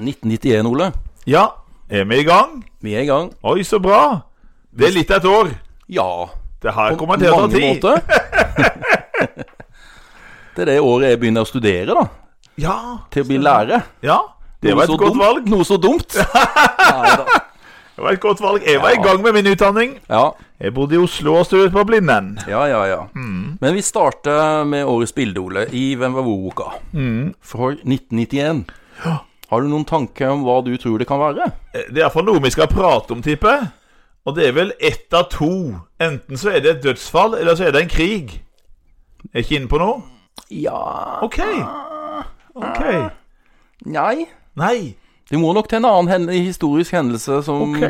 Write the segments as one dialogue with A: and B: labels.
A: 1991, Ole.
B: Ja, er vi i gang?
A: Vi er i gang.
B: Oi, så bra! Det er litt av et år.
A: Ja.
B: Det har jeg
A: På
B: kommentert av
A: mange
B: tid.
A: måter. det er det året jeg begynner å studere, da.
B: Ja,
A: Til å bli lærer.
B: ja. Det
A: Noe
B: var
A: så
B: et godt
A: dumt-
B: valg.
A: Noe så dumt.
B: Det var et godt valg. Jeg var
A: Ja.
B: i gang med min utdanning.
A: Ja,
B: Jeg bodde i Oslo og studerte på Blindern.
A: ja, ja. ja.
B: Mm.
A: Men vi starter med årets bilde, Ole, i Hvem var hvor-boka.
B: Mm.
A: Fra 1991. Har du noen tanker om hva du tror det kan være?
B: Eh, Det er iallfall noe vi skal prate om, tipper jeg. Og det er vel ett av to. Enten så er det et dødsfall, eller så er det en krig. Er jeg ikke inne på noe?
A: Ja
B: OK. OK.
A: Nei.
B: Nei.
A: Det må nok til en annen hen historisk hendelse som
B: OK.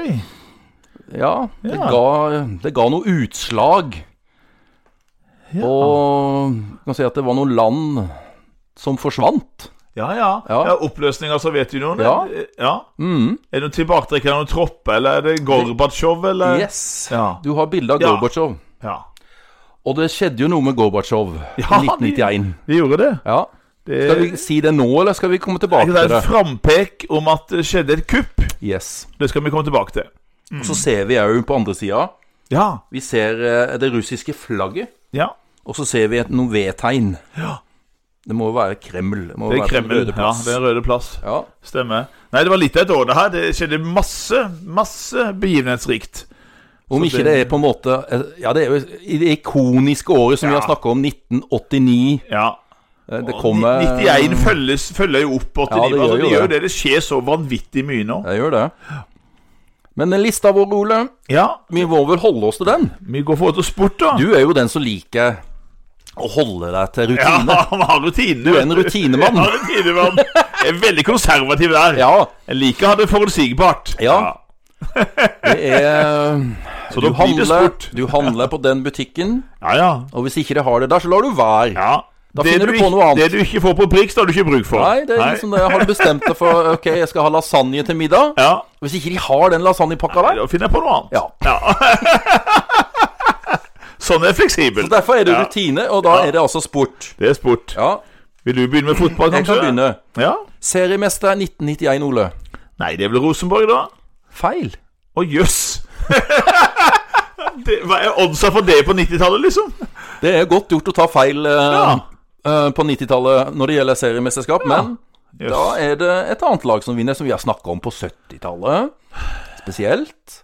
A: Ja, det,
B: Ja.
A: Ga, det ga noe utslag. Og du kan si at det var noen land som forsvant.
B: Ja, ja.
A: Ja.
B: ja. oppløsning av Sovjetunionen.
A: Ja.
B: ja.
A: Mm.
B: Er det noen tilbaketrekkere av noen tropper, eller er det Gorbatsjov, eller
A: Yes.
B: Ja.
A: Du har bilde av
B: Ja.
A: Gorbatsjov.
B: ja.
A: Og det skjedde jo noe med Gorbatsjov i
B: Ja,
A: 1991.
B: Vi gjorde det.
A: Ja.
B: Det
A: Skal vi si det nå, eller skal vi komme tilbake
B: det
A: til
B: er
A: det?
B: et frampek om at det skjedde et kupp.
A: Yes.
B: Det skal vi komme tilbake til.
A: Og så ser vi òg på andre sida
B: Ja.
A: Vi ser eh, det russiske flagget,
B: ja.
A: og så ser vi et noe V-tegn.
B: Ja.
A: Det må jo være Kreml. Det, må
B: Det
A: være
B: er
A: på
B: Kreml.
A: Røde
B: Ja,
A: Plass.
B: det er Røde plass.
A: ja.
B: Stemmer. Nei, det var litt av et år, det her. Det skjedde masse, masse begivenhetsrikt.
A: Om
B: Så
A: ikke
B: det-
A: det er på en måte eh, Ja, det er jo i det ikoniske året som vi har snakka om, 1989.
B: Ja.
A: Eh, Det
B: Og
A: kommer
B: 91 følges, følger jo opp 89.
A: Ja, det gjør
B: altså,
A: jo
B: det, gjør
A: det.
B: det. det skjer så vanvittig mye nå.
A: Jeg gjør det. Men den lista vår, Ole,
B: Ja.
A: vi må vel holde oss til den?
B: Vi går for autosport, da.
A: Du er jo den som liker å holde deg til
B: Ja,
A: rutine.
B: han har rutine.
A: Du er en rutinemann.
B: Ja, rutinemann. Jeg er veldig konservativ der.
A: Ja.
B: Jeg liker å ha det forutsigbart.
A: Ja. Det er
B: Så
A: du
B: da blir det
A: handler,
B: sport.
A: du handler på den butikken,
B: Ja, ja.
A: og hvis ikke det har det der, så lar du være.
B: ja.
A: Da finner du på
B: ikke-
A: noe annet.
B: Det du ikke får på Prix, har du ikke bruk for.
A: Nei, det er liksom det. Har du bestemt deg for Ok, jeg skal ha lasagne til middag?
B: Ja.
A: Hvis ikke de har den lasagnepakka der,
B: Da finner jeg på noe annet.
A: Ja.
B: Sånn er jeg fleksibel.
A: Så Derfor er det
B: Ja.
A: rutine, og da er det altså sport.
B: Det er sport.
A: Ja,
B: Vil du begynne med fotball,
A: jeg
B: kanskje?
A: kan begynne.
B: Ja.
A: Seriemester 1991, Ole.
B: Nei, det er vel Rosenborg, da.
A: Feil.
B: Å, jøss. Det- Hva er oddsa for det på 90-tallet, liksom?
A: Det er godt gjort å ta feil eh,
B: Ja.
A: eh, på 90-tallet når det gjelder seriemesterskap, men
B: Jøss.
A: da er det et annet lag som vinner, som vi har snakka om på 70-tallet spesielt.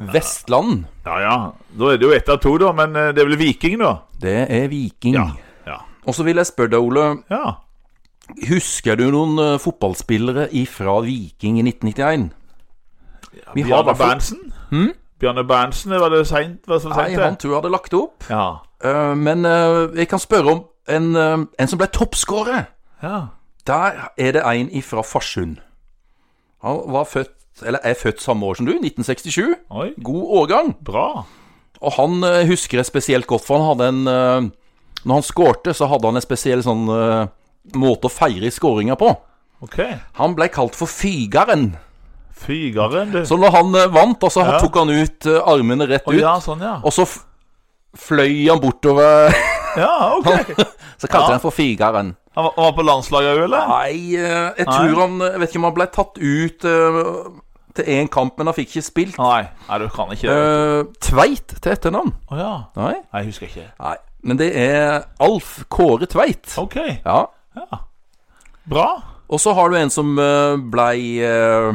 A: Vestland.
B: Ja, ja. Da er det jo ett av to, da. Men eh, det er vel Viking, da?
A: Det er Viking.
B: Ja.
A: Og så vil jeg spørre deg, Ole.
B: ja.
A: Husker du noen eh, fotballspillere ifra Viking i 1991? Vi har
B: Bjarne
A: hvertfall-
B: Berntsen? Bjarne Berntsen, var det seint? Var det for
A: Hm? Nei,
B: sent,
A: han
B: det?
A: tror jeg hadde lagt det opp.
B: Ja.
A: Eh, men eh, jeg kan spørre om en, eh, en som ble toppskårer.
B: ja.
A: Der er det en ifra Farsund. Han var født, eller er født samme år som du, 1967.
B: Oi.
A: God årgang.
B: Bra.
A: Og han eh, husker jeg spesielt godt, for han hadde en eh, Når han skårte, så hadde han en spesiell sånn eh, måte å feire skåringa på.
B: Ok.
A: Han ble kalt for Fygaren.
B: Fygaren, du.
A: Så når han eh, vant, og så
B: Ja.
A: tok han ut eh, armene rett
B: Å,
A: ut,
B: ja, sånn, ja.
A: og så f fløy han bortover
B: Ja, ok.
A: Så kalte de han for Fygaren.
B: Han var, han var på landslaget òg, eller?
A: Nei, eh, jeg tror han Jeg vet ikke om han ble tatt ut eh, til én kamp, men han fikk ikke spilt.
B: Nei. Nei, du kan ikke det.
A: Eh, Tveit til etternavn.
B: Å ja.
A: Nei.
B: Nei, jeg husker ikke.
A: Nei. Men det er Alf Kåre Tveit.
B: Ok.
A: Ja.
B: Bra.
A: Og så har du en som eh, blei eh,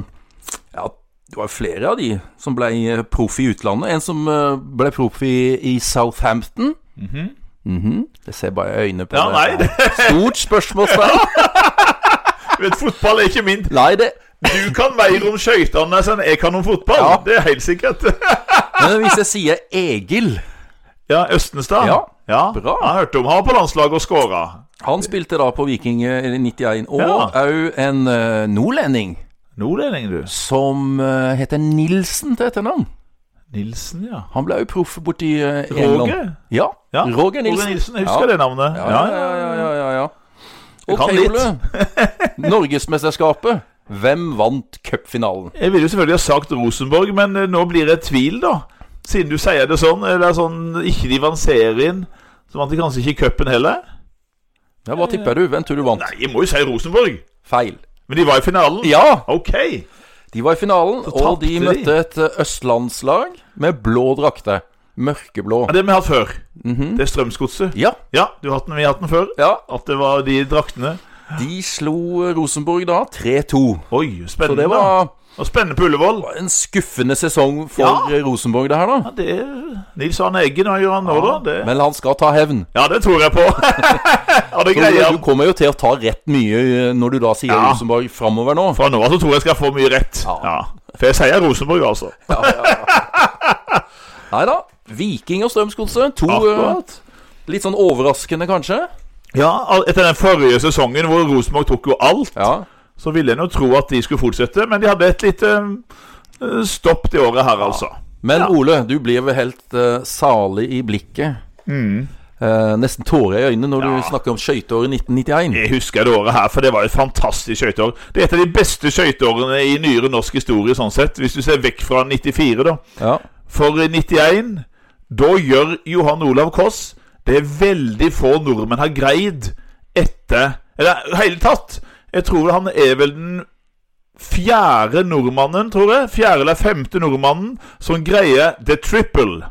A: Ja, det var flere av de som blei eh, proff i utlandet. En som eh, blei proff i, i Southampton. Mhm. Det ser bare i øynene på
B: Ja,
A: det.
B: nei, det-
A: Stort spørsmålstegn.
B: Vet, fotball er ikke min.
A: Nei, det
B: Du kan mer om skøytene enn jeg kan om fotball.
A: Ja.
B: Det er helt sikkert.
A: Men hvis jeg sier Egil
B: Ja, Østenstad.
A: Ja.
B: ja.
A: Bra.
B: Han hørte om han var på landslaget og skåra.
A: Han spilte da på Viking eh, i 91, og
B: Ja.
A: òg en eh, nordlending
B: Nordlending, du.
A: som eh, heter Nilsen til etternavn.
B: Nilsen, ja.
A: Han ble jo proff borti uh,
B: Roger?
A: England. Ja.
B: Ja,
A: Roger Nilsen.
B: Roger Nilsen, jeg husker
A: Ja.
B: det navnet.
A: Ja, ja, ja. ja, ja, ja.
B: Jeg kan
A: Ok,
B: litt.
A: Ole. Norgesmesterskapet. Hvem vant cupfinalen?
B: Jeg ville jo selvfølgelig ha sagt Rosenborg, men eh, nå blir jeg i tvil, da. Siden du sier det sånn. Eller sånn ikke de vant serien, så vant de kanskje ikke cupen heller.
A: Ja, hva tipper du? Hvem tror du vant?
B: Nei, jeg må jo si Rosenborg.
A: Feil.
B: Men de var i finalen?
A: Ja!
B: OK.
A: De var i finalen, og
B: tapte
A: de
B: de.
A: møtte et eh, østlandslag med blå drakter. Mørkeblå.
B: Ja, det har vi hatt før.
A: Mhm.
B: Det er Strømsgodset.
A: Ja,
B: Ja, du har hatt den, vi har hatt den før.
A: ja.
B: At det var de draktene.
A: De slo eh, Rosenborg da 3-2.
B: Oi,
A: Så
B: spennende.
A: det var
B: Og spennende på Ullevål.
A: en skuffende sesong for
B: Ja.
A: eh, Rosenborg, det her, da.
B: Ja, det er Nils Arne Eggen, hva gjør han nå, da? Det...
A: Men han skal ta hevn.
B: Ja, det tror jeg på. ja, det
A: Så
B: greier
A: du, du
B: han.
A: kommer jo til å ta rett mye eh, når du da sier
B: Ja.
A: Rosenborg framover nå.
B: Fra nå av så tror jeg jeg skal få mye rett.
A: Ja.
B: Ja. For jeg sier Rosenborg, altså.
A: Nei da. Viking og Strømsgodset. To eh,
B: Akkurat.
A: litt sånn overraskende, kanskje.
B: Ja, al- Etter den forrige sesongen hvor Rosenborg tok jo alt,
A: Ja.
B: så ville en jo tro at de skulle fortsette, men de hadde et lite eh, stopp det året her, altså.
A: Men
B: Ja.
A: Ole, du blir vel helt eh, salig i blikket. Eh, nesten tårer i øynene når
B: Mm. Ja.
A: du snakker om skøyteåret 1991.
B: Jeg husker det året her, for det var et fantastisk skøyteår. Det er et av de beste skøyteårene i nyere norsk historie, sånn sett. Hvis du ser vekk fra 94, da.
A: Ja.
B: For i 91, da gjør Johan Olav Koss det veldig få nordmenn har greid etter Eller hele tatt. Jeg tror han er vel den fjerde nordmannen, tror jeg. Fjerde eller femte nordmannen som greier the triple.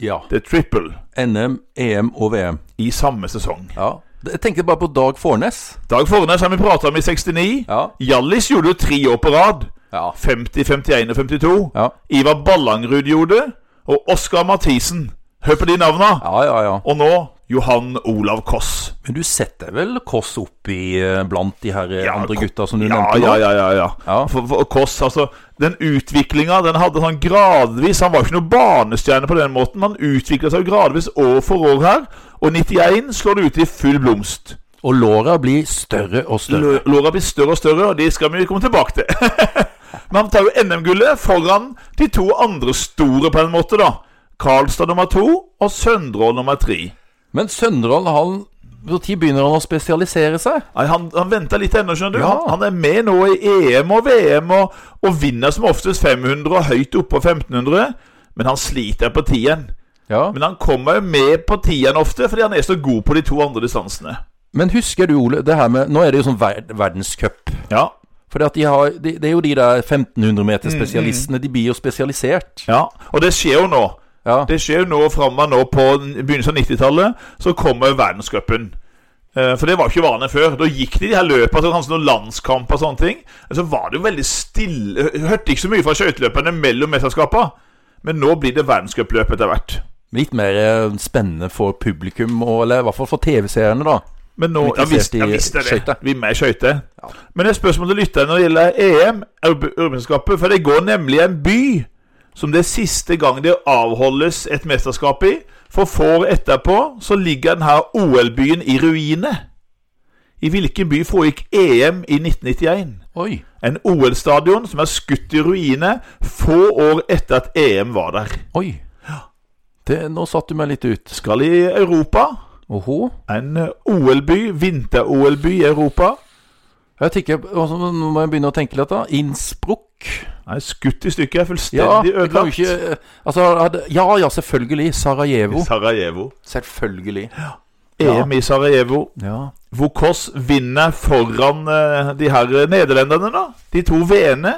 A: ja.
B: The triple
A: NM, EM og VM.
B: i samme sesong.
A: Ja. Jeg tenkte bare på Dag Fornes.
B: Dag Fornes har vi prata om i 69.
A: Ja.
B: Hjallis gjorde jo tre år på rad.
A: Ja.
B: 50, 51 og 52.
A: Ja,
B: Ivar Ballangrud gjorde det. Og Oskar Mathisen. Hør på de navna.
A: ja, ja. ja.
B: Og nå Johan Olav Koss.
A: Men du setter vel Kåss opp i eh, blant de her eh,
B: Ja,
A: andre
B: Ko-
A: gutta som du
B: Ja,
A: nevnte nå?
B: ja, ja. ja, ja.
A: Ja.
B: For, for Koss, altså Den utviklinga den hadde sånn gradvis Han var ikke noe barnestjerne på den måten. Han utvikla seg gradvis år for år her. Og 91 slår det ut i full blomst.
A: Og låra blir større og større.
B: L- Låra blir større og større, og de skal vi komme tilbake til. Men han tar jo NM-gullet foran de to andre store, på en måte, da. Karlstad nummer to og Søndrål nummer tre.
A: Men Søndrål, han Når begynner han å spesialisere seg?
B: Nei, Han, han venter litt ennå, skjønner du.
A: Ja.
B: Han, han er med nå i EM og VM, og, og vinner som oftest 500 og høyt oppå 1500. Men han sliter på tieren.
A: Ja.
B: Men han kommer jo med på tieren ofte, fordi han er så god på de to andre distansene.
A: Men husker du, Ole, det her med Nå er det jo sånn ver verdenscup.
B: Ja,
A: For de har, de, det er jo de der
B: Mm,
A: 1500-meterspesialistene. De blir jo spesialisert.
B: ja. Og det skjer jo nå.
A: Ja.
B: Det skjer jo nå framover nå på n- begynnelsen av 90-tallet. Så kommer verdenscupen. Eh, For det var ikke vanlig før. Da gikk de de her løpene til kanskje noen landskamper og sånne ting. Men Så var det jo veldig stille Jeg Hørte ikke så mye fra skøyteløperne mellom mesterskapene. Men nå blir det verdenscupløp etter hvert.
A: Litt mer eh, spennende for publikum, og, eller i hvert fall for TV-seerne, da.
B: Men nå,
A: Litt
B: jeg
A: interessert
B: visste, jeg
A: i
B: visste det.
A: skøyter.
B: Vi er med i skøyter. Men et spørsmål til lytterne når det gjelder EM, Europ- Europamesterskapet. For det går nemlig en by som det er siste gang det avholdes et mesterskap i. For få år etterpå så ligger denne OL-byen i ruiner. I hvilken by foregikk EM i 1991?
A: Oi.
B: En OL-stadion som er skutt i ruiner få år etter at EM var der.
A: Oi. Det, nå satte du meg litt ut.
B: Skal i Europa.
A: Åhå.
B: En OL-by, vinter-OL-by i Europa.
A: Jeg tenker, altså, Nå må jeg begynne å tenke litt, da. Innsbruck.
B: Nei, skutt i stykker.
A: Ja,
B: Fullstendig
A: det kan jo
B: ødelagt.
A: ikke altså, hadde, Ja ja, selvfølgelig. Sarajevo.
B: Sarajevo.
A: Selvfølgelig. Ja.
B: EM i Sarajevo,
A: Ja.
B: hvor Koss vinner foran eh, de her nederlenderne, da. De to V-ene.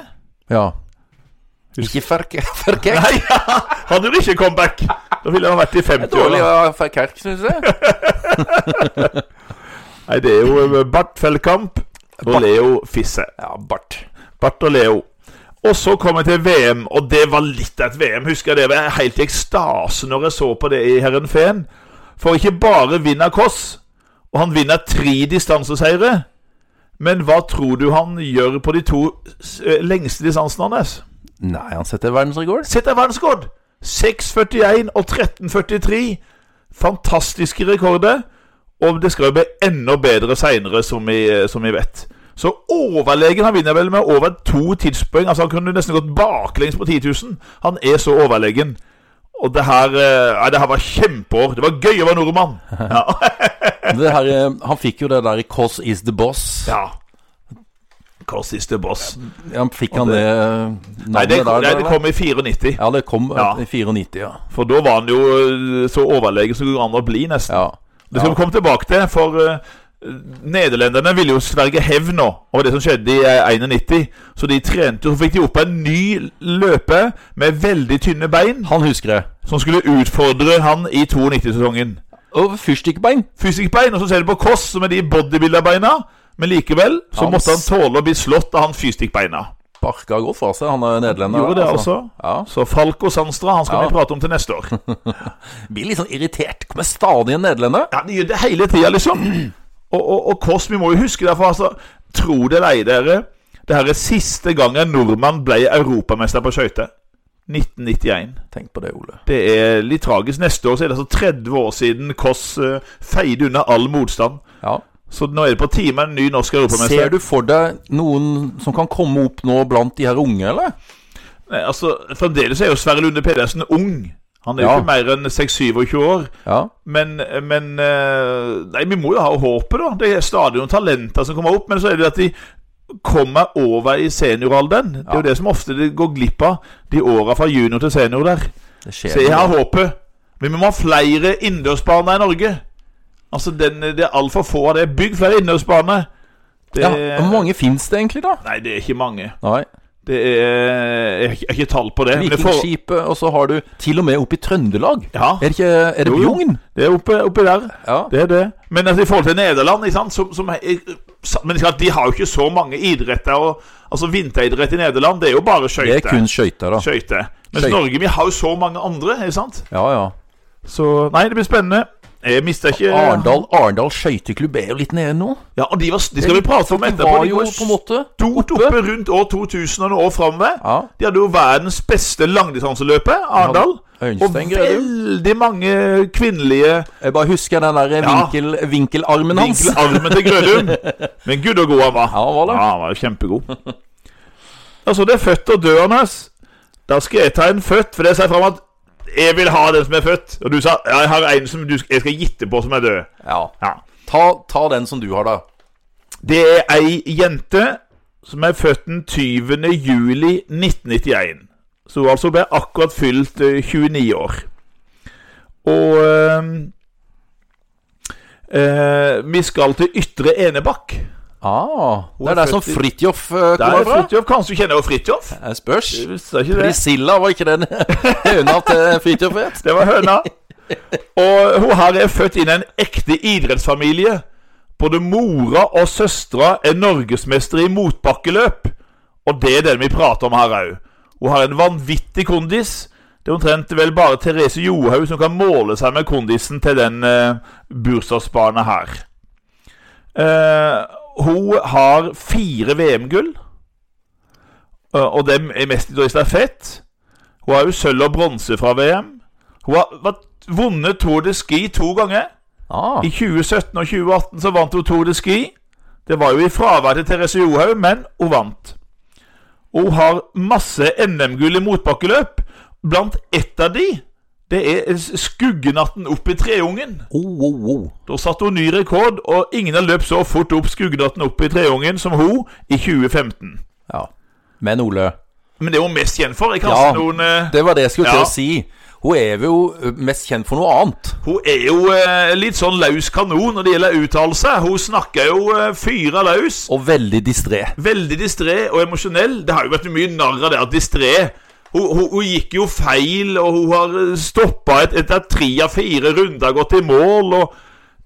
A: ja. Ikke Ferke... Ferke.
B: Nei, han gjorde ikke comeback! Da ville han vært i 50-åra.
A: Dårlig av Ferke, syns jeg.
B: Nei, det er jo eh, Bart Feldkamp og
A: Bart.
B: Leo Fisse.
A: Ja, Bart.
B: Bart og Leo. Og så kom jeg til VM, og det var litt av et VM. Husker jeg det var helt i ekstase når jeg så på det i Herrenfeen. For ikke bare vinner Koss, og han vinner tre distanseseire. Men hva tror du han gjør på de to s- eh, lengste distansene hans?
A: Nei, han setter verdensrekord.
B: Setter verdensrekord! 6,41 og 13,43. Fantastiske rekorder. Og det skal jo bli enda bedre seinere, som, vi- som vi vet. Så overlegen han vinner vel med over to tidspoeng. Altså Han kunne nesten gått baklengs på 10 000. Han er så overlegen. Og det her, eh, nei, det her var kjempeår. Det var gøy å være nordmann. Ja.
A: Det her, eh, han fikk jo det der i 'Cause is the boss'.
B: ja. Hva siste boss?
A: Ja, fikk han
B: det-
A: det eh, navnet
B: Nei, det,
A: der?
B: nei,
A: eller?
B: det kom i 94.
A: Ja, det kom eh,
B: Ja.
A: i 94, ja.
B: For da var han jo eh, så overlegen som det går an å bli, nesten.
A: ja.
B: Det skal vi komme tilbake til, for eh, Nederlenderne ville jo sverge hevn nå over det som skjedde i eh, 91. Så de trente jo, så fikk de opp en ny løper med veldig tynne bein,
A: Han husker det.
B: som skulle utfordre han i 92-sesongen.
A: Og fyrstikkbein.
B: Fysikkbein, og så ser du på Koss, som er de bodybuilderbeina. Men likevel så
A: Hans.
B: måtte han tåle å bli slått av han fysikkbeina.
A: Barka godt fra seg, han er nederlender.
B: Gjorde det altså.
A: Ja.
B: Så Falco Sandstra, han skal
A: Ja.
B: vi prate om til neste år.
A: Blir litt sånn irritert. Kommer stadig en nederlender.
B: Ja, de gjør det hele tida, liksom. Og, og, og Kåss, vi må jo huske derfor, altså. Tro det eller ei, dere. Det her er siste gang en nordmann ble europamester på skøyter. 1991.
A: Tenk på det, Ole.
B: Det er litt tragisk. Neste år så er det altså 30 år siden Kåss eh, feide unna all motstand.
A: Ja.
B: Så nå er det på tide med en ny norsk
A: Ser
B: europamester.
A: du for deg noen som kan komme opp nå blant de her unge, eller?
B: Nei, altså, Fremdeles er jo Sverre Lunde Pedersen ung. Han er jo
A: Ja.
B: ikke mer enn 26-27 år.
A: Ja.
B: Men, men eh, Nei, vi må jo ha håpet, da. Det er stadig noen talenter som kommer opp. Men så er det at de kommer over i senioralderen. Det er jo det som ofte de går glipp av. De åra fra junior til senior der.
A: Det skjer.
B: Så jeg har
A: noe.
B: håpet. Men vi må ha flere innendørsbaner i Norge. Altså, den, det er altfor få av det. Bygg flere innendørsbaner. Det,
A: ja, Hvor mange fins det egentlig, da?
B: Nei, det er ikke mange.
A: Nei.
B: Det er Jeg har ikke- jeg har ikke tall på det. men det får-
A: Vikingskipet, og så har du til og med oppe i Trøndelag.
B: ja,
A: Er det ikke Er det
B: Jo, jo.
A: Bjugn?
B: det er oppe, oppe der.
A: Ja.
B: Det er det. Men altså, i forhold til Nederland ikke sant, som, som er, Men klart, de har jo ikke så mange idretter. Og, altså Vinteridrett i Nederland, det er jo bare
A: Det er kun
B: skøyter.
A: skøyter, da.
B: Skøyter. Mens
A: Skøy-
B: Norge, vi har jo så mange andre, ikke sant?
A: Ja, ja.
B: Så Nei, det blir spennende. Jeg mister ikke
A: Arendal, Arendal skøyteklubb er jo litt nede nå.
B: Ja, og de, var, de skal vi prate om
A: De
B: etterpå.
A: var
B: De
A: jo
B: var
A: på en måte
B: stort oppe rundt år 2000 og noen år framover.
A: Ja.
B: De hadde jo verdens beste langdistanseløpe, Arendal. Og
A: Øystein Grødum.
B: veldig mange kvinnelige
A: Jeg bare husker den der vinkel, vinkelarmen hans.
B: Vinkel armen til Grødum. Men gud og god han var.
A: Ja, han var det.
B: Ja, han var jo kjempegod. Altså, det er født og død hans. Da skal jeg ta en født, for det sier fram at jeg vil ha den som er født. Og du sa ja, jeg har en som du, jeg skal gitte på som er død.
A: Ja.
B: Ja.
A: Ta, ta den som du har, da.
B: Det er ei jente som er født den 20. juli 1991. Så hun altså ble akkurat fylt eh, 29 år. Og eh, eh, vi skal til Ytre Enebakk.
A: Ah, det
B: Hun er
A: er der som
B: født i-
A: Fridtjof eh,
B: Der
A: kommer
B: er
A: fra.
B: Fridtjof. Kanskje du kjenner jo Fridtjof?
A: Jeg spørs.
B: Jeg visste ikke det.
A: Priscilla, var ikke den høna til Fridtjof het?
B: Det var høna. Og hun her er født inn i en ekte idrettsfamilie. Både mora og søstera er norgesmestere i motbakkeløp. Og det er den vi prater om her òg. Hun har en vanvittig kondis. Det er omtrent vel bare Therese Johaug som kan måle seg med kondisen til den eh, bursdagsbarnet her. Eh, hun har fire VM-gull, eh, og dem er mest i stafett. Hun har jo sølv og bronse fra VM. Hun har vært vunnet Tour de Ski to ganger.
A: Ah,
B: I 2017 og 2018 så vant hun Tour de Ski. Det var jo i fravær til Therese Johaug, men hun vant. Og hun har masse NM-gull i motbakkeløp. Blant ett av de, det er Skuggenatten opp i Treungen.
A: oh, oh, oh.
B: Da satte hun ny rekord, og ingen har løpt så fort opp Skuggenatten opp i Treungen som hun i 2015.
A: Ja. Men Ole,
B: Men det er hun mest kjent for. Jeg kan
A: Ja,
B: si noen... eh,
A: det var det jeg skulle
B: Ja.
A: til å si. Hun er jo eh, mest kjent for noe annet.
B: Hun er jo eh, litt sånn løs kanon når det gjelder uttalelse. Hun snakker jo eh, fyra løs.
A: Og veldig distré.
B: Veldig distré og emosjonell. Det har jo vært mye narr av det at distré hun, hun, hun gikk jo feil, og hun har stoppa et, etter tre av fire runder, gått i mål, og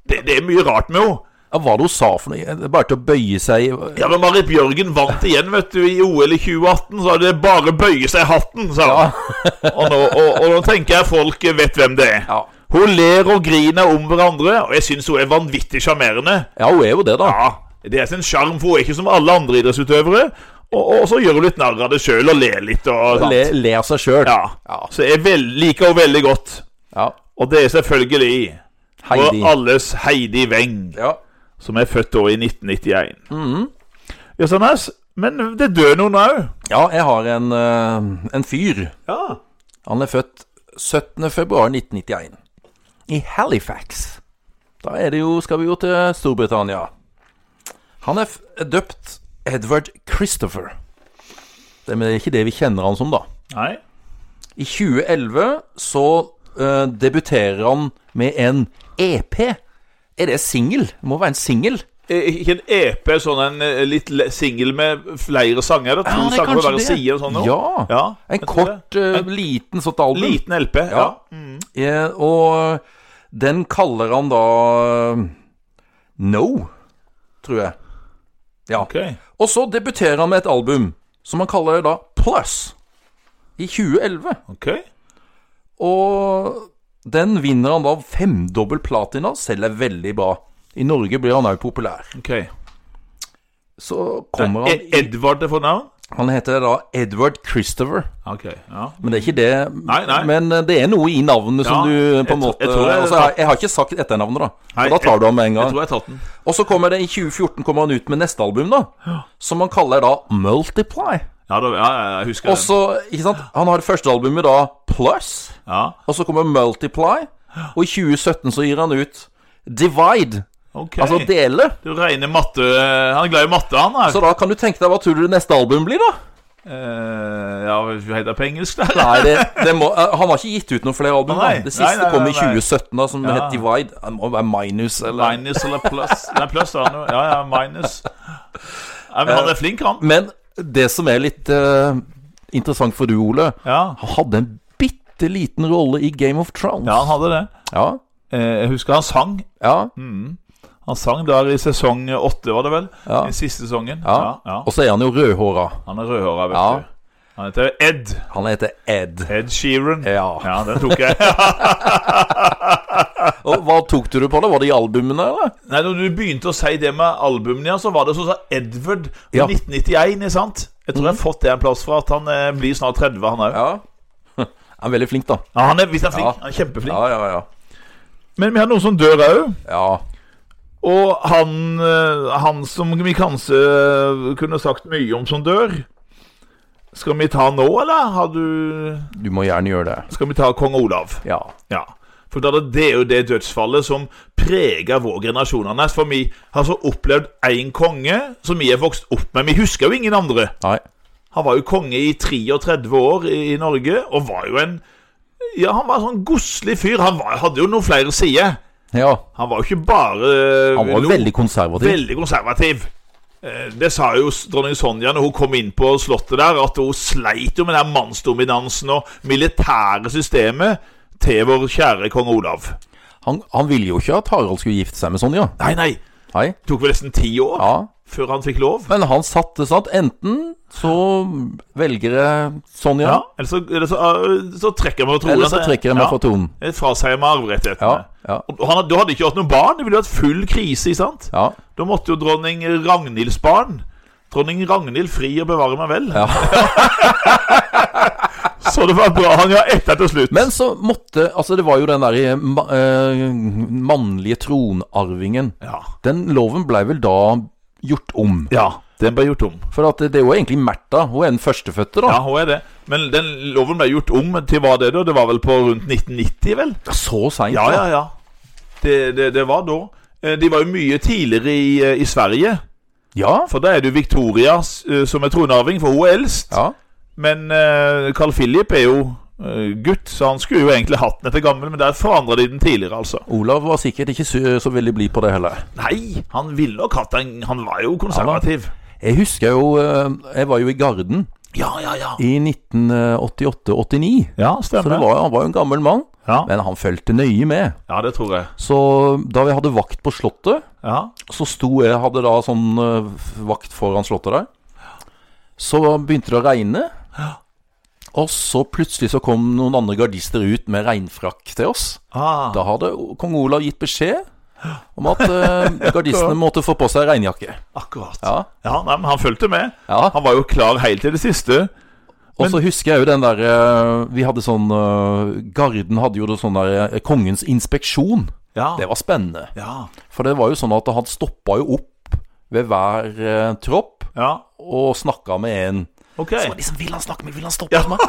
B: det, det er mye rart med henne.
A: Ja, hva var det hun sa for noe? Det er Bare til å bøye seg i-
B: Ja, men Marit Bjørgen vant igjen, vet du, i OL i 2018. Så er det bare bøye seg i hatten, sa hun. og, nå, og, og nå tenker jeg folk vet hvem det er.
A: Ja.
B: Hun ler og griner om hverandre, og jeg syns hun er vanvittig sjarmerende.
A: ja, hun er jo det, da.
B: Ja, det er sin sjarm, for hun er ikke som alle andre idrettsutøvere. Og, og så gjør hun litt narr av det sjøl og ler litt og sånt.
A: Le, le av seg sjøl.
B: Ja. Så jeg vel, liker henne veldig godt.
A: Ja.
B: Og det er selvfølgelig
A: Heidi.
B: Og alles Heidi Weng,
A: Ja.
B: som er født da i 1991.
A: Mhm.
B: Ja, sånn ass. Men det dør noen òg.
A: ja, jeg har en, eh, en fyr.
B: Ja.
A: Han er født 17. februar 1991 i Halifax. Da er det jo, skal vi jo til Storbritannia. Han er f døpt Edward Christopher. Det men det er ikke det vi kjenner han som, da.
B: Nei.
A: I 2011 så eh, debuterer han med en EP. Er det singel? Det må være en singel.
B: Eh, Ikke en EP, sånn en eh, litt le- singel med flere sanger? Eller to
A: Ja, det er
B: sanger på
A: kanskje
B: hver
A: det.
B: side? Og sånn, noe.
A: Ja.
B: ja.
A: En
B: jeg tror det.
A: kort, eh, liten sånt album.
B: Liten LP. Ja.
A: Ja. Eh, og den kaller han da eh, No, tror jeg. Ja.
B: Ok.
A: Og så debuterer han med et album som han kaller da Plus, i 2011.
B: ok
A: Og den vinner han da femdobbel platina, selv er veldig bra. I Norge blir han òg populær.
B: ok
A: Så kommer han
B: E- Edvard er fornavn?
A: Han heter da Edward Christopher.
B: Ok. ja
A: Men det er ikke det
B: Nei, nei.
A: Men eh, det er noe i navnet som
B: Ja,
A: du eh,
B: jeg
A: på en
B: tro-
A: måte
B: jeg tror jeg-
A: altså, jeg, jeg har ikke sagt etternavnet, da.
B: Nei,
A: og da tar du ham med en
B: Jeg
A: gang.
B: tror jeg har tatt den.
A: Og så kommer det i 2014 kommer han ut med neste album, da. Som han kaller da Multiply.
B: Ja, da, ja, ja, jeg husker
A: Og så, ikke sant Han har det første albumet da Plus,
B: den. Ja,
A: og så kommer Multiply. Og i 2017 så gir han ut Divide,
B: ok
A: altså dele.
B: Du regner matte Han er glad i matte, han her.
A: Så da kan du tenke deg hva tror du neste album blir, da?
B: Eh, ja, vi heter på engelsk der.
A: Nei, det, det må, eh, Han har ikke gitt ut noen flere album.
B: Nei,
A: da. Det
B: nei,
A: siste
B: nei,
A: kom i
B: nei, nei.
A: 2017, da som
B: Ja.
A: het Divide. Det må være minus, eller
B: Minus eller pluss. Nei, pluss da, nå. Ja, ja, minus. Nei, men han er flink, han.
A: Men det som er litt eh, interessant for du, Ole
B: Ja,
A: Han hadde en bitte liten rolle i Game of Thrones.
B: ja han hadde Mm, det.
A: ja.
B: Eh, jeg husker han sang.
A: ja.
B: Han sang der i sesong åtte, var det vel?
A: Ja.
B: I siste sesongen.
A: ja.
B: Ja, ja.
A: Og så er han jo rødhåra.
B: Han er rødhåra, vet
A: Ja.
B: du. Han heter Ed.
A: Han heter Ed.
B: Ed Sheeran.
A: Ja.
B: Ja, den tok jeg.
A: Og Hva tok du det på? da? Var det i albumene, eller?
B: Nei, når du begynte å si det med albumene, ja, så var det sånn som Edward i
A: Ja. Mhm.
B: 1991, ikke sant? Jeg tror jeg har fått det en plass fra at han eh, blir snart 30, han òg. Ja.
A: Ja. Han er veldig flink, da.
B: han er visst han er flink.
A: Ja.
B: Han er kjempeflink.
A: Ja, ja, ja.
B: Men vi har noen som dør òg.
A: ja.
B: Og han, eh, han som vi kanskje eh, kunne sagt mye om som dør Skal vi ta nå, eller? Har du
A: Du må gjerne gjøre det.
B: Skal vi ta kong Olav?
A: Ja.
B: Ja. For da er det- det er jo det dødsfallet som preger vår generasjon. Anders. For vi har så opplevd én konge som vi er vokst opp med. Vi husker jo ingen andre.
A: Nei.
B: Han var jo konge i 33 år i, i Norge, og var jo en Ja, han var en sånn godslig fyr. Han var, hadde jo noen flere sider.
A: Ja.
B: Han var jo ikke bare
A: Han var
B: lo-
A: veldig konservativ.
B: veldig konservativ. Eh, Det sa jo s- dronning Sonja når hun kom inn på slottet der, at hun sleit jo med den mannsdominansen og militære systemet til vår kjære kong Olav.
A: Han, han ville jo ikke at Harald skulle gifte seg med Sonja.
B: Nei, nei,
A: Nei.
B: det tok vel nesten ti år
A: Ja.
B: før han fikk lov.
A: Men han satte sånn at enten så velger jeg Sonja,
B: Ja, Eller så, eller så, eh, så trekker man fra tronen.
A: eller så trekker jeg meg
B: Ja.
A: fra tonen.
B: Eh, fra seg med
A: Ja.
B: arverettighetene.
A: Ja.
B: Og Han, hadde- du hadde ikke hatt noen barn. Det ville vært full krise. ikke sant?
A: ja.
B: Da måtte jo dronning Ragnhilds barn Dronning Ragnhild fri og bevare meg vel.
A: Ja.
B: så det var bra han ga etter til slutt.
A: Men så måtte Altså, det var jo den der ma eh, mannlige tronarvingen.
B: Ja.
A: Den loven blei vel da gjort om.
B: ja. Den ble gjort om.
A: For at det, det er jo egentlig Märtha. Hun er den førstefødte, da.
B: Ja, hun er det. Men den loven ble gjort om til hva det da? Det var vel på rundt 1990, vel?
A: Så seint.
B: Ja, ja, ja. Det, det, det var da. Eh, De var jo mye tidligere i, eh, i Sverige.
A: Ja.
B: For da er det jo Victoria eh, som er tronarving, for hun er eldst.
A: ja.
B: Men eh, Carl Philip er jo eh, gutt, så han skulle jo egentlig hatt den etter gammel, men der forandra de den tidligere, altså.
A: Olav var sikkert ikke så, så veldig blid på det heller.
B: Nei, han ville nok hatt den. Han var jo konservativ.
A: Jeg husker jo eh, Jeg var jo i Garden
B: Ja, ja, ja.
A: i 1988-89.
B: Ja,
A: Så det
B: stemmer.
A: var, han var jo en gammel mann,
B: Ja.
A: men han fulgte nøye med.
B: ja, det tror jeg.
A: Så da vi hadde vakt på Slottet
B: Ja.
A: Så sto jeg, hadde da sånn eh, vakt foran slottet der. Så begynte det å regne. Og så plutselig så kom noen andre gardister ut med regnfrakk til oss.
B: Ah,
A: Da hadde o- kong Olav gitt beskjed om at eh, gardistene måtte få på seg regnjakke.
B: akkurat. Ja,
A: Ja,
B: nei, men han fulgte med.
A: ja.
B: Han var jo klar helt til det siste.
A: Og så husker jeg jo den derre Vi hadde sånn eh, Garden hadde jo det sånn der eh, Kongens inspeksjon.
B: Ja.
A: Det var spennende.
B: Ja.
A: For det var jo sånn at han stoppa jo opp ved hver eh, tropp
B: ja.
A: og snakka med en
B: Ok.
A: Så var det liksom, Vil han snakke med meg? Vil han stoppe hos meg?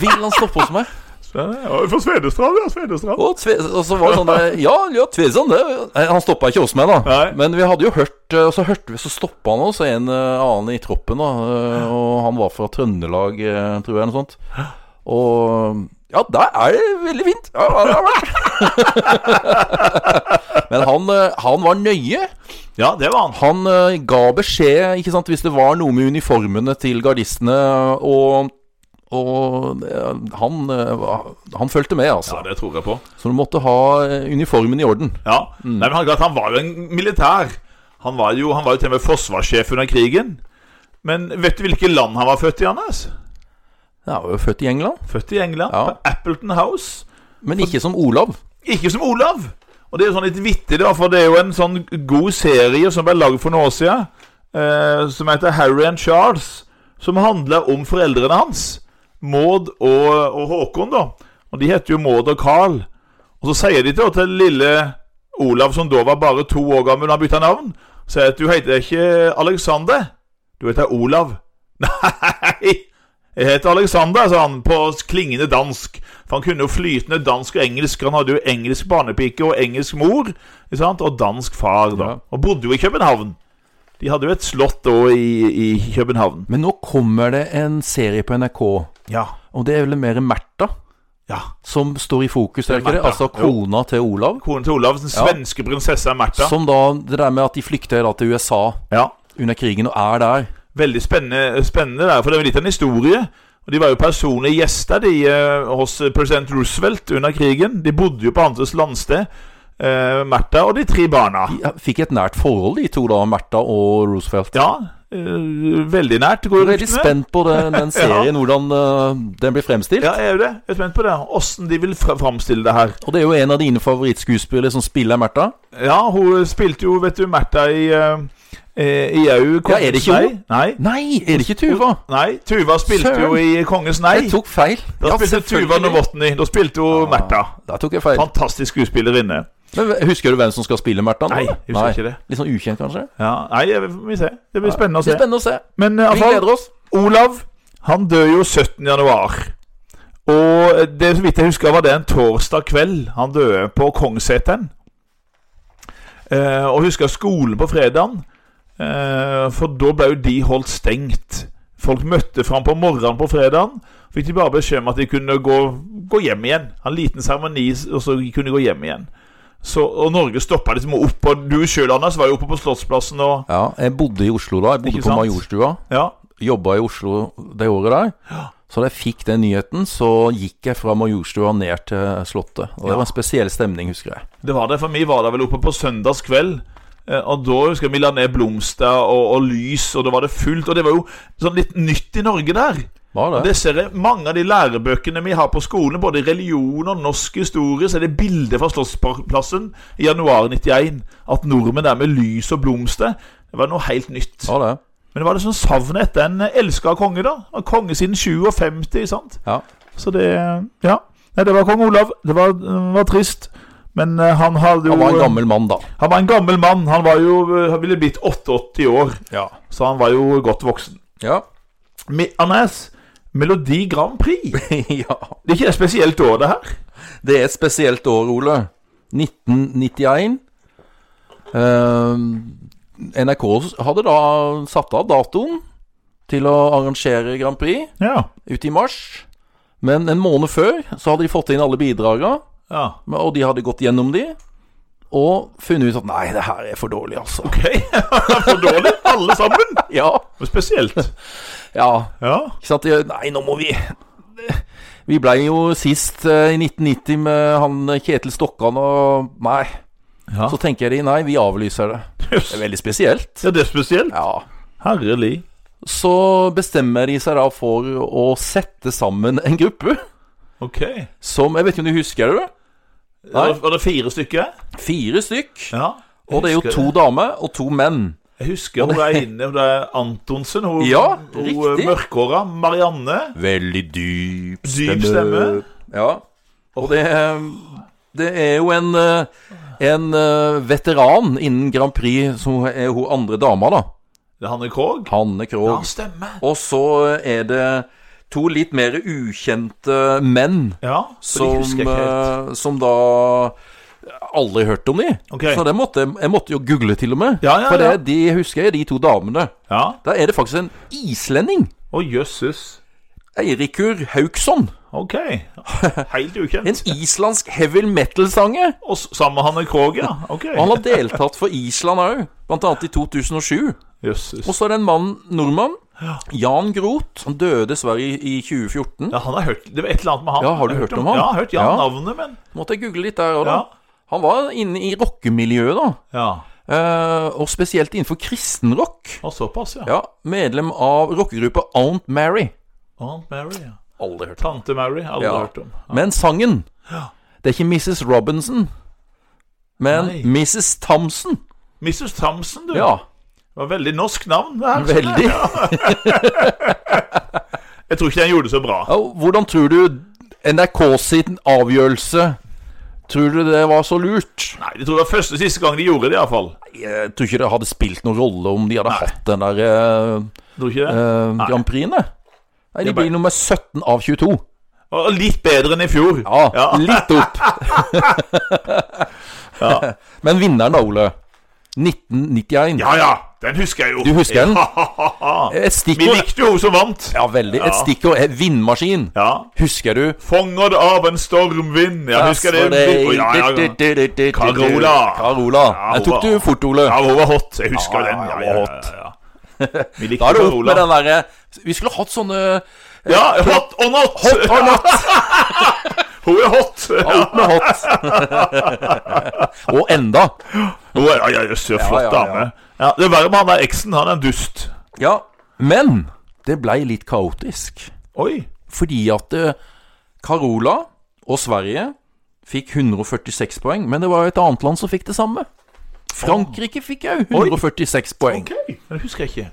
A: Vil han stoppe hos meg?
B: Ja, Fra Svedestrand, ja. Svedestrand.
A: Og, tve, og så var det sånn der Ja, ja, Tveson det, Nei, Han stoppa ikke hos meg, da.
B: Nei.
A: Men vi hadde jo hørt eh, Og så hørte vi, så stoppa han oss, en eh, annen i troppen, da. eh, Og han var fra Trøndelag, eh, tror jeg, eller noe sånt. Og ja, der er det veldig fint. Ja, ja, ja, ja. Men han, eh, han var nøye.
B: Ja, det var han.
A: Han eh, ga beskjed ikke sant, hvis det var noe med uniformene til gardistene, og, og eh, han, eh, var- han fulgte med,
B: Ja,
A: altså.
B: det tror jeg på.
A: Så du måtte ha eh, uniformen i orden.
B: Ja, Nei, men han, klart, han var jo en militær. Han var jo, han var jo til og med forsvarssjef under krigen. Men vet du hvilket land han var født i, Anders?
A: Han var jo født i England,
B: Født i England,
A: Ja.
B: på Appleton House.
A: men ikke som Olav.
B: Ikke som Olav! Og det er jo sånn litt vittig, da, for det er jo en sånn god serie som ble laget for noen år siden, eh, som heter Harry and Charles, som handler om foreldrene hans, Maud og, og Håkon, da. Og de heter jo Maud og Carl. Og så sier de til, til lille Olav, som da var bare to år gammel da han bytta navn, sier at du heter ikke Alexander, du heter Olav. Nei! Jeg heter Alexander, sa han, på klingende dansk. For han kunne jo flytende dansk og engelsk. Han hadde jo engelsk barnepike og engelsk mor, ikke sant? og dansk far, da.
A: Ja.
B: Og bodde jo i København. De hadde jo et slott da i, i København.
A: Men nå kommer det en serie på NRK,
B: Ja.
A: og det er vel mer Märtha
B: ja.
A: som står i fokus, er det ikke det?
B: Märtha,
A: Altså
B: jo.
A: kona til Olav.
B: Konen til Olav, den svenske prinsessa Märtha.
A: Som da, det der med at de flykter da til USA
B: Ja.
A: under krigen og er der.
B: Veldig spennende, spennende der, for det er litt av en historie. Og De var jo personlige gjester de, eh, hos president Roosevelt under krigen. De bodde jo på hans landsted, eh, Märtha og de tre barna.
A: Ja, Fikk et nært forhold, de to da, Märtha og Roosevelt.
B: Ja, eh, veldig nært. Går
A: Jeg er veldig
B: ryktene.
A: spent på den, den serien, hvordan eh, den blir fremstilt.
B: Ja, jeg er jo det. Jeg er spent på det. Åssen de vil fra- framstille det her.
A: Og det er jo en av dine favorittskuespillere som spiller Märtha.
B: Ja, hun spilte jo, vet du, Märtha i eh, eh, I au.
A: Ja, er det ikke hun?
B: Nei.
A: Nei, er det ikke Tuva?
B: Nei, Tuva spilte
A: Søren.
B: jo i Kongens nei.
A: Jeg tok feil.
B: Da
A: Ja,
B: spilte Tuva
A: selvfølgelig. Ah.
B: Novotny. Da spilte hun Märtha.
A: Da tok jeg feil.
B: Fantastisk skuespillerinne.
A: Men husker du hvem som skal spille Märtha nå?
B: Nei,
A: da?
B: husker ikke det.
A: Litt sånn ukjent, kanskje?
B: Ja, nei, jeg- vi får se. Det blir spennende
A: Det
B: å se.
A: er spennende å se.
B: Men eh,
A: Vi
B: iallfall,
A: gleder oss.
B: Olav han dør jo 17. januar. Og det så vidt jeg husker, var det en torsdag kveld han døde på Kongsseteren. Eh, og husker skolen på fredagen, eh, for da ble jo de holdt stengt. Folk møtte fram på morgenen på fredagen. Fikk de bare beskjed om at de kunne gå, gå hjem igjen. En liten seremoni, og så de kunne gå hjem igjen. Så, og Norge stoppa liksom opp. Og du sjøl, Anders, var jo oppe på Slottsplassen og
A: Ja, jeg bodde i Oslo da. Jeg bodde
B: Ikke
A: på
B: sant?
A: Majorstua.
B: Ja.
A: Jobba i Oslo det året der. Så da jeg fikk den nyheten, så gikk jeg fra Majorstua ned til Slottet. Og det var en spesiell stemning, husker jeg.
B: Det var det, for vi var der vel oppe på søndagskveld. eh, Og da husker jeg vi la ned blomster og, og lys, og da var det fullt. Og det var jo sånn litt nytt i Norge der.
A: Var det?
B: Det ser jeg mange av de lærebøkene vi har på skolen, både i religion og norsk historie, så er det bilder fra Slottsplassen i januar 91. At nordmenn der med lys og blomster, det var noe helt nytt.
A: Var det?
B: Men det var det sånn savnet etter en elska konge, da. Og konge siden 57, sant?
A: Ja.
B: Så det Ja. Nei, det var kong Olav. Det var, det var trist. Men eh, han hadde jo
A: Han var en gammel mann da.
B: han var en gammel mann. Han, var jo, eh, han ville blitt 88 år,
A: Ja.
B: så han var jo godt voksen.
A: Ja.
B: Me Anders, Melodi Grand Prix.
A: ja.
B: Det er ikke et spesielt år, det her?
A: Det er et spesielt år, Ole. 1991. Eh, NRK hadde da satt av datoen til å arrangere Grand Prix
B: Ja.
A: ute i mars. Men en måned før så hadde de fått inn alle bidraga,
B: ja.
A: og de hadde gått gjennom de. Og funnet ut at nei, det her er for dårlig, altså.
B: Ok. For dårlig, alle sammen.
A: Ja,
B: Men spesielt.
A: ja.
B: Ja.
A: Ikke sant? De- Nei, nå må vi Vi blei jo sist eh, i 1990 med han Kjetil Stokkan og Nei.
B: Ja.
A: Så tenker de nei, vi avlyser det. Det er veldig spesielt.
B: Ja, det er spesielt.
A: Ja.
B: Herlig.
A: Så bestemmer de seg da for å sette sammen en gruppe
B: Ok.
A: som Jeg vet ikke om du husker det?
B: Var det, var det fire stykker?
A: Fire stykk.
B: Ja.
A: Og det er jo to damer og to menn.
B: Jeg husker hun er inne, hun er Antonsen. Hun,
A: Ja,
B: hun eh,
A: riktig.
B: mørkhåra. Marianne.
A: Veldig dyp
B: Dyp stemme.
A: Ja. Og det, eh, det er jo en, eh, en eh, veteran innen Grand Prix, som er hun andre dama, da.
B: Det er Hanne Krogh.
A: Hanne Krogh.
B: Ja, stemmer.
A: Og så er det to litt mer ukjente menn
B: Ja, så de
A: som,
B: husker jeg ikke helt.
A: eh, som da aldri hørt om de.
B: Ok.
A: Så det måtte, jeg måtte jo google til og med.
B: Ja, ja,
A: for
B: ja.
A: det, de husker jeg, de to damene.
B: Ja.
A: Der er det faktisk en islending.
B: Å, jøsses.
A: Eirikur Hauksson.
B: Ok. Helt ukjent.
A: En islandsk heavy metal-sanger.
B: Og s- sammen med Hanne Krogh, ja. Ok.
A: Og han har deltatt for Island òg, blant annet i 2007.
B: Jøsses.
A: Og så er det en mann, nordmann, Jan Groth. Han døde dessverre i i 2014.
B: Ja, han har hørt Det var et eller annet med han.
A: Ja, har du
B: Jeg
A: hørt om han?
B: Ja, jeg har hørt ja,
A: Ja.
B: navnet, men
A: Måtte jeg google litt der òg, da.
B: Ja.
A: Han var inne i rockemiljøet, da.
B: ja.
A: Eh, og spesielt innenfor kristenrock.
B: Og såpass, ja.
A: Ja, medlem av rockegruppa Aunt Mary.
B: Aunt Mary, ja.
A: Aldri hørt
B: Tante Mary, aldri
A: Ja.
B: hørt om.
A: Men sangen Det er ikke Mrs. Robinson, men
B: Nei.
A: Mrs. Thompson.
B: Mrs. Thompson, du.
A: Ja,
B: Det var veldig norsk navn. det her.
A: veldig.
B: Jeg tror ikke den gjorde det så bra.
A: Ja, og hvordan tror du NRK sin avgjørelse Tror du det var så lurt?
B: Nei, jeg tror det var første og siste gang de gjorde det, iallfall.
A: Jeg tror ikke det hadde spilt noen rolle om de hadde
B: Nei.
A: hatt den der eh,
B: Tror ikke det?
A: eh, Grand Prix-en. Nei, de
B: Det ble-
A: blir nummer 17 av 22.
B: Og litt bedre enn i fjor.
A: Ja, litt opp.
B: Ja.
A: Men vinneren, da, Ole. 1991.
B: ja, ja, Den husker jeg jo.
A: Du husker den?
B: den?
A: Et
B: Vi
A: stikkord
B: likte jo hun som vant.
A: Ja, veldig. Et
B: Ja.
A: stikkord er vindmaskin.
B: Ja.
A: Husker du? Altså,
B: Fongad av en stormvind. Jeg husker det. Å, ja, ja, ja.
A: Carola.
B: Carola.
A: Carola.
B: Ja,
A: Den tok
B: hun var-
A: du fort, Ole.
B: Ja, hun var hot. Jeg husker
A: Ja, ja,
B: den. Ja,
A: hun
B: ja,
A: var
B: ja,
A: hot.
B: ja. Vi likte
A: Da er det opp
B: Carola.
A: med den derre Vi skulle hatt sånne
B: Ja, hot or not.
A: Hot or not!
B: Hun er hot.
A: Ja, Opp med hot. Og enda.
B: Hun er, ja, ja, jøss, så flott
A: ja, ja.
B: dame. Ja, det er verre med han der eksen. Han er en dust.
A: Ja. Men det blei litt kaotisk.
B: Oi.
A: Fordi at eh, Carola og Sverige fikk 146 poeng, men det var jo et annet land som fikk det samme. Frankrike fikk òg 146 poeng.
B: Ok, det husker jeg ikke.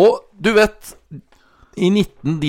A: Og du vet i 19, de,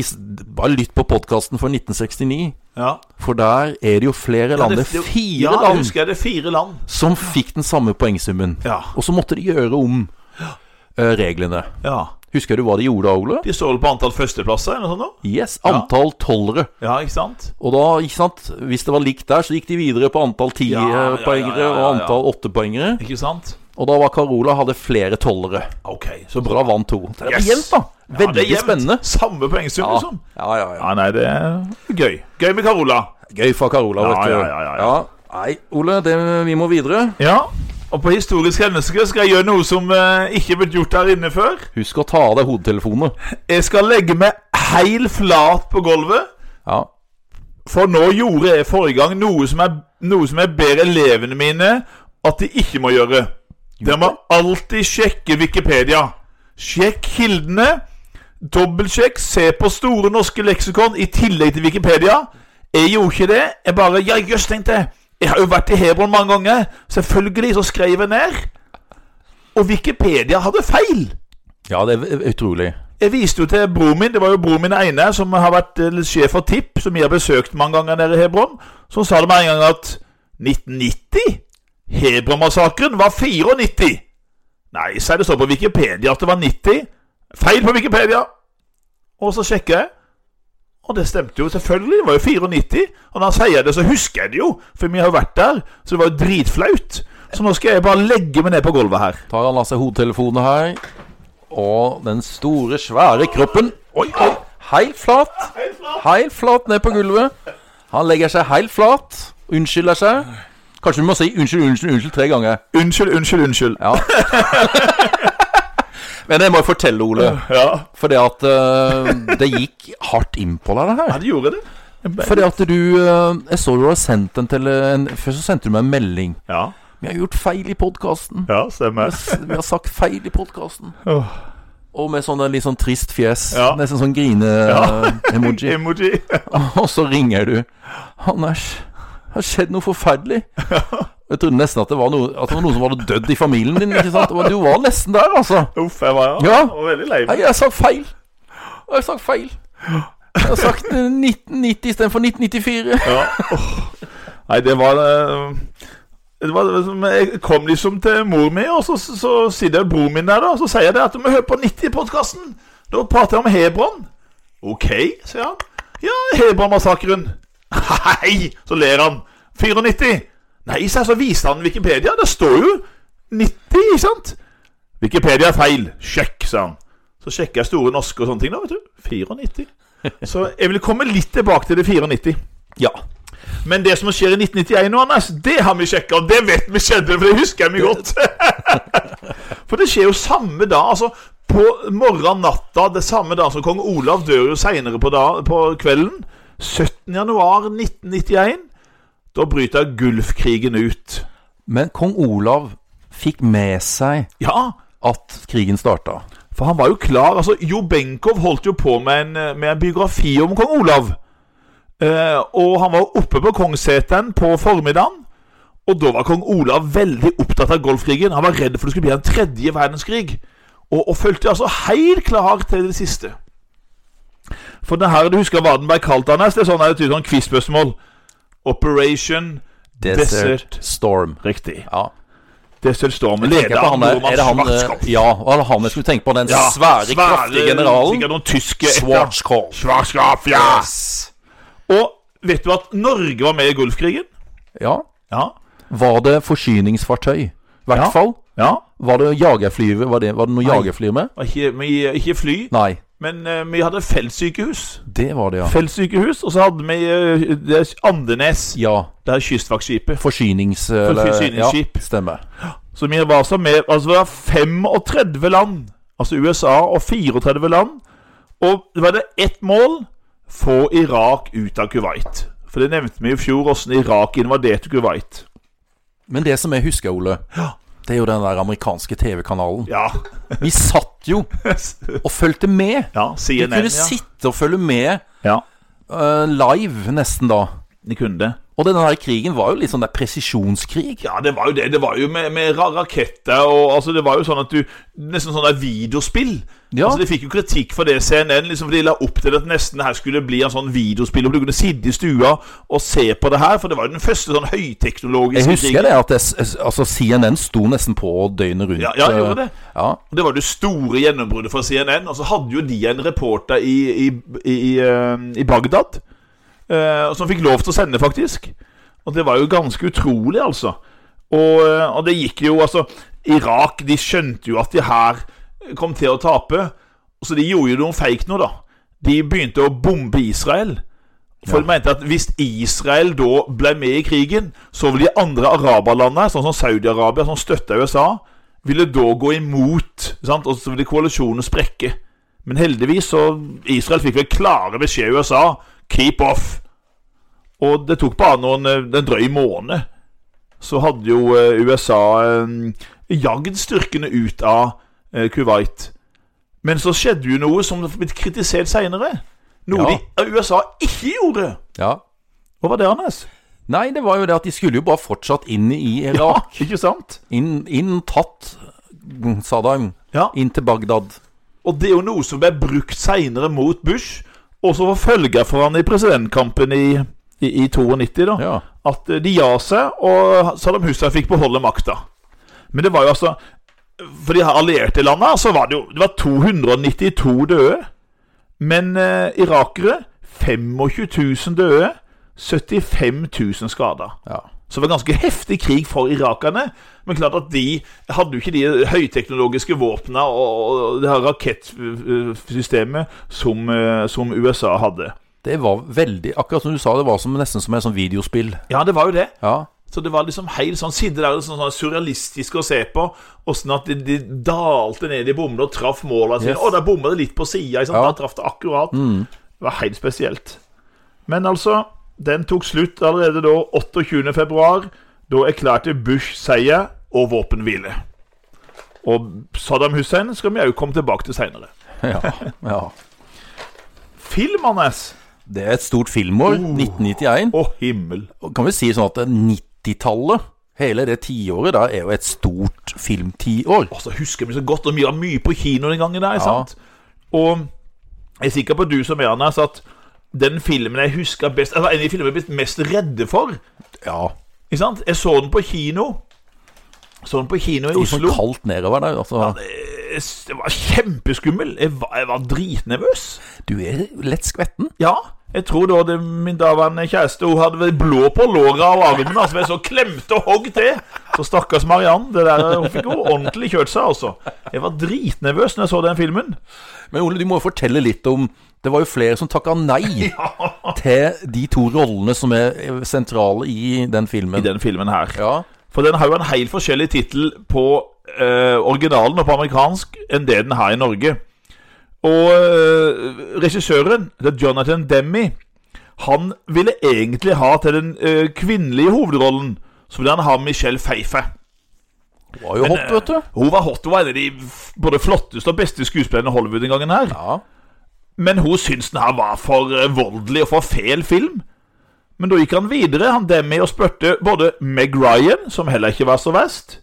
A: Bare lytt på podkasten for 1969,
B: Ja.
A: for der er det jo flere land. Det er
B: ja,
A: fire
B: jeg
A: land
B: husker jeg det er fire land.
A: som fikk den samme poengsummen.
B: Ja.
A: Og så måtte de gjøre om eh, reglene.
B: ja.
A: Husker du hva de gjorde, Ole?
B: De står vel på antall førsteplasser eller noe sånt? nå?
A: Yes, antall tolvere.
B: Ja, ikke sant?
A: Og da, ikke sant, hvis det var likt der, så gikk de videre på antall
B: ja, ja,
A: tierpoengere
B: ja, ja, ja.
A: og antall åttepoengere.
B: Ikke sant?
A: Og da var Carola hadde flere tolvere.
B: Ok, så
A: Og da vant to. Det var
B: Yes.
A: jevnt, da.
B: Ja,
A: Veldig
B: det er jevnt.
A: spennende.
B: Samme poengsum,
A: Ja.
B: liksom.
A: ja, ja, ja.
B: Ja, nei, det er gøy. Gøy med Carola.
A: Gøy for Carola,
B: Ja,
A: vet du.
B: ja, ja, ja, ja.
A: Nei, Ole, det, vi må videre.
B: Ja. Og på historisk hendelse skal jeg gjøre noe som eh, ikke er blitt gjort her inne før.
A: Husk å ta av deg hodetelefonene.
B: Jeg skal legge meg heil flat på gulvet.
A: Ja.
B: For nå gjorde jeg forrige gang noe som jeg, noe som jeg ber elevene mine at de ikke må gjøre. Dere må alltid sjekke Wikipedia. Sjekk kildene. Dobbeltsjekk. Se på Store norske leksikon i tillegg til Wikipedia. Jeg gjorde ikke det. Jeg bare Ja, jøss, tenkte jeg. Jeg har jo vært i Hebron mange ganger. Selvfølgelig så skrev jeg ned. Og Wikipedia hadde feil.
A: ja, det er utrolig.
B: Jeg viste jo til broren min, det var jo broren min Einar, som har vært eh, sjef for TIP, som jeg har besøkt mange ganger nede i Hebron, som sa det med en gang at 1990? Hebron-massakren var 94. Nei, sa jeg, det står på Wikipedia at det var 90. Feil på Wikipedia! Og så sjekker jeg, og det stemte jo selvfølgelig, det var jo 94. Og når han sier det, så husker jeg det jo, for vi har jo vært der, så det var jo dritflaut. Så nå skal jeg bare legge meg ned på gulvet her.
A: Tar han av seg hodetelefonene her. Og den store, svære kroppen
B: Oi, oi!
A: Helt flat. Helt flat ned på gulvet. Han legger seg helt flat. Unnskylder seg. Kanskje vi må si unnskyld, unnskyld, unnskyld tre ganger.
B: Unnskyld, unnskyld, unnskyld.
A: Ja. Men jeg må jo fortelle, Ole,
B: ja.
A: for det at eh, det gikk hardt inn på deg, det her.
B: Ja, det gjorde det.
A: Fordi at du eh, Jeg så du har sendt en til en, Først så sendte du meg en melding.
B: Ja,
A: Vi har gjort feil i podkasten.
B: ja stemmer.
A: Vi har sagt feil i podkasten.
B: Åh.
A: Og med sånn der litt sånn trist fjes.
B: Ja.
A: Nesten sånn grine-emoji.
B: Emoji.
A: Og så ringer du. Anders, det har skjedd noe forferdelig. Jeg trodde nesten at det var, noe, at det var noen som hadde dødd i familien din. ikke sant? Men Du var nesten der, altså.
B: Uff, jeg var,
A: Ja.
B: jeg var veldig lei
A: Nei,
B: meg.
A: jeg sa feil. Jeg har sagt feil. Jeg har sagt eh, 1990 istedenfor 1994.
B: Ja. åh. Nei, det var eh, det var det som- Jeg kom liksom til mor mi, og så, så, så sitter broren min der, da. Og så sier jeg det at du må høre på 90-podkasten. Da prater jeg om Hebron. Ok, sier han. Ja, Hebron-massakren. Nei, så ler han. 94. Nei, sier jeg, så viser han Wikipedia. Det står jo 90, ikke sant? Wikipedia er feil. Sjekk, sa han. Så sjekker jeg Store norske og sånne ting, da, vet du. 94. Så jeg vil komme litt tilbake til det 94.
A: Ja.
B: Men det som skjer i 1991 nå, Anders, det har vi sjekka, og det vet vi skjedde, for det husker vi godt. for det skjer jo samme dag, altså. På morgenen, natta, det samme dag som kong Olav dør jo seinere på, da- på kvelden. 17. januar 1991. Da bryter Gulfkrigen ut.
A: Men kong Olav fikk med seg
B: Ja,
A: at krigen starta.
B: For han var jo klar. altså Jo Benkow holdt jo på med en, eh, med en biografi om kong Olav. Eh, og han var jo oppe på Kongsseteren på formiddagen. Og da var kong Olav veldig opptatt av Golfkrigen. Han var redd for det skulle bli en tredje verdenskrig. Og, og fulgte altså helt klar til det siste. For det her du husker hva den ble kalt, Anders, det er sånn her et sånn quiz-spørsmål. Operation Desert.
A: Storm.
B: Riktig.
A: Ja.
B: Desert Storm.
A: Tenker
B: Leder
A: jeg på
B: av
A: han der,
B: Norman
A: er det han,
B: Schwarzkopf.
A: eh, ja, var det han jeg skulle tenke på? Den
B: Ja,
A: svære, kraftige generalen?
B: Sikkert noen tyske etter-
A: Schwarzkopf.
B: Schwarzkopf, ja!
A: Yes.
B: Og vet du at Norge var med i Golfkrigen?
A: Ja.
B: Ja.
A: Var det forsyningsfartøy? I hvert
B: Ja.
A: fall.
B: ja.
A: Var det jagerfly var det, var det noe
B: Nei.
A: jagerfly med?
B: Og Ikke, vi, ikke fly,
A: Nei,
B: men eh, vi hadde feltsykehus.
A: det var det, ja.
B: Feltsykehus, og så hadde vi eh, det er Andenes,
A: Ja,
B: det her kystvaktskipet.
A: forsynings... eh, eller-
B: forsyningsskip.
A: Ja, stemmer.
B: Så vi var altså med Altså, det var 35 land, altså USA, og 34 land. Og det var det ett mål få Irak ut av Kuwait. For det nevnte vi i fjor, åssen Irak invaderte Kuwait.
A: Men det som jeg husker, Ole, det er jo den der amerikanske TV-kanalen.
B: Ja.
A: Vi satt jo og fulgte med.
B: Ja,
A: Vi
B: CNN,
A: kunne
B: ja.
A: sitte og følge med
B: ja.
A: eh, live nesten da.
B: De kunne det.
A: Og den her krigen var jo litt sånn der presisjonskrig.
B: Ja, det var jo det. Det var jo med, med ra- raketter og altså, Det var jo sånn at du Nesten sånn der videospill.
A: Ja.
B: Altså, De fikk jo kritikk for det, CNN, liksom, for de la opp til at nesten det her skulle bli en sånn videospill hvor du kunne sitte i stua og se på det her, for det var jo den første sånn høyteknologiske
A: Jeg husker det at det, altså CNN sto nesten på døgnet rundt.
B: Ja, ja, gjorde
A: eh,
B: det.
A: Ja,
B: Og Det var det store gjennombruddet for CNN. Og så hadde jo de en reporter i, i, i, i, eh, i Bagdad, eh, som fikk lov til å sende, faktisk. Og det var jo ganske utrolig, altså. Og, eh, og det gikk jo Altså, Irak de skjønte jo at de her kom til å tape, så de gjorde jo noe fake nå, da. De begynte å bombe Israel. For de mente at hvis Israel da ble med i krigen, så ville de andre araberlandene, sånn som Saudi-Arabia, som støtta USA, ville da gå imot. Sant? Og så ville koalisjonen sprekke. Men heldigvis så Israel fikk vel klare beskjed i USA keep off. Og det tok bare noen, eh, en drøy måned. Så hadde jo eh, USA eh, jagd styrkene ut av eh, Kuwait. Men så skjedde jo noe som har blitt kritisert seinere. Noe de, eh, USA ikke gjorde.
A: ja.
B: Hva var det, Anders?
A: Nei, det var jo det at de skulle jo bare fortsatt inn i Irak.
B: ikke sant?
A: Inn, inn tatt Saddam.
B: Ja.
A: Inn til Bagdad.
B: Og det er jo noe som ble brukt seinere mot Bush, og som var følger for han i presidentkampen i, i, i 92, da.
A: Ja.
B: At eh, de ga seg, og Saddam Hussein fikk beholde makta. Men det var jo altså For de her allierte landene så var det jo det var 292 døde. Men eh, irakere 25 000 døde. 75 000 skada.
A: ja.
B: Så det var ganske heftig krig for irakerne. Men klart at de hadde jo ikke de høyteknologiske våpnene og og det her rakettsystemet som, eh, som USA hadde.
A: Det var veldig Akkurat som du sa, det var som, nesten som en sånn videospill.
B: Ja, det var jo det.
A: Ja.
B: Så det var liksom helt sånn Sitte der sånn, sånn surrealistisk å se på åssen at de, de dalte ned i bommene og traff måla sine.
A: Yes.
B: Å, der bomma det litt på sida.
A: Ja. Mm.
B: Da traff det akkurat. Det var helt spesielt. Men altså, den tok slutt allerede da 28. februar. Da erklærte Bush seier og våpenhvile. Og Saddam Hussein skal vi òg komme tilbake til seinere.
A: ja. ja.
B: Film, Anders!
A: Det er et stort filmår. 1991.
B: Å, himmel.
A: Og kan vi si sånn at 90-tallet, hele det tiåret der, er jo et stort filmtiår.
B: Og så Altså, husker vi så godt, og vi var mye på kino den gangen der,
A: Ja.
B: sant? Og jeg er sikker på du som er Anders, at den filmen jeg husker best Altså, en av de filmene jeg er blitt mest redde for,
A: Ja.
B: ikke sant? Jeg så den på kino. Så den på kino i
A: Litt sånn
B: Oslo.
A: kaldt nedover der. Altså.
B: Jeg s- Jeg var kjempeskummel. Jeg var, jeg var dritnervøs.
A: Du er lett skvetten.
B: Ja. Jeg tror da det, min daværende kjæreste hun hadde vel blå på låra og armen. Altså, jeg så klemte og hogg til. Så stakkars Mariann. det der, Hun fikk jo ordentlig kjørt seg, altså. Jeg var dritnervøs når jeg så den filmen.
A: Men Ole, du må jo fortelle litt om Det var jo flere som takka nei til de to rollene som er sentrale i den
B: i
A: filmen.
B: den filmen her.
A: Ja,
B: For den har jo en helt forskjellig tittel på eh, originalen og på amerikansk enn det den har i Norge. Og eh, regissøren, det er Jonathan Demme, han ville egentlig ha til den eh, kvinnelige hovedrollen, så ville han ha Michelle Pfeiffer.
A: eh, det var jo hot, vet du.
B: Hun var hot, hun var en av de f- både flotteste og beste skuespillerne i Hollywood den gangen her.
A: Ja,
B: Men hun syntes den her var for eh, voldelig og for fæl film. Men da gikk han videre, han Demi, og spurte både Meg Ryan, som heller ikke var så verst,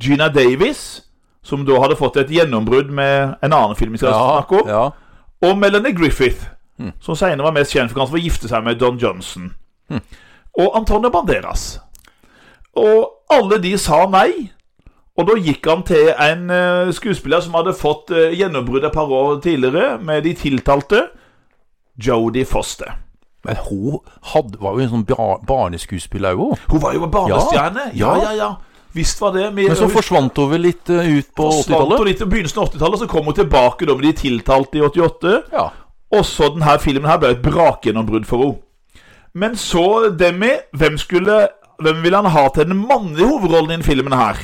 B: Gina Davis, som da hadde fått et gjennombrudd med en annen film vi skal
A: ja,
B: snakke om,
A: ja.
B: og Melanie Griffith, som senere var mest kjent for kanskje å gifte seg med Don Johnson, og Antonio Banderas. Og alle de sa nei, og da gikk han til en eh, skuespiller som hadde fått eh, gjennombrudd et par år tidligere med de tiltalte, Jodie Foster.
A: Men hun hadde, var jo en sånn bar barneskuespiller òg.
B: Hun var jo en barnestjerne. Ja, ja, ja. Visst var det.
A: Men så forsvant hun vel litt eh, ut på
B: forsvant hun
A: 80-tallet?
B: litt i begynnelsen av 80-tallet, så kom hun tilbake da med de tiltalte i 88.
A: Ja.
B: Også denne filmen her ble et brakgjennombrudd for henne. Men så, Demi, hvem, skulle, hvem ville han ha til den mannlige hovedrollen i den filmen her?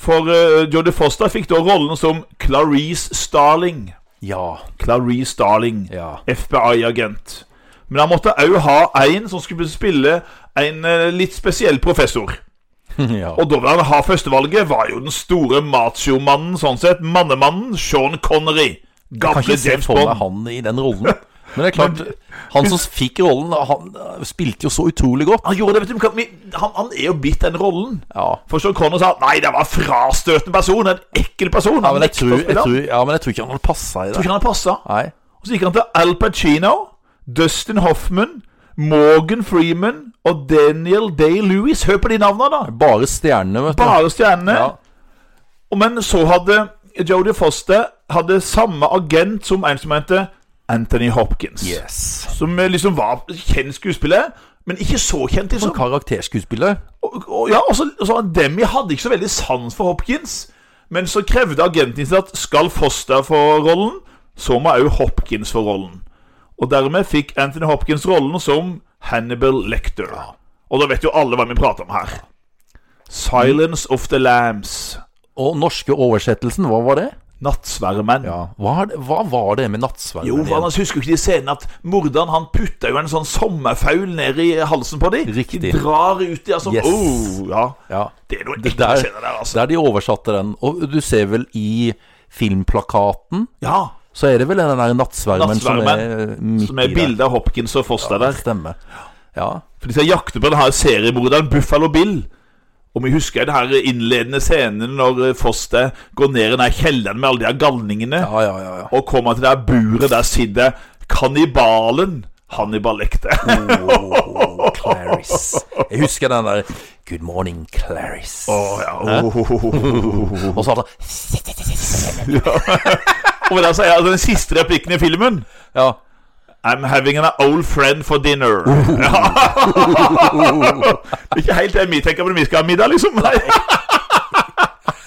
B: For uh, Jodie Foster fikk da rollen som Clarice Starling.
A: ja.
B: Clarice Starling,
A: Ja.
B: FBI-agent. Men han måtte òg ha en som skulle spille en eh, litt spesiell professor.
A: ja.
B: Og da vil han ha førstevalget, var jo den store machomannen, sånn sett, mannemannen, Sean Connery.
A: Kan
B: Gamle
A: ikke se
B: James
A: for meg
B: Bond.
A: han i den rollen. Men det er klart, han som fikk rollen, han eh, spilte jo så utrolig godt.
B: Han gjorde det, vet du, men vi- han, han er jo bitt den rollen.
A: Ja.
B: For Sean Connery sa nei, det var en frastøtende person, en ekkel person.
A: Ja, men jeg
B: nekta
A: tror,
B: å
A: jeg
B: spille han.
A: tror, ja, men jeg tror ikke han hadde passa i
B: Jeg tror
A: det.
B: ikke han passa.
A: Nei.
B: Og så gikk han til Al Pacino, Dustin Hoffman, Morgan Freeman og Daniel Day-Lewis. Hør på de navnene, da.
A: Bare stjernene, vet du.
B: Bare stjernene.
A: Ja.
B: Og Men så hadde Jodie Foster hadde samme agent som en som heter Anthony Hopkins.
A: Yes.
B: Som eh, liksom var kjent skuespiller, men ikke så kjent.
A: Som
B: liksom
A: karakterskuespiller.
B: og, og, ja, og så, og så Demi hadde ikke så veldig sans for Hopkins, men så krevde agenten sin at skal Foster få rollen, så må òg Hopkins få rollen. Og dermed fikk Anthony Hopkins rollen som Hannibal Lector. Og da vet jo alle hva vi prater om her. 'Silence of the Lambs'.
A: Og norske oversettelsen, hva var det?
B: Nattsvermen.
A: Hva, er det- hva var det med nattsvermen?
B: Jo, for
A: igjen?
B: annars husker du ikke de scenene at morderen han putter jo en sånn sommerfugl ned i halsen på dem?
A: Riktig.
B: De drar ut i altså,
A: Yes.
B: oh, ja.
A: ja.
B: Det er noen
A: Det
B: ekle
A: der-
B: scener der, altså.
A: Der de oversatte den. Og du ser vel i filmplakaten,
B: Ja,
A: så er det vel den der nattsvermen, som er
B: Nattsvermen,
A: midt
B: som er
A: i der.
B: bilde av Hopkins og
A: Ja,
B: Foster der.
A: Stemmer. Ja.
B: For de skal jakte på denne seriemorderen Buffalo Bill. Og vi husker den her innledende scenen når eh, Foster går ned i den her kjelleren med alle de her galningene,
A: Ja, ja, ja, ja.
B: og kommer til det her buret der sitter kannibalen Hannibal Lekte.
A: Oh, Clarice. Jeg husker den der 'Good morning, Clarice'.
B: Å, ja. Oh,
A: Og så hadde han
B: Og da sier jeg altså den siste replikken i filmen
A: Ja.
B: I'm having an old friend for dinner. Ja. Det er ikke helt det vi tenker på når vi skal ha middag, liksom. Nei.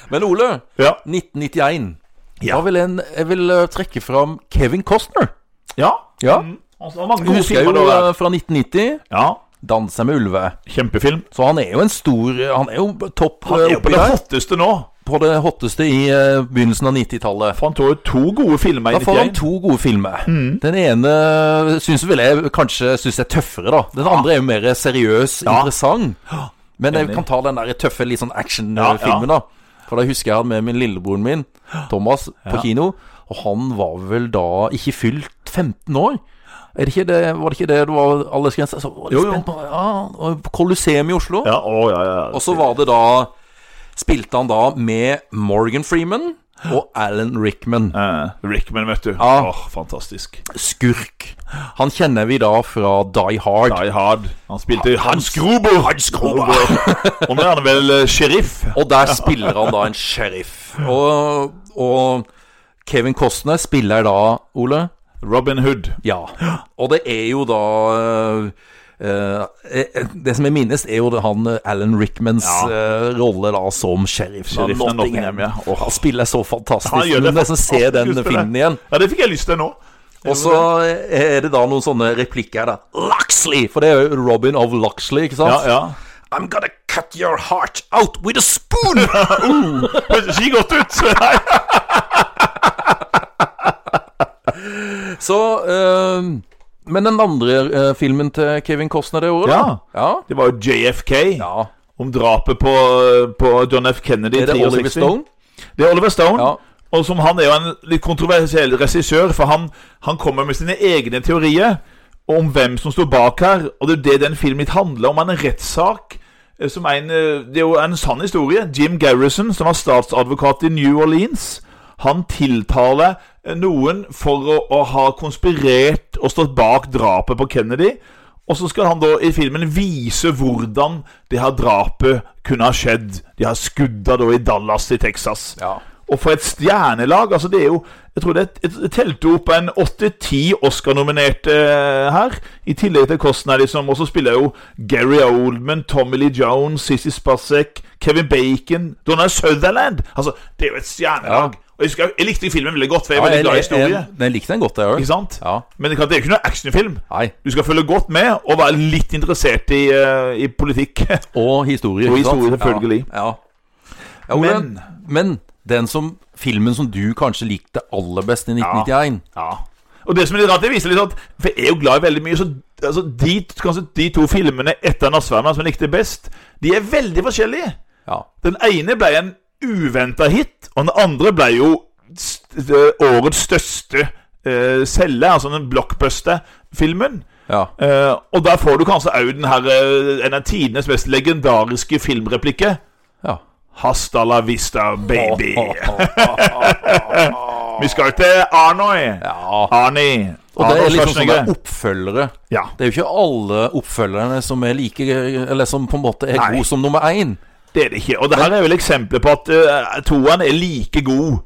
A: Men Ole,
B: Ja.
A: 1991.
B: Ja.
A: Da vil en, jeg vil eh, trekke fram Kevin Costner.
B: Ja.
A: Ja.
B: Mm. Altså, det var mange gode
A: Husker jeg
B: filmer
A: jo
B: da. der.
A: eh, fra 1990.
B: Ja,
A: 'Danser med ulve'.
B: kjempefilm.
A: Så han er jo en stor eh, Han er jo topp
B: Han er
A: eh,
B: jo på
A: oppi
B: det
A: der.
B: hotteste nå.
A: På det hotteste i eh, begynnelsen av 90-tallet.
B: For han tok jo to gode filmer i
A: Da får han
B: 91.
A: to gode filmer.
B: Mm.
A: Den ene syns vel jeg kanskje synes er tøffere, da. Den andre er jo mer seriøs, interessant. Men jeg kan ta den der tøffe, litt sånn
B: Ja, ja.
A: action-filmen, da. For da husker jeg han med min lillebroren min, Thomas, på kino. Og han var vel da ikke fylt 15 år. Er det ikke det, var det ikke det det var aldersgrense? Så var det
B: Jo, jo.
A: spent på- Ja, og Colosseum i Oslo.
B: Ja, å, ja, ja.
A: Og så var det da Spilte han da med Morgan Freeman og Alan Rickman.
B: Eh, Rickman, vet du.
A: Ja.
B: Åh, fantastisk.
A: skurk. Han kjenner vi da fra Die Hard.
B: Die Hard.
A: Ah,
B: Han spilte Hans Gruber. Hans Gruber. Og nå er han vel eh, sheriff.
A: Og der spiller han da en sheriff. Og, og Kevin Costner spiller da, Ole
B: Robin Hood.
A: Ja. Og det er jo da eh, eh, det som jeg minnes, er jo det han eh, Alan Rickmans
B: Ja.
A: eh, rolle da som sheriff. av
B: Sheriffen av Nottingham, ja. Åh.
A: Han spiller så fantastisk.
B: Han gjør
A: Du
B: det
A: nesten se den
B: fantastisk,
A: filmen igjen.
B: Ja, det fikk jeg lyst til nå.
A: Og så er det da noen sånne replikker da. Luxley! For det er jo Robin of Luxley, ikke sant?
B: Ja, ja.
A: I'm gonna cut your heart out with a spoon!
B: Høres ikke godt ut! Nei.
A: så eh, Men den andre eh, filmen til Kevin Costner det året,
B: Ja.
A: da?
B: Det var jo JFK.
A: Ja. ja.
B: Om drapet på, på John F. Kennedy. i
A: Er det
B: 63.
A: Oliver Stone?
B: Det er Oliver Stone.
A: Ja.
B: Og som han er jo en litt kontroversiell regissør, for han, han kommer med sine egne teorier om hvem som står bak her. Og det er det den filmen litt handler om. Han er en rettssak. eh, Som er en, eh, det er jo en sann historie. Jim Garrison, som var statsadvokat i New Orleans, han tiltaler eh, noen for å, å ha konspirert og stått bak drapet på Kennedy. Og så skal han da i filmen vise hvordan det her drapet kunne ha skjedd. De har skudda da i Dallas i Texas.
A: Ja.
B: Og for et stjernelag! altså det er jo, Jeg tror det er et- et- telte opp en åtte-ti Oscar-nominerte eh, her. I tillegg til Costner, liksom. Og så spiller jo Gary Oldman, Tommy Lee Jones, Sissy Spacek, Kevin Bacon, Donald Sutherland! Altså, det er jo et stjernelag.
A: Ja.
B: Og jeg, husker, jeg likte filmen veldig godt, for jeg er
A: Ja,
B: veldig glad i
A: jeg- jeg-
B: historie.
A: Den likte den godt, jeg
B: Ikke
A: òg.
B: sant?
A: Ja.
B: Men det kan- det er jo ikke noen actionfilm.
A: Nei.
B: Du skal følge godt med, og være litt interessert i, eh, i politikk.
A: Og historie.
B: Og
A: ikke sant?
B: historie, selvfølgelig.
A: Ja. ja. ja Ole,
B: Men-
A: men, den som, filmen som du kanskje likte aller best i 1991
B: Ja. Og det som er litt rart, det viser litt at For jeg er jo glad i veldig mye, så altså, de, kanskje de to filmene etter 'Nattsvermeren' som jeg likte best, de er veldig forskjellige.
A: Ja.
B: Den ene ble en uventa hit, og den andre ble jo st eh, årets største eh, selge, altså den blockbuster-filmen.
A: ja.
B: Eh, og der får du kanskje òg den her eh, en av tidenes mest legendariske filmreplikker.
A: ja.
B: Hasta la vista, baby. Vi skal jo til Arnoi.
A: ja.
B: Arnie.
A: Og det
B: Arnold
A: er liksom
B: Schwarzenegger.
A: sånne oppfølgere.
B: Ja.
A: Det er jo ikke alle oppfølgerne som er like Eller som på en måte er
B: Nei.
A: gode som nummer én.
B: Det er det ikke. Og det her er vel eksempler på at uh, toeren er like god.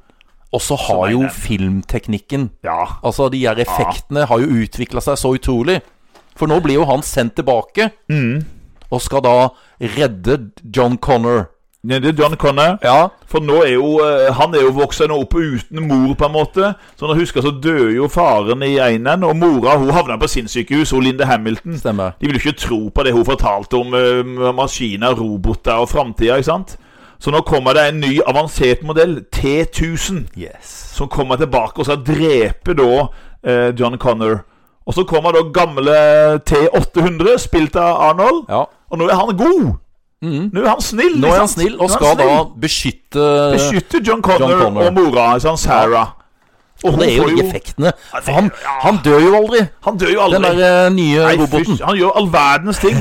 A: Og så har
B: nei,
A: jo
B: nei.
A: filmteknikken
B: Ja.
A: Altså de her effektene har jo utvikla seg så utrolig. For nå blir jo han sendt tilbake.
B: Mm.
A: Og skal da redde John Connor.
B: Det er John Connor.
A: Ja,
B: For nå er jo eh, han er jo vokst nå opp uten mor, på en måte. Så når jeg husker, så døde jo faren i einen, og mora hun havna på sinnssykehus, hun Linde Hamilton.
A: stemmer.
B: De ville jo ikke tro på det hun fortalte om eh, maskiner, roboter og framtida, ikke sant? Så nå kommer det en ny avansert modell, T1000.
A: Yes.
B: som kommer tilbake og skal drepe da eh, John Connor. Og så kommer da gamle T800, spilt av Arnold.
A: Ja. Mhm.
B: Og nå er han god! Nå er han snill!
A: Nå
B: ikke
A: er han
B: sant?
A: snill,
B: Nå
A: og
B: er
A: skal
B: han
A: da
B: snill.
A: beskytte
B: Beskytte John Connor,
A: John Connor.
B: og mora, ikke sant, Sarah. Og
A: Og det er
B: får
A: jo de effektene.
B: Ja, det-
A: For han,
B: ja.
A: han dør jo aldri,
B: Han dør jo aldri.
A: den der eh, nye
B: Nei,
A: roboten.
B: fysj, han gjør all verdens ting.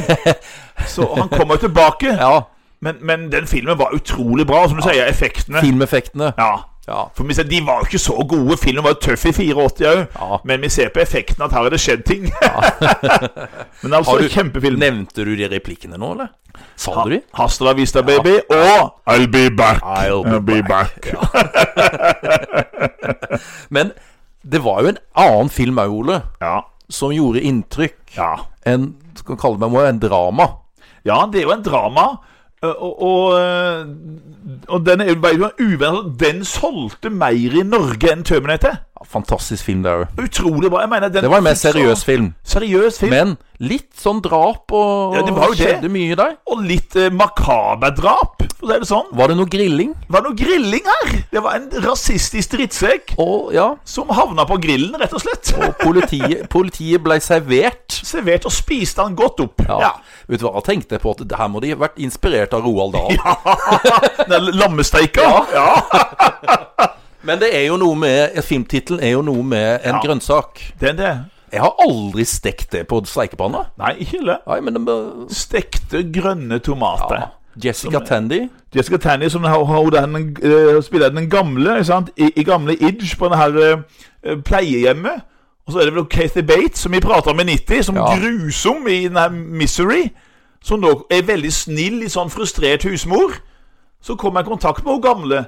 B: Så han kommer jo tilbake.
A: Ja,
B: Men, men den filmen var utrolig bra, og som du sier, effektene.
A: filmeffektene.
B: Ja,
A: Ja.
B: For vi ser, De var jo ikke så gode. Filmen var jo tøff i 84 òg.
A: Ja.
B: Men vi ser på effekten at her er det skjedd ting. men altså,
A: Har du-
B: kjempefilm.
A: Nevnte du de replikkene nå, eller? Sa du de?
B: Hasta la vista, baby. Og I'll be back.
A: I'll be
B: back.
A: Men det var jo en annen film òg, Ole,
B: Ja.
A: som gjorde inntrykk.
B: ja.
A: En, skal kalle det meg, en drama.
B: Ja, det er jo en drama. Og, og, og, og den er jo bare en uvenn altså, Den solgte mer i Norge enn Terminator.
A: Ja, Fantastisk film, det òg.
B: Utrolig bra. jeg mener den
A: Det var en mer
B: fikk så-
A: seriøs film.
B: Seriøs film.
A: Men litt sånn drap og
B: Ja, det var jo det.
A: skjedde mye der.
B: Og litt eh, makaber drap, for å si det sånn.
A: Var det noe grilling?
B: var det noe grilling her. Det var en rasistisk drittsekk
A: Og ja,
B: som havna på grillen, rett og slett.
A: og politiet, politiet ble servert.
B: Servert og spiste han godt opp.
A: Ja.
B: Ja.
A: Vet du hva jeg tenkte på? At det her må de ha vært inspirert av Roald Dahl.
B: Den lammesteika. Ja.
A: Men det er jo noe med filmtittelen er jo noe med en
B: Ja.
A: grønnsak.
B: Det er det.
A: Jeg har aldri stekt det på steikepanna.
B: Nei, ikke det.
A: Nei, men det må-
B: Stekte grønne tomater.
A: ja. Jessica Tandy.
B: Jessica Tanny som har, har den, eh, spiller den gamle ikke sant? I, i gamle Idge på det her eh, pleiehjemmet. Og så er det vel Kathy Bates, som vi prater om i 90, som
A: Ja.
B: grusom i den her Misery. Som nå er veldig snill, litt sånn frustrert husmor. Så kommer jeg i kontakt med hun gamle,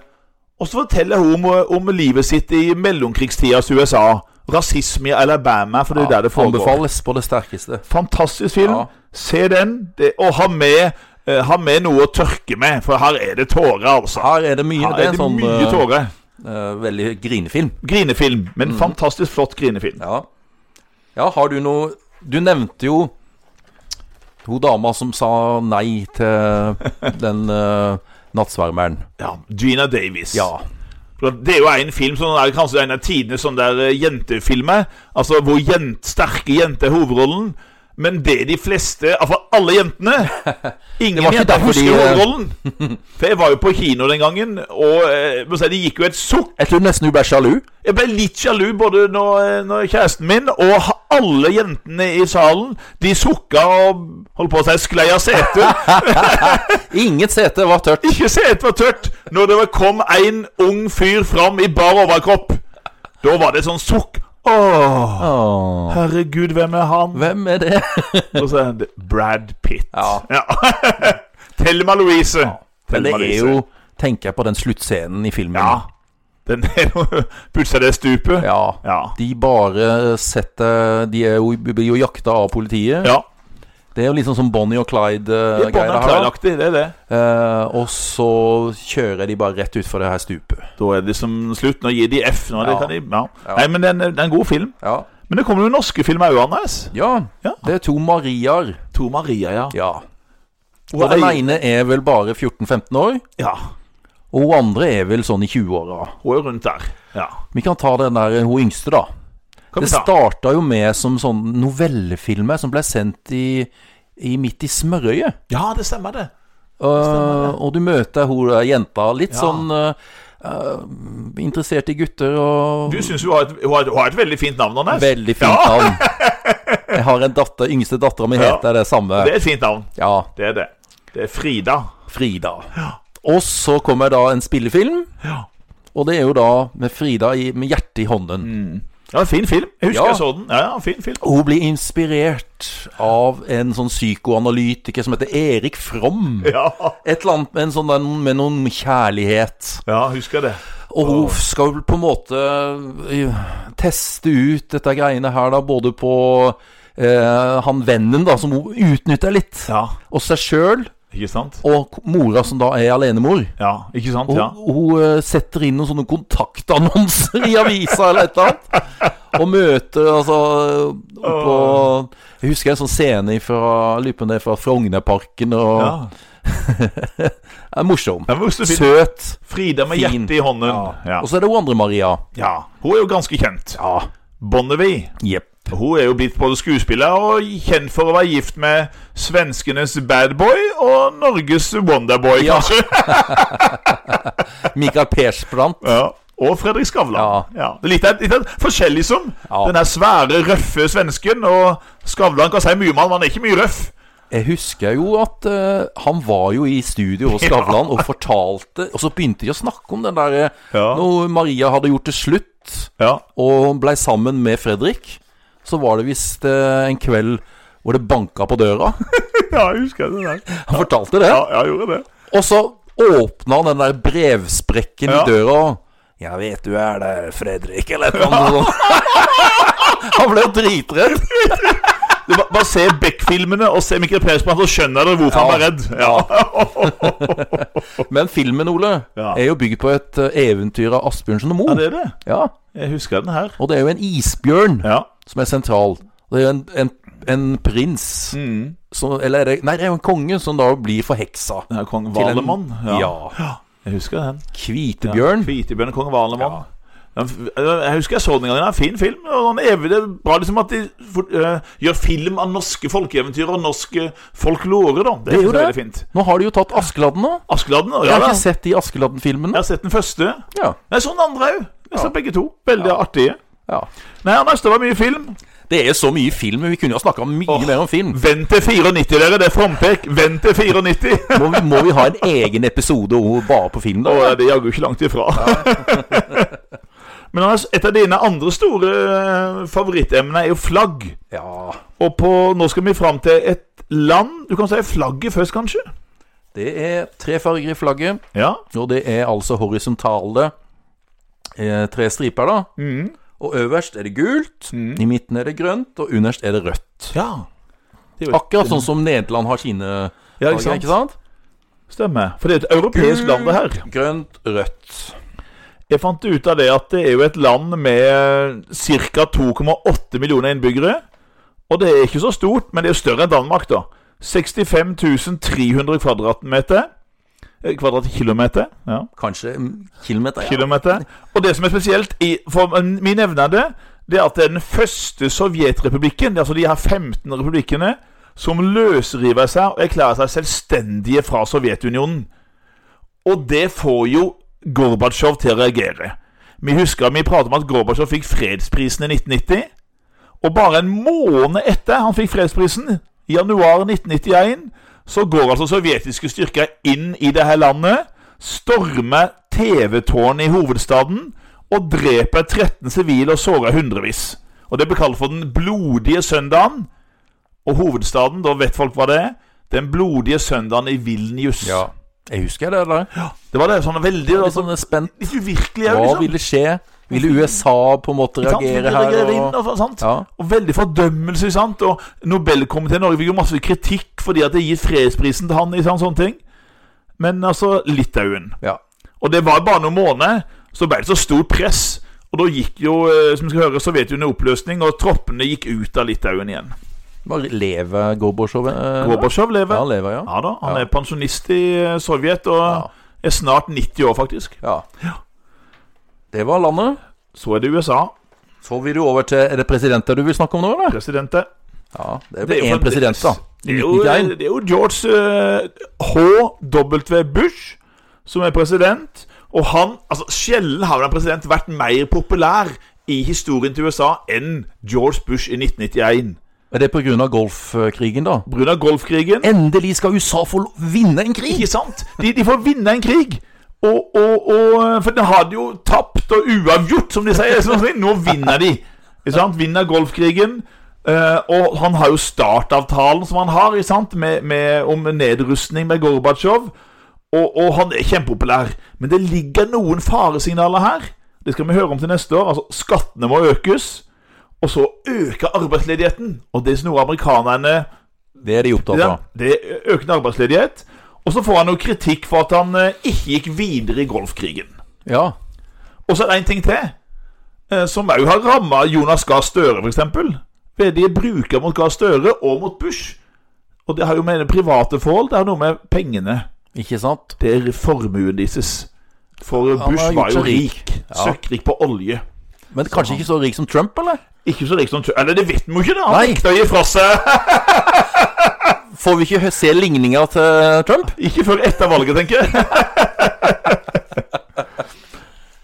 B: og så forteller hun om, eh, om livet sitt i mellomkrigstidas USA. Rasisme i Alabama, for det er der det foregår.
A: Anbefales på det sterkeste.
B: Fantastisk film.
A: Ja.
B: Se den, det, og ha med, eh, ha med noe å tørke med, for her er det tårer, altså.
A: Her er det mye.
B: Her
A: det
B: er
A: er
B: det
A: en sånn,
B: mye
A: eh,
B: tårer.
A: Eh, veldig grinefilm.
B: Grinefilm,
A: Mhm.
B: men fantastisk flott grinefilm.
A: Ja. ja, har du noe Du nevnte jo hun dama som sa nei til den eh, nattsvermeren.
B: Ja, Gina Davis.
A: Ja.
B: For Det er jo en film som er kanskje en av tidenes sånn der eh, jentefilmer. Altså hvor jent, sterke jenter er hovedrollen. Men det er de fleste Iallfall alle jentene. Ingen
A: var ikke
B: jenter
A: derfor de,
B: husker
A: eh,
B: hovedrollen. For jeg var jo på kino den gangen, og eh, må si, det gikk jo et sukk.
A: Jeg tror nesten hun ble sjalu.
B: Jeg ble litt sjalu både når, når kjæresten min og ha- alle jentene i salen De sukka og holdt på å si sklei av setet.
A: Inget sete var tørt.
B: Ikke setet var tørt når det var- kom en ung fyr fram i bar overkropp. Da var det sånn sukk. Åh,
A: Åh,
B: herregud, hvem er han?
A: hvem er det?
B: Og så er det Brad Pitt.
A: Ja.
B: Thelma Louise.
A: Men
B: Thelma
A: det er
B: Louise.
A: jo Tenker jeg på den sluttscenen i filmen.
B: Ja. Den er jo Putsa det stupet.
A: Ja.
B: Ja.
A: De bare setter De er jo, blir jo jakta av politiet.
B: ja.
A: Det er jo litt sånn som Bonnie og
B: Det er
A: Clyde-greier
B: Bonnie
A: her. da.
B: Clyde-aktig, det er det.
A: Eh, og så kjører de bare rett utfor det her stupet.
B: Da er det liksom slutt. Nå gir de F. Nå,
A: Ja.
B: det kan de, ja.
A: Ja.
B: Nei, men det er, en, det er en god film.
A: Ja.
B: Men det kommer jo norske filmer òg, Anders.
A: ja.
B: Ja.
A: Det er to Mariaer.
B: To Maria, ja.
A: Ja.
B: Og
A: Og den
B: ei-
A: ene er vel bare 14-15 år.
B: ja.
A: Og hun andre er vel sånn i 20-åra.
B: Hun er jo rundt der. Ja.
A: Vi kan ta den der hun yngste, da.
B: Kan
A: Det
B: vi ta?
A: starta jo med som sånn novellefilmer som ble sendt i, i midt i smørøyet.
B: Ja, det stemmer, det.
A: Eh, og du møter hun der jenta litt
B: Ja.
A: sånn eh, eh, interessert i gutter og
B: Du syns hun, har et- hun, har et- hun har et veldig fint navn, Anders.
A: Veldig fint
B: Ja.
A: navn. Jeg har en datter, yngste dattera mi
B: Ja.
A: heter det samme.
B: Det er et fint navn.
A: Ja,
B: Det er det. Det er Frida.
A: Frida. Og så kommer da en spillefilm,
B: Ja.
A: og det er jo da med Frida i, med hjertet i hånden.
B: Mm. Ja, en fin film. Jeg husker
A: Ja.
B: jeg så den. Ja, ja, en fin film.
A: Hun blir inspirert av en sånn psykoanalytiker som heter Erik From.
B: Ja,
A: Et eller annet med, en sånn, der- med noen kjærlighet.
B: ja husker det.
A: Og hun skal vel på en måte eh, teste ut dette greiene her, da, både på eh, han vennen, da, som hun utnytter litt,
B: Ja.
A: og seg sjøl,
B: Ikke sant?
A: og k- mora, som da er alenemor.
B: Ja, ikke sant?
A: Og
B: Ja.
A: hun eh, setter inn noen sånne kontaktannonser i avisa eller et eller annet. Og møter altså på Jeg husker en sånn scene fra Lupen det er fra Frognerparken. Og
B: ja.
A: det er morsom.
B: Den var også fin.
A: Søt.
B: Frida med
A: Fin.
B: hjertet i hånden. Ja.
A: Og så er det hun andre Maria.
B: ja. Hun er jo ganske kjent.
A: Ja.
B: Bonnevie.
A: Jepp.
B: Hun er jo blitt både skuespiller og kjent for å være gift med svenskenes Badboy og Norges Wonderboy,
A: Ja.
B: kanskje.
A: Mikael Persbrandt.
B: Ja. Og Fredrik Skavlan.
A: Ja.
B: Det er litt, av- litt av- forskjellig som.
A: Ja.
B: Den her svære, røffe svensken. Og Skavlan kan si mye om han, men han er ikke mye røff.
A: Jeg husker jo at eh, han var jo i studio hos Skavlan og fortalte Og så begynte de å snakke om den der eh,
B: Ja.
A: Når Maria hadde gjort det slutt.
B: Ja.
A: og blei sammen med Fredrik, så var det visst eh, en kveld hvor det banka på døra.
B: ja, jeg husker det der.
A: Han fortalte det.
B: Ja, jeg gjorde det.
A: Og så åpna han den der brevsprekken
B: Ja.
A: i døra. Jeg vet du er der, Fredrik, eller et eller annet sånt. Han ble jo dritredd.
B: Du, ba- bare se Beck-filmene og se Mikkel Persbrandt, så skjønner dere hvorfor
A: Ja.
B: han var redd. Ja.
A: Men filmen, Ole,
B: Ja.
A: er jo bygd på et eh, eventyr av Asbjørnsen og
B: ja,
A: Moe.
B: det er det.
A: Ja,
B: Jeg husker den her.
A: og det er jo en isbjørn
B: Ja.
A: som er sentral. Det er jo en, en, en prins
B: Mm.
A: som, Eller er det Nei, det er jo en konge som da blir forheksa.
B: Den her Kong
A: til en-
B: Valemon.
A: ja.
B: Jeg husker den.
A: Kvitebjørn.
B: Hvitebjørn, Kong Valemon. Den- Jeg husker jeg så den en gang. Det er en fin film. Og den evig, det er bra liksom at de for, eh, gjør film av norske folkeeventyr og norske folklore. Da. Det,
A: Det er jo
B: synes jeg
A: det.
B: veldig fint.
A: Nå har de jo tatt Askeladden nå.
B: Askeladden. og
A: Jeg
B: Ja,
A: har
B: da.
A: ikke sett de
B: jeg
A: Askeladden-filmene.
B: har sett den første.
A: Ja.
B: Jeg så den andre òg. Jeg så begge to. Veldig artige.
A: ja.
B: Nei, Anders, det var mye film.
A: Det er så mye film, vi kunne jo snakka mye
B: Åh.
A: mer om film.
B: Vent til 94, dere. Det er frampek. Vent til 94.
A: Må vi, må vi ha en egen episode om- bare på film, da?
B: Da er det jaggu ikke langt ifra. Men Anders, et av dine andre store eh, favorittemner er jo flagg.
A: Ja.
B: Og på, nå skal vi fram til et land. Du kan si flagget først, kanskje?
A: Det er tre farger i flagget,
B: Ja.
A: og det er altså horisontale eh, tre striper, da. Og øverst er det gult, i midten er det grønt, og underst er det rødt.
B: ja.
A: Akkurat sånn som Nederland har sine
B: Ja, ikke
A: farger,
B: sant?
A: ikke sant?
B: Stemmer. For det er et europeisk land, det her.
A: Grønt, rødt.
B: Jeg fant ut av det at det er jo et land med eh, ca. 2,8 millioner innbyggere. Og det er ikke så stort, men det er jo større enn Danmark, da. 65 300 kvadratmeter. Eh, Kvadratkilometer. Ja.
A: Kanskje mm, kilometer, ja.
B: Kilometer. Og det som er spesielt, i, for min evne av det, det er at det er den første sovjetrepublikken, det er altså de her 15 republikkene, som løsriver seg og erklærer seg selvstendige fra Sovjetunionen. Og det får jo Gorbatsjov til å reagere. Vi husker vi pratet om at Gorbatsjov fikk fredsprisen i 1990. Og bare en måned etter han fikk fredsprisen, i januar 1991, så går altså sovjetiske styrker inn i det her landet, stormer TV-tårnet i hovedstaden og dreper 13 sivile og sårer hundrevis. Og det ble kalt for Den blodige søndagen. Og hovedstaden, da vet folk hva det er, Den blodige søndagen i Vilnius.
A: ja. Jeg husker det der.
B: Det var det sånn veldig
A: Jeg er
B: da,
A: litt
B: sånn,
A: sånn spent.
B: litt uvirkelig òg,
A: Hva
B: liksom.
A: ville skje? Ville USA på en måte
B: Sant?
A: reagere
B: Reagere
A: her?
B: inn,
A: Og...
B: og, sant?
A: Ja.
B: og veldig fordømmelse, sant? Og Nobelkomiteen i Norge fikk jo masse kritikk fordi at det gitt fredsprisen til han, ikke sant, sånne ting. Men altså, Litauen.
A: ja.
B: Og det var bare noen måneder, så ble det så stort press. Og da gikk jo, eh, som vi skal høre, Sovjetunionen i oppløsning, og troppene gikk ut av Litauen igjen.
A: Bare lever Gorbatsjov? eh,
B: Gorbatsjov
A: Ja,
B: lever.
A: han lever, ja.
B: Ja da, han
A: Ja.
B: er pensjonist i eh, Sovjet, og
A: Ja.
B: er snart 90 år, faktisk.
A: Ja. Det var landet.
B: Så er det USA,
A: Så vil du over til Er det presidenter du vil snakke om nå, eller?
B: presidentet.
A: Ja, det
B: Det
A: ble
B: er jo
A: én president, da.
B: Det er jo,
A: 1991.
B: det er jo George eh, H.W. Bush som er president. Og han, altså Sjelden har en president vært mer populær i historien til USA enn George Bush i 1991.
A: Men det er pga. golfkrigen, da.
B: Pga. golfkrigen.
A: Endelig skal USA få lo- vinne en krig!
B: Ikke sant? De, de får vinne en krig. Og, og, og, for de hadde jo tapt og uavgjort, som de sier. Sånn, som de- nå vinner de. Ikke sant? Vinner golfkrigen. Eh, og han har jo startavtalen som han har, ikke sant? Med, med, om nedrustning med Gorbatsjov. Og, og han er kjempepopulær. Men det ligger noen faresignaler her. Det skal vi høre om til neste år. Altså, skattene må økes. Og så øker arbeidsledigheten. Og det er noe amerikanerne
A: Det er de opptatt
B: ja,
A: av.
B: det er økende arbeidsledighet. Og så får han noe kritikk for at han eh, ikke gikk videre i golfkrigen.
A: Ja.
B: Og så er det én ting til, eh, som òg har ramma Jonas Gahr Støre, f.eks. Vedige bruker mot Gahr Støre og mot Bush. Og det har jo med det private forhold, det har noe med pengene.
A: Ikke sant?
B: Det er formuen deres. For
A: har
B: Bush var
A: gjort
B: jo
A: seg
B: rik.
A: rik.
B: rik.
A: Ja.
B: Søkkrik på olje.
A: Men kanskje ikke så rik som Trump, eller?
B: Ikke så rik som Tø- Eller det vet vi jo ikke, da! Han
A: Nei.
B: nekta å gi fra seg.
A: Får vi ikke hø- se ligninger til Trump?
B: Ikke før etter valget, tenker jeg.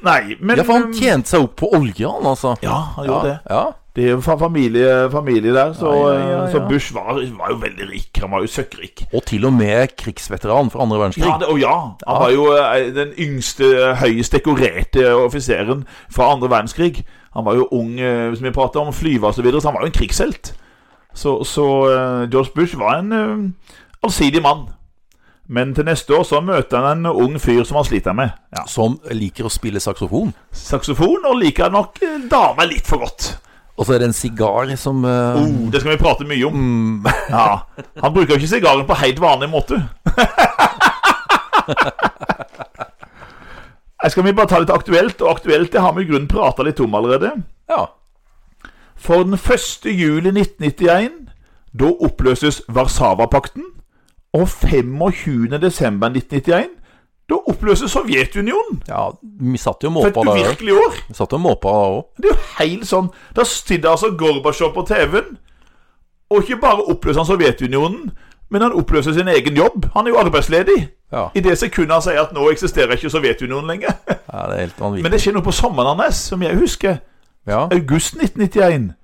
B: Nei, men um,
A: Ja, for han tjente seg opp på olje, han, altså.
B: Ja, han gjorde det.
A: Ja.
B: Det er jo fra familie, familie der, så, eh,
A: Ja, ja, ja, ja.
B: så Bush var, var jo veldig rik. Han var jo søkkrik.
A: Og til og med krigsveteran fra andre verdenskrig.
B: Ja, det, og ja, han
A: Ja.
B: var jo eh, den yngste, eh, høyest dekorerte offiseren fra andre verdenskrig. Han var jo ung, eh, som vi prater om, flyver og så videre, så han var jo en krigshelt. Så, så eh, George Bush var en eh, allsidig mann. Men til neste år så møter han en ung fyr som han sliter med. Ja.
A: Som liker å spille saksofon.
B: Saksofon, og liker nok eh, damer litt for godt.
A: Og så er det en sigar som eh,
B: Oh, det skal vi prate mye om.
A: mm,
B: Ja, Han bruker jo ikke sigaren på helt vanlig måte. Her Skal vi bare ta litt aktuelt? Og aktuelt det har vi i grunnen prata litt om allerede.
A: Ja.
B: For den 1. juli 1991, da oppløses Warszawapakten. Og 25. desember 1991, da oppløses Sovjetunionen.
A: ja. Vi satt jo og
B: For et
A: måpa der òg.
B: uvirkelig år!
A: Vi satt jo og måpa der òg.
B: Det er jo helt sånn Da stidde altså Gorbatsjov på TV-en Og ikke bare oppløser han Sovjetunionen Men han oppløser sin egen jobb Han er jo arbeidsledig
A: Ja.
B: I det sekundet han sier at nå eksisterer ikke Sovjetunionen lenger
A: ja, det er helt vanvittig.
B: Men det skjer noe på sommeren hans Som jeg husker
A: Ja.
B: August 1991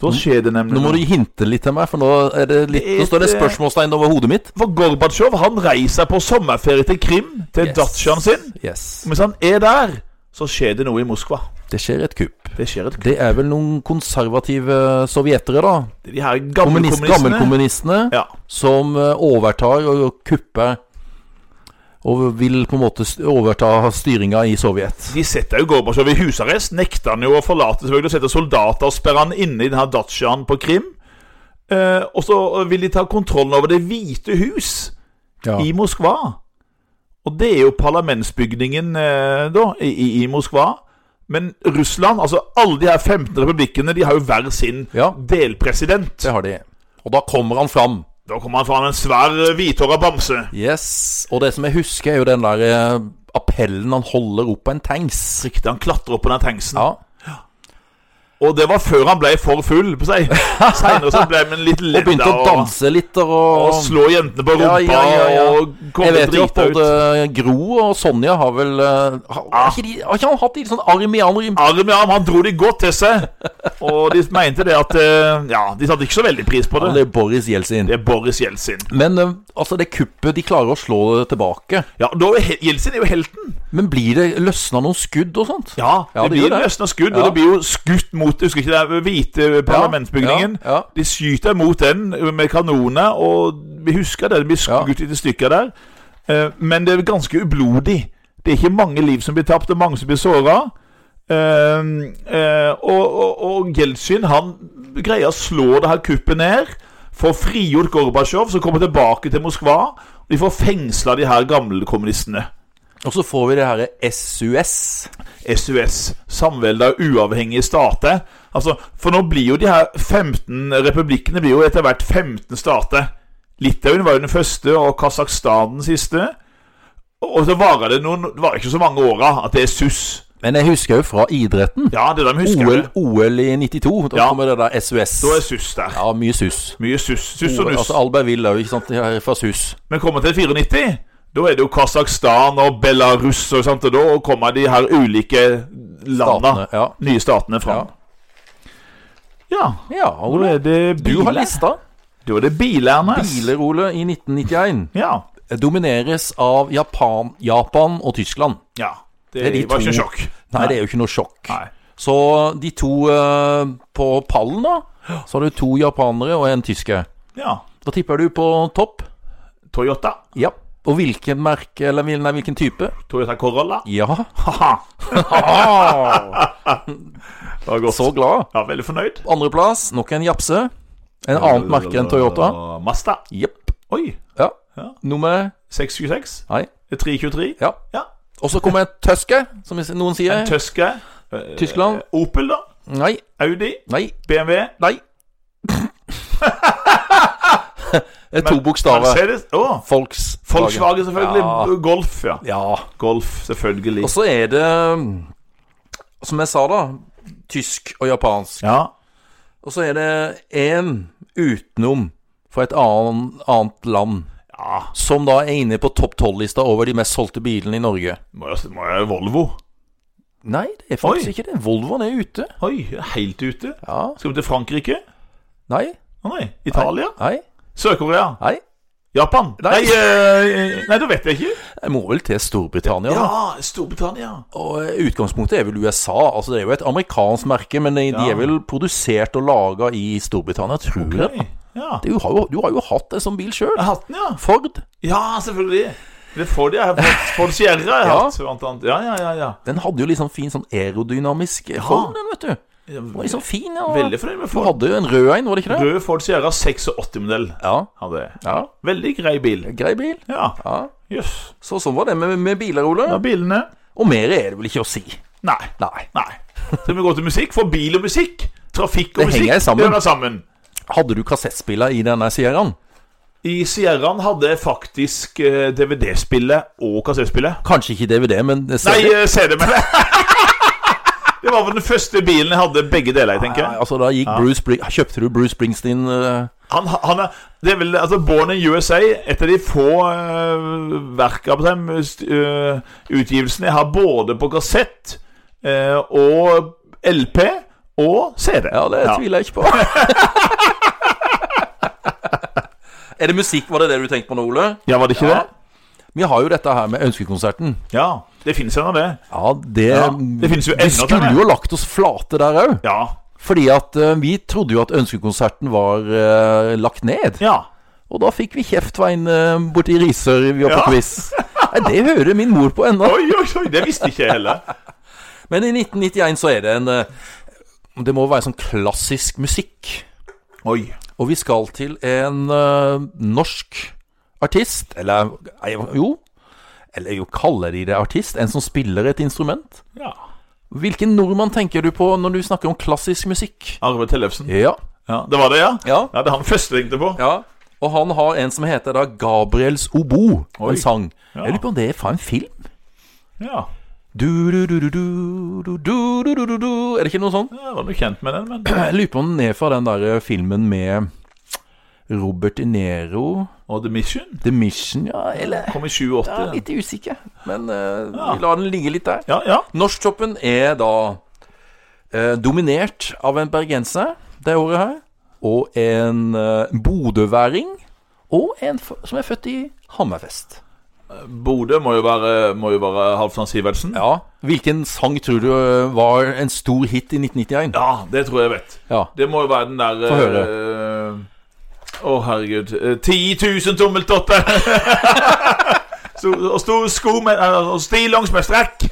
B: Da skjer det nemlig
A: Nå må du
B: noe.
A: hinte litt til meg, for nå, er det litt,
B: Det er
A: nå står det
B: et, eh,
A: spørsmålstegn over hodet mitt.
B: For Gorbatsjov han reiser på sommerferie til Krim Til
A: Yes.
B: datsjan sin
A: Yes.
B: Og Mens han er der Så skjer det noe i Moskva
A: Det skjer et kupp.
B: Det skjer et
A: Det er vel noen konservative sovjetere, da.
B: De her gamle
A: Kommunist,
B: kommunistene
A: Gammelkommunistene
B: Ja
A: som eh, overtar og kupper og vil på en måte st- overta styringa i Sovjet.
B: De setter jo Gorbatsjov i husarrest. Nekter han jo å forlate selvfølgelig og setter soldater og sperrer han inne i denne datsjaen på Krim. Eh, og så vil de ta kontrollen over Det hvite hus
A: Ja.
B: i Moskva. Og det er jo parlamentsbygningen eh, da, i, i- i Moskva. Men Russland, altså alle de her 15 republikkene, de har jo hver sin
A: Ja.
B: delpresident.
A: Det har de. Og da kommer han fram.
B: Da kommer han fram en svær eh, hvithåra bamse.
A: Yes. Og det som jeg husker, er jo den der eh, appellen han holder opp på en tanks.
B: Riktig, han klatrer opp på den tanksen.
A: Ja.
B: Og det var før han ble for full på seg. Seinere så ble han litt
A: Og begynte
B: ledda
A: å danse litt og,
B: og slå jentene på
A: Ja,
B: rumpa
A: ja, ja, ja.
B: og komme
A: Jeg vet jo at
B: drita ut.
A: både Gro og Sonja har vel eh, Har, har, ikke, de, har ikke han hatt de sånn arm i arm?
B: Arm i arm, han dro de godt til seg. Og de mente det at eh, Ja, de satte ikke så veldig pris på
A: Ja,
B: det.
A: det er Boris Jeltsin.
B: Det er Boris Jeltsin.
A: Men eh, altså, det kuppet De klarer å slå det tilbake.
B: Ja, da er he- Jeltsin er jo helten.
A: Men blir det løsna noen skudd og sånt?
B: Ja,
A: Ja,
B: det,
A: det
B: blir
A: gjør det.
B: løsna skudd,
A: Ja.
B: og det blir jo skutt mot jeg Husker ikke den hvite parlamentsbygningen?
A: Ja, ja.
B: De skyter mot den med kanoner, og vi husker det. Det blir
A: Ja.
B: skutt i stykker der. Eh, Men det er ganske ublodig. Det er ikke mange liv som blir tapt, det er mange som blir såra. Og, og, og Jeltsin han greier å slå det her kuppet ned. Får frigjort Gorbatsjov, som kommer tilbake til Moskva. Og de får fengsla de her gamle kommunistene.
A: Og så får vi det herre SUS.
B: SUS, samvelde av uavhengige stater. Altså, for nå blir jo de her 15 republikkene blir jo etter hvert 15 stater. Litauen var jo den første, og Kasakhstan den siste. Og så varer det noen Det var ikke så mange åra at det er SUS.
A: Men jeg husker jo fra idretten.
B: Ja, det er de husker.
A: OL,
B: det.
A: OL i 92. Da
B: Ja.
A: kommer det der SUS.
B: Da er SUS der.
A: Ja, mye sus.
B: Mye SUS. SUS og nuss.
A: Altså Albertville òg, ikke sant. De er Fra sus.
B: Men kommer til 94, da er det jo Kasakhstan og Belarus og sånt, og da kommer de her ulike landa,
A: Statene, ja.
B: nye statene, fram. Ja.
A: Ja,
B: Nå
A: Ole.
B: er det
A: Du har
B: biler.
A: lista.
B: Da er det bilerne.
A: Biler, Ole, i 1991
B: Ja.
A: domineres av Japan, Japan og Tyskland.
B: ja. Det,
A: er de
B: var ikke
A: to.
B: sjokk.
A: Nei, det er jo ikke noe sjokk.
B: Nei.
A: Så de to eh, på pallen, da, så har du to japanere og en tysker.
B: Ja.
A: Da tipper du på topp.
B: Toyota.
A: Ja. Og hvilken merke, eller hvil- nei, hvilken type?
B: Toyota Corolla.
A: Ja.
B: Haha. det var godt.
A: Så glad.
B: Ja, veldig fornøyd.
A: Andreplass, nok en japse. En annet merke enn Toyota.
B: Mazda.
A: Jepp.
B: Oi.
A: Ja.
B: Ja.
A: Nummer
B: 626.
A: Nei.
B: Det er 323.
A: Ja.
B: Ja.
A: Og så kommer en tøske, som noen sier.
B: En Tøske. Eh,
A: Tyskland.
B: Opel, da.
A: Nei,
B: Audi.
A: nei,
B: BMW.
A: nei. Det er to bokstaver.
B: Mercedes. Å,
A: Folks.
B: Volkswagen, selvfølgelig.
A: Ja.
B: Golf, ja.
A: Ja.
B: Golf, selvfølgelig.
A: Og så er det, mm, som jeg sa da, tysk og japansk.
B: Ja.
A: Og så er det én utenom fra et annet, annet land.
B: ja.
A: Som da er inne på topp 12-lista over de mest solgte bilene i Norge.
B: Må jo- må jo Volvo.
A: Nei, det er faktisk
B: Oi.
A: ikke det. Volvoen er ute.
B: Oi, helt ute.
A: Ja.
B: Skal vi til Frankrike?
A: Nei.
B: Å nei. Italia?
A: Nei.
B: Sør-Korea?
A: Nei.
B: Japan? Nei,
A: Nei.
B: eh, nei, da vet jeg ikke.
A: Jeg må vel til Storbritannia, da.
B: Ja, Storbritannia.
A: Og eh, utgangspunktet er vel USA. Altså Det er jo et amerikansk merke, men de, de
B: Ja.
A: er vel produsert og laga i Storbritannia, tror jeg.
B: Nei. Ja.
A: Du har, jo, du har jo hatt det som bil sjøl.
B: Hatten, ja.
A: Ford.
B: Ja, selvfølgelig. Det får de. Jeg har fått- fått Sierra. Jeg har
A: Ja.
B: hatt, blant annet. Ja, ja, ja. ja.
A: Den hadde jo liksom fin sånn aerodynamisk form, den, vet du. Den var liksom fin. Ja.
B: Veldig fornøyd
A: Du
B: med Ford.
A: hadde jo en rød en, var det ikke det?
B: Rød Ford Sierra 86-modell.
A: Ja.
B: Hadde jeg.
A: ja.
B: Veldig grei bil.
A: Grei bil.
B: Ja,
A: Ja.
B: jøss.
A: Så sånn var det med, med biler,
B: Ja,
A: Ole.
B: bilene
A: Og mer er det vel ikke å si.
B: Nei.
A: Nei.
B: Nei. Skal vi gå til musikk? For bil og musikk, trafikk og
A: Det henger
B: musikk,
A: sammen.
B: det hører sammen.
A: Hadde du kassettspiller i denne Sierraen?
B: I Sierraen hadde jeg faktisk eh, DVD-spillet og kassettspillet.
A: Kanskje ikke DVD, men
B: Nei,
A: CD.
B: eh, CD, men Det var vel den første bilen jeg hadde begge deler i, tenker
A: Ja,
B: jeg.
A: altså, da gikk Bruce Bri Kjøpte du Bruce Springsteen eh,
B: Han, han er, det er vel altså Born in USA, et av de få eh, verka på dem, st- eh, utgivelsene jeg har både på kassett eh, og LP og CD.
A: Ja, det tviler jeg ikke på. er det musikk, var det det du tenkte på nå, Ole?
B: Ja, var det ikke
A: Ja. Vi har jo dette her med Ønskekonserten.
B: det? Ja. Det fins ennå, det.
A: Ja, det,
B: Ja, det finnes jo
A: Vi
B: enda sånn til
A: skulle
B: det.
A: jo lagt oss flate der òg.
B: Ja.
A: Fordi at eh, vi trodde jo at Ønskekonserten var eh, lagt ned.
B: ja.
A: Og da fikk vi kjeft fra en uh, borti Risør vi var på
B: Ja.
A: quiz. Nei, det hører min mor på ennå.
B: Oi, oi, oi, det visste ikke jeg heller.
A: Men i 1991 så er det en eh, Det må være sånn klassisk musikk.
B: Oi.
A: Og vi skal til en eh, norsk artist Eller nei, jo Eller jo, kaller de det artist? En som spiller et instrument?
B: Ja.
A: Hvilken nordmann tenker du på når du snakker om klassisk musikk?
B: Arve Tellefsen.
A: Ja.
B: Ja, det var det, ja?
A: Ja.
B: Ja, Det er han første ringte på.
A: ja. Og han har en som heter da Gabriels obo,
B: Oi.
A: en sang.
B: Ja.
A: Jeg lurer på om det er fra en film?
B: Ja.
A: Du-du-du-du-du, du-du-du-du-du Er det ikke noe sånt?
B: ja var du kjent med den, men
A: Jeg lurer på om den er fra den der eh, filmen med Robert De Niro
B: Og The Mission
A: The Mission, ja, eller
B: kom i 87.
A: ja,
B: den.
A: Litt usikker, men eh,
B: Ja.
A: vi lar den ligge litt der.
B: Ja, ja.
A: Norsktoppen er da eh, dominert av en bergenser det året her, og en eh, bodøværing, og en f som er født i Hammerfest.
B: Bodø må jo være, må jo være Halvdan Sivertsen.
A: Ja, Hvilken sang tror du eh, var en stor hit i 1991?
B: Ja, det tror jeg vet.
A: Ja.
B: Det må jo være den der
A: Få høre.
B: eh, Å, herregud. Eh, 10 000 tommeltotter! Stor- Og stor sko med eh, Og stillongs med strekk!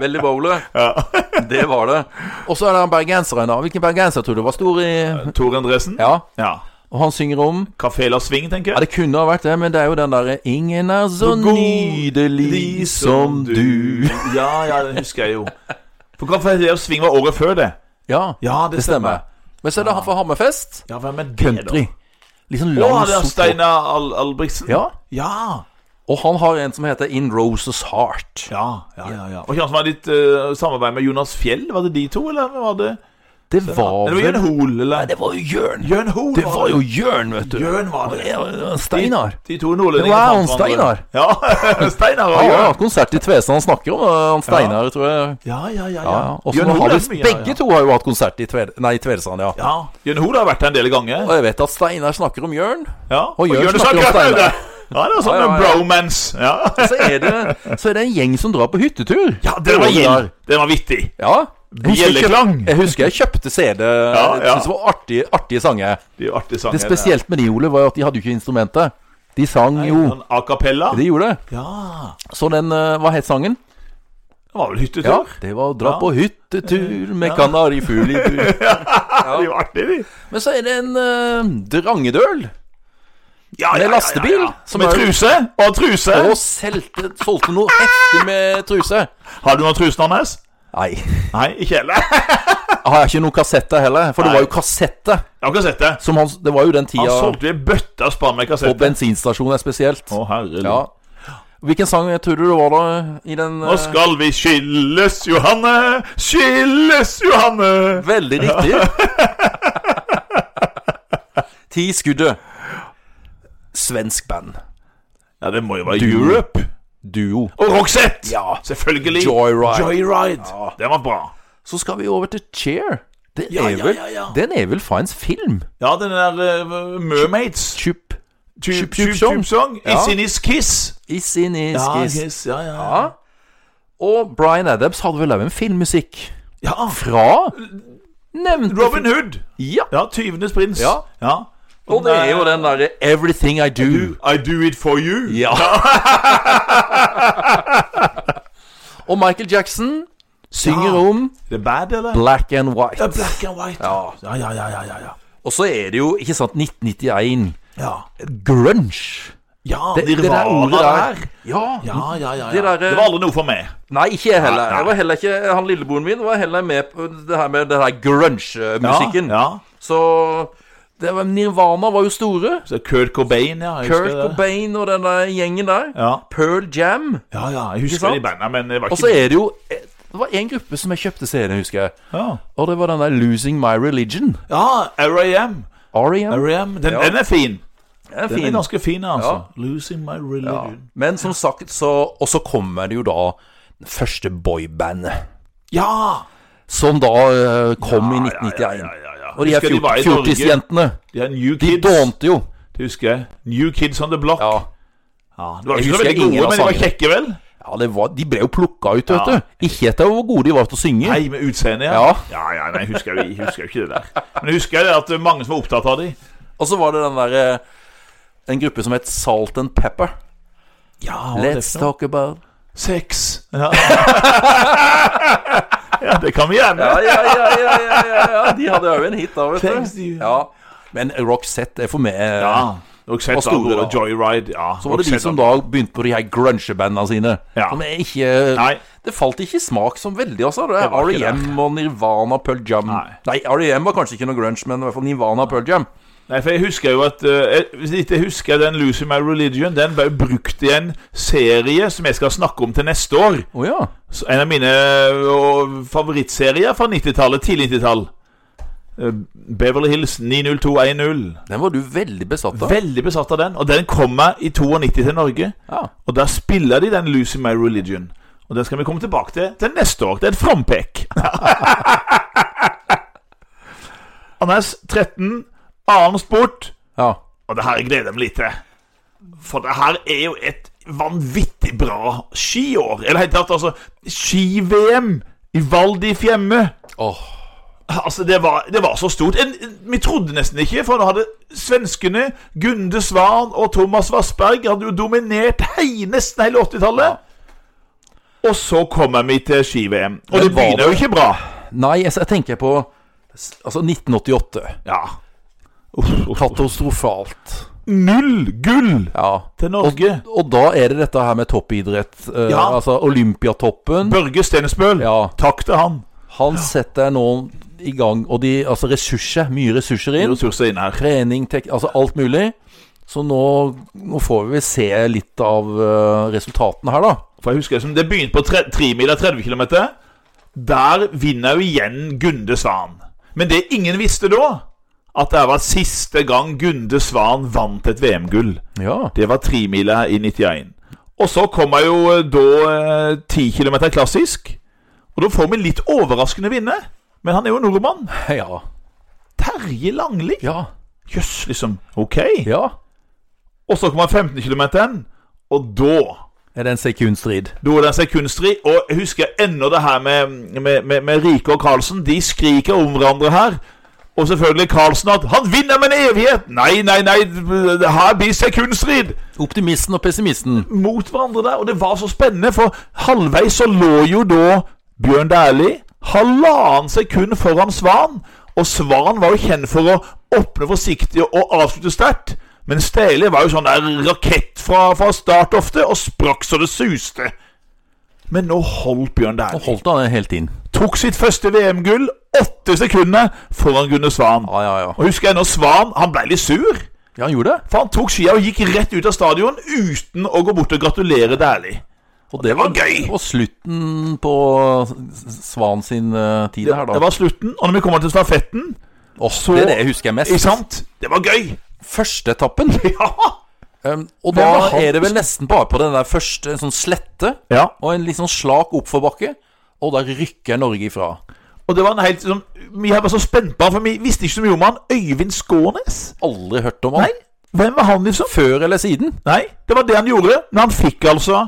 A: Veldig bra, Ole. Det var det. Og så er det han bergenseren, da. Hvilken bergenser tror du var stor i
B: Tor Endresen.
A: Ja,
B: ja.
A: og han synger om
B: Kafé La Sving, tenker
A: Ja,
B: jeg.
A: det kunne ha vært det, men det er jo den derre Ingen er så nydelig som du
B: Ja, ja, det husker jeg jo. For Kafé La Sving var året før det.
A: Ja,
B: Ja, det
A: det stemmer. Men så er det han fra Hammerfest.
B: Ja, hvem er det,
A: Country. Litt sånn
B: da? Å,
A: lang
B: det er
A: sort-
B: Steinar Al Albrigtsen?
A: Ja.
B: Ja.
A: Og han har en som heter In Roses Heart.
B: Ja, ja, ja, ja. Og ikke han som hadde litt eh, samarbeid med Jonas Fjell? Var det de to, eller hvem var det?
A: Det
B: Eller
A: var
B: det var Jørn
A: vel
B: Hoel, eller?
A: Det var jo Jørn.
B: Jørn Hoel
A: Det var jo Jørn, vet du.
B: Jørn var det.
A: Ja, det var Steinar.
B: De to nordlendingene
A: Det var
B: fant
A: han,
B: hverandre. Ja, Steinar og
A: Han har
B: Jørn.
A: hatt konsert i Tvesa. Han snakker om eh, han Steinar, tror jeg.
B: Ja, ja,
A: Ja,
B: ja. ja.
A: ja. Og så
B: Jørn
A: har
B: Hoel
A: de,
B: er mye,
A: begge
B: ja, ja.
A: to har jo hatt konsert i Tve- nei, i Tvedestrand, ja.
B: Ja, Jørn Hoel har vært der en del ganger.
A: Og jeg vet at Steinar snakker om Jørn.
B: Ja,
A: Og Jørn snakker om
B: Steinar.
A: Steinar.
B: Ja, det var sånn
A: Ja, ja,
B: en
A: ja.
B: bromance. Ja.
A: Så er, det, så er det en gjeng som drar på hyttetur.
B: ja, det var
A: Året
B: gild.
A: der.
B: Det var vittig.
A: Ja. Husker jeg kjøp-
B: Bjelleklang.
A: Jeg husker jeg kjøpte CD.
B: ja.
A: Jeg synes det var artige, artige sanger.
B: Det er jo artig sang.
A: Det spesielt med de, Ole, var jo at de hadde jo ikke instrumentet. De sang jo.
B: Sånn a cappella.
A: De gjorde det.
B: Ja.
A: Så den eh, Hva het sangen?
B: Det var vel hyttetur.
A: Det var 'Dra
B: Ja.
A: på hyttetur med kanarifugl i bur'.
B: Ja. De var artige, de.
A: Men så er det en eh, drangedøl
B: Ja,
A: Med lastebil, som
B: Med
A: er-
B: truse. Og truse.
A: og selte, solgte noe heftig med truse.
B: Har du noen truse, Anders?
A: Nei. Jeg
B: Nei, ikke heller. Jeg
A: har ikke noen kassetter heller, for
B: Nei.
A: det var jo kassetter.
B: har ikke sett det.
A: Som han, det var jo den
B: Han
A: tida
B: solgte jo en bøtte av spann med
A: på
B: kassetter.
A: bensinstasjoner spesielt.
B: Å, herre
A: Ja. Hvilken sang eh, tror du det var da i den
B: Nå
A: eh,
B: skal vi skilles, Johanne. Skilles, Johanne.
A: Veldig riktig. Ti skuddet. Svensk band.
B: Ja, det må jo være
A: Du.
B: Europe.
A: Duo.
B: Og Roxette.
A: Ja.
B: Selvfølgelig.
A: Joyride.
B: Joyride. Den var bra.
A: Så skal vi over til Cheer. Den,
B: Ja,
A: er
B: ja,
A: vel,
B: ja, ja.
A: den er vel fra en film?
B: Ja, den der eh, Mermaids.
A: Chup
B: Tube
A: Tube Song.
B: Song.
A: Ja.
B: It's in his kiss.
A: is in his
B: Ja,
A: kiss.
B: kiss. Ja, ja.
A: Ja. Og Bryan Adams hadde vel også en filmmusikk
B: ja.
A: fra Nevnte
B: Robin Hood.
A: Ja.
B: Ja, tyvenes prins.
A: Ja. Og det er jo den derre 'Everything I Do'.
B: I do it for you.
A: Ja. Og Michael Jackson synger
B: Ja.
A: om
B: Det er bad, eller?
A: Black and White.
B: Ja, black and white. Ja, ja, ja, ja, ja, ja.
A: Og så er det jo, ikke sant, 1991.
B: Ja,
A: Grunge.
B: ja
A: Det, det der
B: Nirvana
A: ordet der. Ja.
B: Ja, ja, ja, ja.
A: Det
B: Det,
A: der, eh,
B: var aldri noe for meg.
A: Nei, ikke jeg heller.
B: Nei, nei.
A: Jeg var heller ikke, Han lillebroren min var heller med på det her med den her
B: Ja,
A: grunge-musikken.
B: Ja,
A: Så det var, Nirvana var jo store.
B: Så Kurt Cobain, ja. Jeg
A: Kurt
B: husker det.
A: Cobain og den der gjengen der.
B: Ja.
A: Pearl Jam.
B: ja, ja, jeg
A: Ikke
B: husker
A: sant?
B: de bandene, men det var
A: Og så
B: ikke
A: er det jo eh, Det var en gruppe som jeg kjøpte CD-en, husker jeg.
B: Ja,
A: Og det var den der 'Losing My Religion'.
B: ja R.A.M.
A: R.E.M.
B: R.A.M. Den,
A: Ja.
B: den er fin.
A: Den er
B: Den er
A: fin.
B: ganske fin, altså. Losing my religion.
A: Men som sagt, så Og så kommer det jo da den første boybandet.
B: Ja!
A: Som da eh, kom i
B: ja,
A: 1991.
B: ja, ja, ja.
A: Og de her
B: Husker de var i
A: fjort- fjortisjentene.
B: De er New
A: De
B: Kids.
A: dånte jo.
B: Det husker jeg. New Kids on the Block.
A: Ja.
B: Ja, det var
A: Jeg
B: ikke så
A: husker
B: veldig
A: ingen
B: gode,
A: av
B: men de var
A: sangene.
B: kjekke, vel?
A: ja det var, de ble jo plukka ut, vet
B: Ja.
A: du. Ikke etter hvor gode de var til å synge.
B: Nei, med utseendet, ja.
A: Ja.
B: Ja, ja, nei, jeg husker, jeg husker jo ikke det der. Men jeg husker det at det er mange som var opptatt av de.
A: Og så var det den derre En gruppe som het Salt and Pepper.
B: Ja,
A: Let's talk about
B: Sex. Ja. ja, det kan vi gjerne.
A: Ja, ja, ja, ja, ja, ja, ja. De hadde jo en hit da, vet
B: Thanks,
A: du.
B: you.
A: Ja. Men Roxette er for meg
B: Ja. Og sett
A: Og store,
B: da,
A: da.
B: Joyride, ja.
A: Så var det de som da begynte på de her grungebandene sine.
B: Ja.
A: Som er ikke
B: Nei.
A: Det falt ikke i smak som veldig, altså. Det
B: Det
A: er
B: var ikke
A: R.E.M. og Nirvana, Pearl Jam
B: Nei.
A: Nei, R.E.M. var kanskje ikke noe grunge, men i hvert fall Nirvana, Pearl Jam.
B: Nei, for jeg husker jo at eh, jeg- Hvis jeg ikke husker den Lose My Religion, den ble jo brukt i en serie som jeg skal snakke om til neste år.
A: Å ja.
B: Så En av mine eh, favorittserier fra 90-tallet, tidlig 90-tall. Eh, Beverly Hills 90210.
A: Den var du veldig besatt av.
B: Veldig besatt av den. Og den kom jeg i 92 til Norge.
A: ja.
B: Og der spiller de den Lose My Religion. Og den skal vi komme tilbake til til neste år. Det er et frampek. Anders 13, annen sport.
A: ja.
B: Og det her gleder jeg meg litt til. For det her er jo et vanvittig bra skiår. Eller helt klart, altså Ski-VM i Val di Fiemme.
A: Åh.
B: Altså, det var, det var så stort. En, vi trodde nesten ikke, for nå hadde svenskene Gunde Svan og Thomas Vassberg hadde jo dominert hei, nesten hele 80-tallet. Og så kommer vi til ski-VM. Og
A: Men
B: det
A: var
B: begynner jo ikke bra.
A: Nei, jeg, jeg tenker på s- Altså 1988.
B: Ja.
A: Katastrofalt.
B: Null gull
A: Ja.
B: til Norge.
A: Og da er det dette her med toppidrett. eh,
B: Ja.
A: Altså Olympiatoppen.
B: Børge Stensbøl,
A: Ja.
B: takk til han.
A: Han setter nå i gang, og de Altså ressurser. Mye ressurser inn.
B: Ressurser inn her.
A: trening, tek altså alt mulig. Så nå, nå får vi se litt av eh, resultatene her, da.
B: For jeg husker som Det begynte på tre- tremila 30 km. Der vinner jo igjen Gunde Svan. Men det ingen visste da, at det var siste gang Gunde Svan vant et VM-gull.
A: Ja.
B: Det var tremila i 91. Og så kommer jo eh, da eh, 10 km klassisk. Og da får vi en litt overraskende vinner. Men han er jo nordmann.
A: Ja.
B: Terje Langli.
A: Ja.
B: Jøss, liksom. Ok.
A: ja.
B: Og så kommer 15 km, og da
A: Er det en sekundstrid?
B: Da er den seg kunstfri. Og jeg husker ennå det her med, med, med, med Rike og Karlsen. De skriker om hverandre her. Og selvfølgelig Karlsen at 'Han vinner med en evighet!' Nei, nei, nei, det her blir sekundstrid!
A: Optimisten og pessimisten.
B: Mot hverandre der. Og det var så spennende, for halvveis så lå jo da Bjørn Dæhlie halvannen sekund foran Svan. Og Svan var jo kjent for å åpne forsiktig og avslutte sterkt. Men Steilie var jo sånn der rakett fra, fra start ofte, og sprakk så det suste. Men nå holdt Bjørn
A: Og
B: Dæhlie.
A: holdt han det helt inn.
B: Tok sitt første VM-gull åtte sekunder foran Gunne Svan.
A: Ja, ja, ja.
B: Og husker jeg når Svan han ble litt sur.
A: Ja, han gjorde det.
B: For han tok skia og gikk rett ut av stadion uten å gå bort og gratulere Dæhlie.
A: Og det
B: var gøy.
A: Og slutten på S- Svan sin eh, tid her, da.
B: Det var slutten. Og når vi kommer til stafetten
A: Åh,
B: så-
A: det er det jeg husker mest.
B: Ikke sant? Det var gøy!
A: Førsteetappen.
B: Ja!
A: Um, og
B: Hvem var
A: da
B: han?
A: er det vel nesten bare på den der første, en sånn slette,
B: ja.
A: og en litt sånn slak oppforbakke, og der rykker Norge ifra.
B: Og det var en helt sånn Vi var så spent på han, for vi visste ikke så mye om han. Øyvind Skånes?
A: Aldri hørt om han.
B: Nei. Hvem var han, liksom?
A: Før eller siden?
B: Nei, det var det han gjorde. Men han fikk altså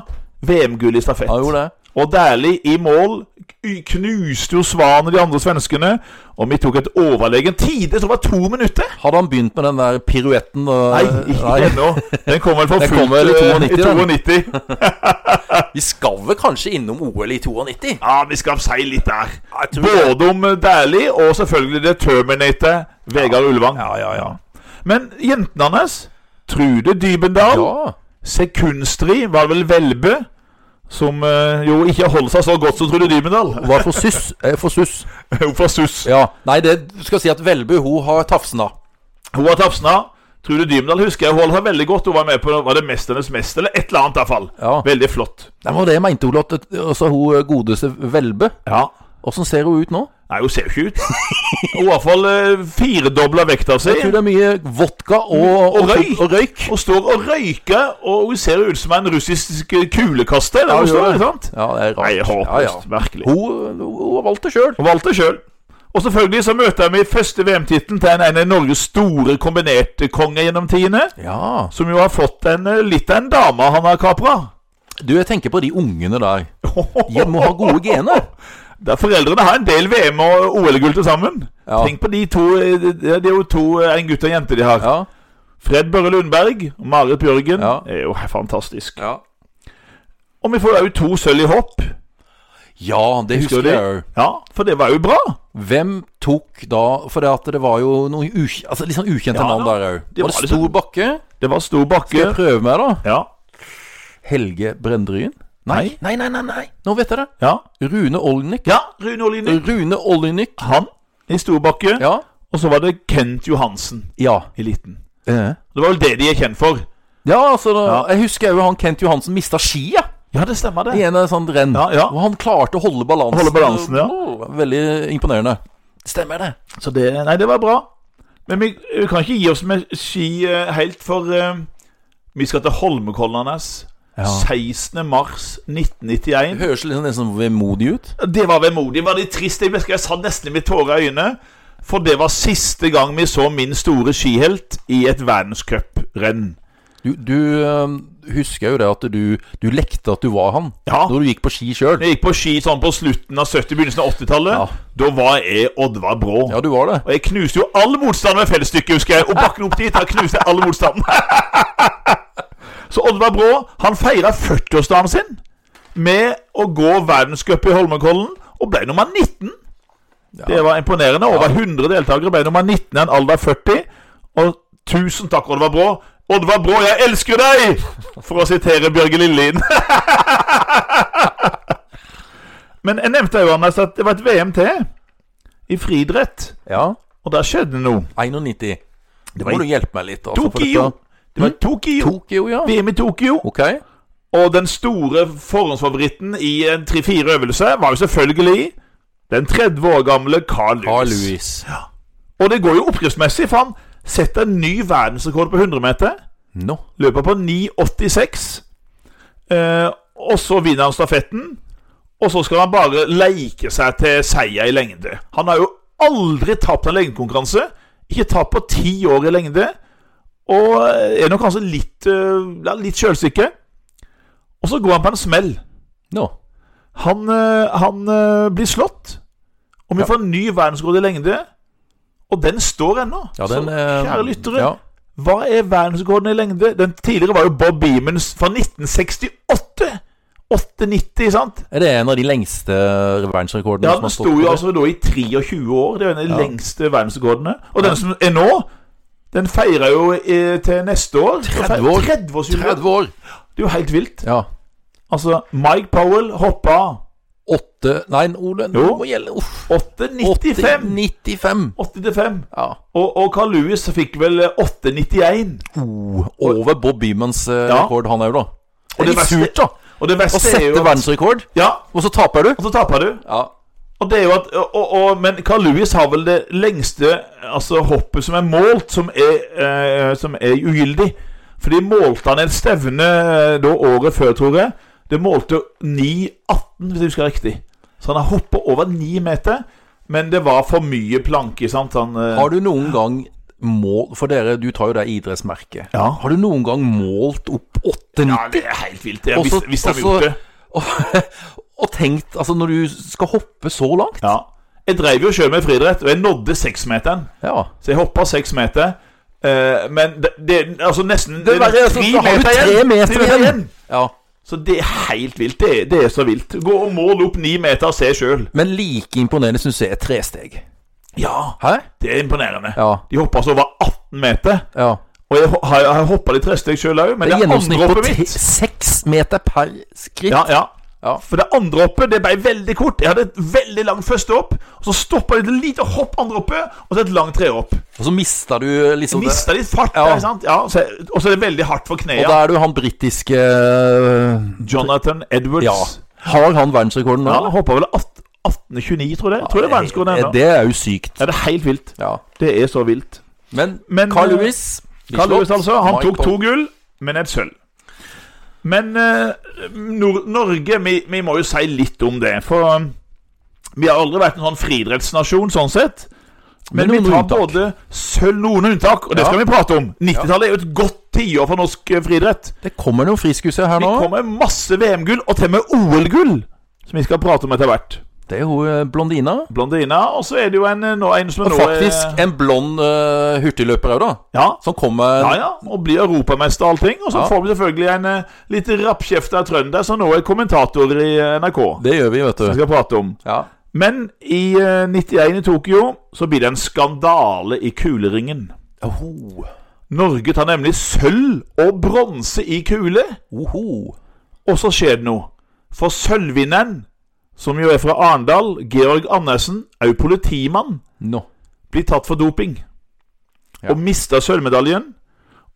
B: VM-gull i stafett.
A: Ja, jo det.
B: Og Dæhlie i mål k- knuste jo Svan og de andre svenskene. Og vi tok et overlegen tid. Jeg tror det var to minutter.
A: Hadde han begynt med den der piruetten eh, og,
B: Nei, ikke ennå. Den kom vel for
A: Den
B: fullt
A: kom vel i
B: eh,
A: 92, den.
B: 92.
A: Vi skal vel kanskje innom OL i 92?
B: Ja, vi skal si litt der.
A: Jeg tror det.
B: Både om eh, Dæhlie og selvfølgelig det Terminator, Vegard Ulvang.
A: Ja, ja, ja.
B: Men jentene hans Trude Dybendal,
A: Ja.
B: Sekundstri var det vel Velbø, som eh, jo ikke har holdt seg så godt som Trude Dybendal.
A: Hva for suss? Eh, for suss.
B: Hun fra SUS.
A: Ja. Nei, det du skal si at Velbu, hun har tafsna.
B: Hun var Tafsna. Trude Dybendal husker jeg hun holdt seg veldig godt. Hun var med på Var det 'Mesternes mest', eller et eller annet i hvert fall.
A: Ja.
B: Veldig flott.
A: Det var det jeg mente, Olav. at- Altså, hun godeste Velbu.
B: Ja.
A: Åssen ser hun ut nå?
B: Nei, hun ser jo ikke ut. Hun har i hvert fall uh, firedobla vekta si.
A: Jeg tror det er mye vodka og,
B: Og røyk.
A: Og røyk.
B: og står og røyker, og hun ser ut som en russisk kulekaster.
A: Ja,
B: Ja,
A: hun
B: står,
A: gjør det.
B: ikke sant?
A: Ja, det er rart.
B: Nei, håpløst.
A: Ja, ja.
B: Virkelig.
A: Hun, hun har valgt det sjøl.
B: Hun valgte sjøl. Og selvfølgelig så møter vi første VM-tittelen til en, en av Norges store kombinerte konger gjennom tidene,
A: Ja.
B: som jo har fått en, eh, litt av en dame han har kapra.
A: Du, jeg tenker på de ungene der. De må ha gode gener.
B: Der foreldrene har en del VM- og OL-gull til sammen.
A: Ja.
B: Tenk på de to eh, Det det er jo to, eh, en gutt og en jente de har.
A: Ja.
B: Fred Børre Lundberg og Marit Bjørgen.
A: Ja.
B: Det er jo fantastisk.
A: Ja,
B: Og vi får jo to sølv i hopp.
A: det
B: Husker
A: husker,
B: du det?
A: jeg òg.
B: Ja, for det var jo bra.
A: Hvem tok da For det, at det var jo noen ukj- altså, litt sånn ukjente
B: Ja,
A: navn
B: da.
A: der òg.
B: Det
A: var det
B: var liksom-
A: Storbakke?
B: Det var stor
A: Skal jeg
B: bakke.
A: prøve meg, da?
B: Ja.
A: Helge Brendryen? Nei. Nei, nei, nei, nei. Nå vet jeg det.
B: Ja.
A: Rune Olnik.
B: ja, Rune Olini.
A: Rune Olnik.
B: Han i stor bakke.
A: Ja.
B: Og så var det Kent Johansen
A: Ja.
B: i liten.
A: Eh.
B: Det var vel det de er kjent for.
A: Ja, altså da,
B: Ja.
A: Jeg husker jo han Kent Johansen mista skia
B: Ja, det stemmer
A: i
B: det.
A: en sånn renn.
B: Ja, ja.
A: Og han klarte å holde balansen.
B: Holde balansen, ja.
A: Åh, Veldig imponerende. Stemmer det.
B: Så det, nei, det var bra. Men vi, vi kan ikke gi oss med ski eh, helt, for eh, vi skal til Holmenkollanes.
A: Ja.
B: 16. mars 1991.
A: Det høres liksom nesten vemodig ut.
B: Det var vemodig. Var det trist? Jeg, husker jeg satt nesten med tårer i øynene. For det var siste gang vi så min store skihelt i et verdenscuprenn.
A: Du, du eh, husker jo det at du, du lekte at du var han
B: Ja.
A: når du gikk på ski sjøl.
B: Jeg gikk på ski sånn på slutten av 70-, begynnelsen av 80-tallet.
A: Ja.
B: Da var jeg Oddvar Brå.
A: Ja, du var det.
B: Og jeg knuste jo all motstand med fellesstykket, husker jeg. Og bakken opp dit, her knuste jeg all motstanden. Så Oddvar Brå han feira 40-årsdagen sin med å gå verdenscup i Holmenkollen, og ble nummer 19. Det var imponerende. Over 100 deltakere ble nummer 19 i en alder av 40. Og tusen takk, Oddvar Brå. Oddvar Brå, jeg elsker deg! For å sitere Bjørge Lillelien. Men jeg nevnte jo Anders, at det var et VM til i friidrett.
A: Ja.
B: Og der skjedde noe.
A: 91. Det
B: var
A: må
B: i-
A: du hjelpe meg litt. Altså, for
B: Tokyo! Hmm?
A: dette-
B: Det var Tokyo.
A: Tokyo, ja.
B: VM i Tokyo.
A: Ok.
B: Og den store forhåndsfavoritten i en tre-fire øvelser var jo selvfølgelig den 30 år gamle Carl Lewis.
A: Carl Louis.
B: Og det går jo oppskriftsmessig, for han setter en ny verdensrekord på 100 meter.
A: Nå.
B: Løper på 9,86. Eh, og så vinner han stafetten. Og så skal han bare leke seg til seier i lengde. Han har jo aldri tapt en lengdekonkurranse. Ikke tapt på ti år i lengde. Og er nok kanskje litt, eh, ja, litt sjølsikker. Og så går han på en smell.
A: Nå.
B: Han, eh, han eh, blir slått. Og vi
A: Ja.
B: får en ny verdensrekord i lengde. Og den står ennå.
A: Ja, den,
B: så
A: eh,
B: kjære lyttere,
A: Ja.
B: hva er verdensrekorden i lengde? Den tidligere var jo Bob Beamons fra 1968. 8,90, sant?
A: Er det en av de lengste verdensrekordene?
B: Ja,
A: som
B: den
A: har
B: sto
A: stått på
B: jo
A: det?
B: altså da i 23 år. Det er jo en av de
A: Ja.
B: lengste verdensrekordene. Og den som er nå, den feirer jo eh, til neste år.
A: 30 år.
B: 30 år.
A: 30 år!
B: Det er jo helt vilt.
A: Ja.
B: Altså, Mike Powell hoppa
A: 8 Nei, Ole, nå
B: Jo.
A: må gjelde Uff.
B: 8,95.
A: 95.
B: 8,95.
A: Ja.
B: Og, og Carl Lewis fikk vel eh, 8,91.
A: Oh, over Bob Beamans eh,
B: Ja.
A: rekord, han òg, da.
B: Og
A: Det er
B: det
A: litt
B: verste-
A: surt, da.
B: Og det
A: Å
B: verste er
A: sette
B: jo at-
A: verdensrekord,
B: Ja,
A: og så taper du.
B: og så taper du.
A: Ja.
B: Og det er jo at og, og, Men Carl Lewis har vel det lengste altså, hoppet som er målt, som er, eh, som er ugyldig. For de målte han et stevne eh, da året før, tror jeg. Det målte 9,18, hvis jeg husker riktig. Så han har hoppet over 9 meter. Men det var for mye planke, sant? Han, eh,
A: Har du noen gang målt For dere, du tar jo det idrettsmerket.
B: Ja.
A: Har du noen gang målt opp 8-90?
B: ja, det er helt vilt. Jeg,
A: Også-
B: hvis, hvis han har
A: også-
B: gjort det.
A: og, og tenkt Altså, når du skal hoppe så langt
B: Ja. Jeg drev jo sjøl med friidrett, og jeg nådde seksmeteren.
A: Ja.
B: Så jeg hoppa seks meter. Eh, men det, det er altså nesten Det
A: verre er
B: nesten
A: at så har du tre meter
B: Tre
A: igjen.
B: igjen.
A: ja.
B: Så det er helt vilt. Det, er- det er så vilt. Gå og mål opp ni meter og se sjøl.
A: Men like imponerende syns jeg er tresteg.
B: Ja,
A: Hæ?
B: det er imponerende.
A: Ja.
B: De hoppa altså over 18 meter.
A: ja.
B: Og jeg ho- har, har hoppa de tresteg sjøl òg,
A: Det
B: men det,
A: er
B: andre
A: gjennomsnitt på
B: hoppet
A: te-
B: mitt
A: seks meter per skritt.
B: Ja, ja.
A: Ja.
B: For det andre hoppet det ble veldig kort. Jeg hadde et veldig langt første hopp, og så stoppa de til et lite hopp andre hoppet, og så et langt trehopp.
A: Og så mista du liksom det.
B: Mista litt fart,
A: Ja.
B: der, sant? Ja, så, og så er det veldig hardt for
A: Og
B: knærne.
A: da er du han britiske øh,
B: Jonathan Edwards.
A: Ja. Har han verdensrekorden nå?
B: Ja, han hoppa vel 18 1829, tror jeg. tror det er verdensrekorden
A: Eh,
B: ennå.
A: Det er jo sykt.
B: Ja, det er helt vilt.
A: Ja.
B: Det er så vilt.
A: Men,
B: Men,
A: Carl
B: eh,
A: Lewis blir
B: Carl Lewis,
A: slått.
B: altså. Han
A: Mike
B: tok to
A: Bob-
B: gull, men et sølv. Men eh, Nor Norge vi, vi må jo si litt om det. For eh, vi har aldri vært en sånn friidrettsnasjon sånn sett. Men
A: Med
B: vi
A: noen
B: tar
A: unntak.
B: både sølv Noen unntak, og det
A: Ja.
B: skal vi prate om. 90-tallet er jo et godt tiår for norsk eh, friidrett.
A: Det kommer noen friskuser her
B: Vi
A: nå.
B: kommer med masse VM-gull, og til og med OL-gull, som vi skal prate om etter hvert.
A: Det er hun eh, blondina.
B: blondina, og så er det jo en, eh, nå, en som
A: Og
B: nå
A: faktisk
B: er
A: en blond eh, hurtigløper òg, da.
B: ja,
A: Som eh, kommer
B: ja, ja, og blir europamester og allting. Og så
A: Ja.
B: får vi selvfølgelig en eh, litt rappkjefta trønder som nå er kommentator i eh, NRK.
A: Det gjør vi, vet
B: Som vi
A: du.
B: skal prate om.
A: Ja.
B: Men i eh, 91 i Tokyo så blir det en skandale i kuleringen.
A: Oh.
B: Norge tar nemlig sølv og bronse i kule.
A: Oho.
B: Og så skjer det noe. For sølvvinneren, som jo er fra Arendal, Georg Andersen, er jo politimann,
A: Nå.
B: blir tatt for doping.
A: Ja.
B: Og mister sølvmedaljen.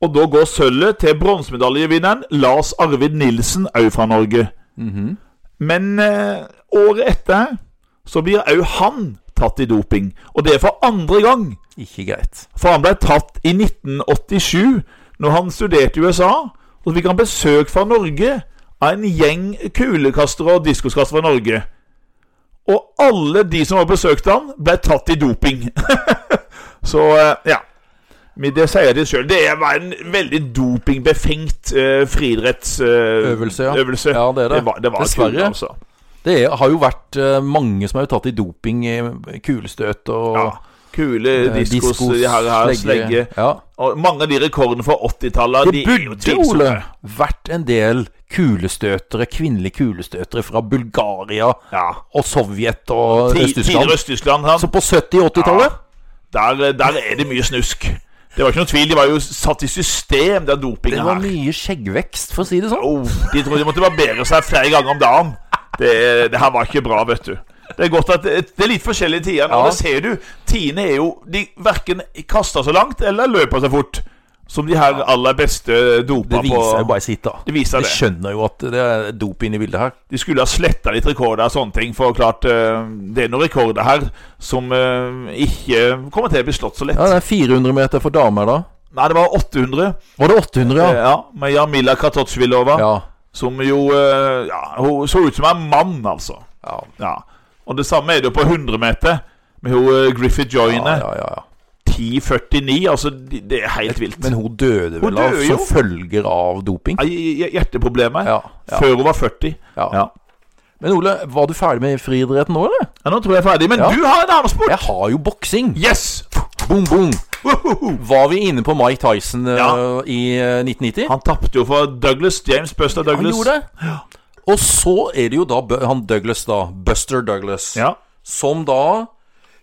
B: Og da går sølvet til bronsemedaljevinneren Lars Arvid Nilsen, òg fra Norge.
A: Mhm.
B: Men eh, året etter så blir òg han tatt i doping. Og det er for andre gang.
A: Ikke greit.
B: For han ble tatt i 1987, når han studerte i USA. Og så fikk han besøk fra Norge av en gjeng kulekastere og diskoskastere fra Norge. Og alle de som var besøkt han, ble tatt i doping. så eh, ja. Men det sier de sjøl. Det var en veldig dopingbefengt eh,
A: Øvelse, ja.
B: friidrettsøvelse.
A: Ja, det er det.
B: Det var, det var
A: Dessverre.
B: kul, altså.
A: Det er, har jo vært eh, mange som er jo tatt i doping. eh, Kulestøt og
B: Ja. Kule,
A: eh,
B: diskos, de her, her, slegge.
A: Ja.
B: Og mange av de rekordene fra 80-tallet
A: Det
B: de er jo
A: burde,
B: tvilsomme.
A: Ole, vært en del kulestøtere, kvinnelige kulestøtere fra Bulgaria
B: Ja.
A: og Sovjet og
B: Ti- Tidligere
A: Øst-Tyskland.
B: Øst-Tyskland. sant?
A: Så på 70- og 80-tallet
B: Der, der er det mye snusk. Det var ikke noe tvil. De var jo satt i system, den
A: Det
B: dopingen
A: var
B: her.
A: mye skjeggvekst, for å si det sånn.
B: Oh, de trodde de måtte barbere seg flere ganger om dagen. Det, det her var ikke bra, vet du. Det er godt at det, det er litt forskjellige tider. nå.
A: Ja.
B: Det ser du. Tidene er jo De verken kaster så langt eller løper så fort. Som de her aller beste dopa
A: Det
B: på
A: viser jo bare sitt, da.
B: Det viser
A: De
B: det.
A: skjønner jo at det er dop inne i bildet her.
B: De skulle ha sletta litt rekorder og sånne ting, for klart eh, det er noen rekorder her som eh, ikke kommer til å bli slått så lett.
A: Ja, Det er 400 meter for damer, da.
B: Nei, det var 800.
A: Var det 800,
B: Ja,
A: ja?
B: ja Med Jamila Katotsjvilova,
A: Ja.
B: som jo eh, ja, Hun så ut som en mann, altså.
A: ja.
B: Ja. Og det samme er det jo på 100 meter. Med hun eh, Griffith
A: ja,
B: Joyne.
A: ja, ja, ja.
B: 10,49. Altså, de- det er helt vilt.
A: Men hun døde
B: Hun
A: vel
B: døde
A: av
B: jo.
A: som følger av doping?
B: Ja, hj- hj- Hjerteproblemet.
A: Ja, ja,
B: Før hun var 40.
A: ja.
B: Ja.
A: Men Ole, var du ferdig med friidretten nå, eller?
B: ja, Nå tror jeg jeg er ferdig. Men
A: Ja.
B: du har en annen sport!
A: Jeg har jo boksing!
B: Yes!
A: Boom, boom!
B: Wohoho!
A: Var vi inne på Mike Tyson eh,
B: Ja.
A: i eh, 1990?
B: Han tapte jo for Douglas. James Buster
A: Han
B: Douglas.
A: gjorde det. Og så er det jo da Bu- han Douglas, da. Buster Douglas.
B: Ja.
A: Som da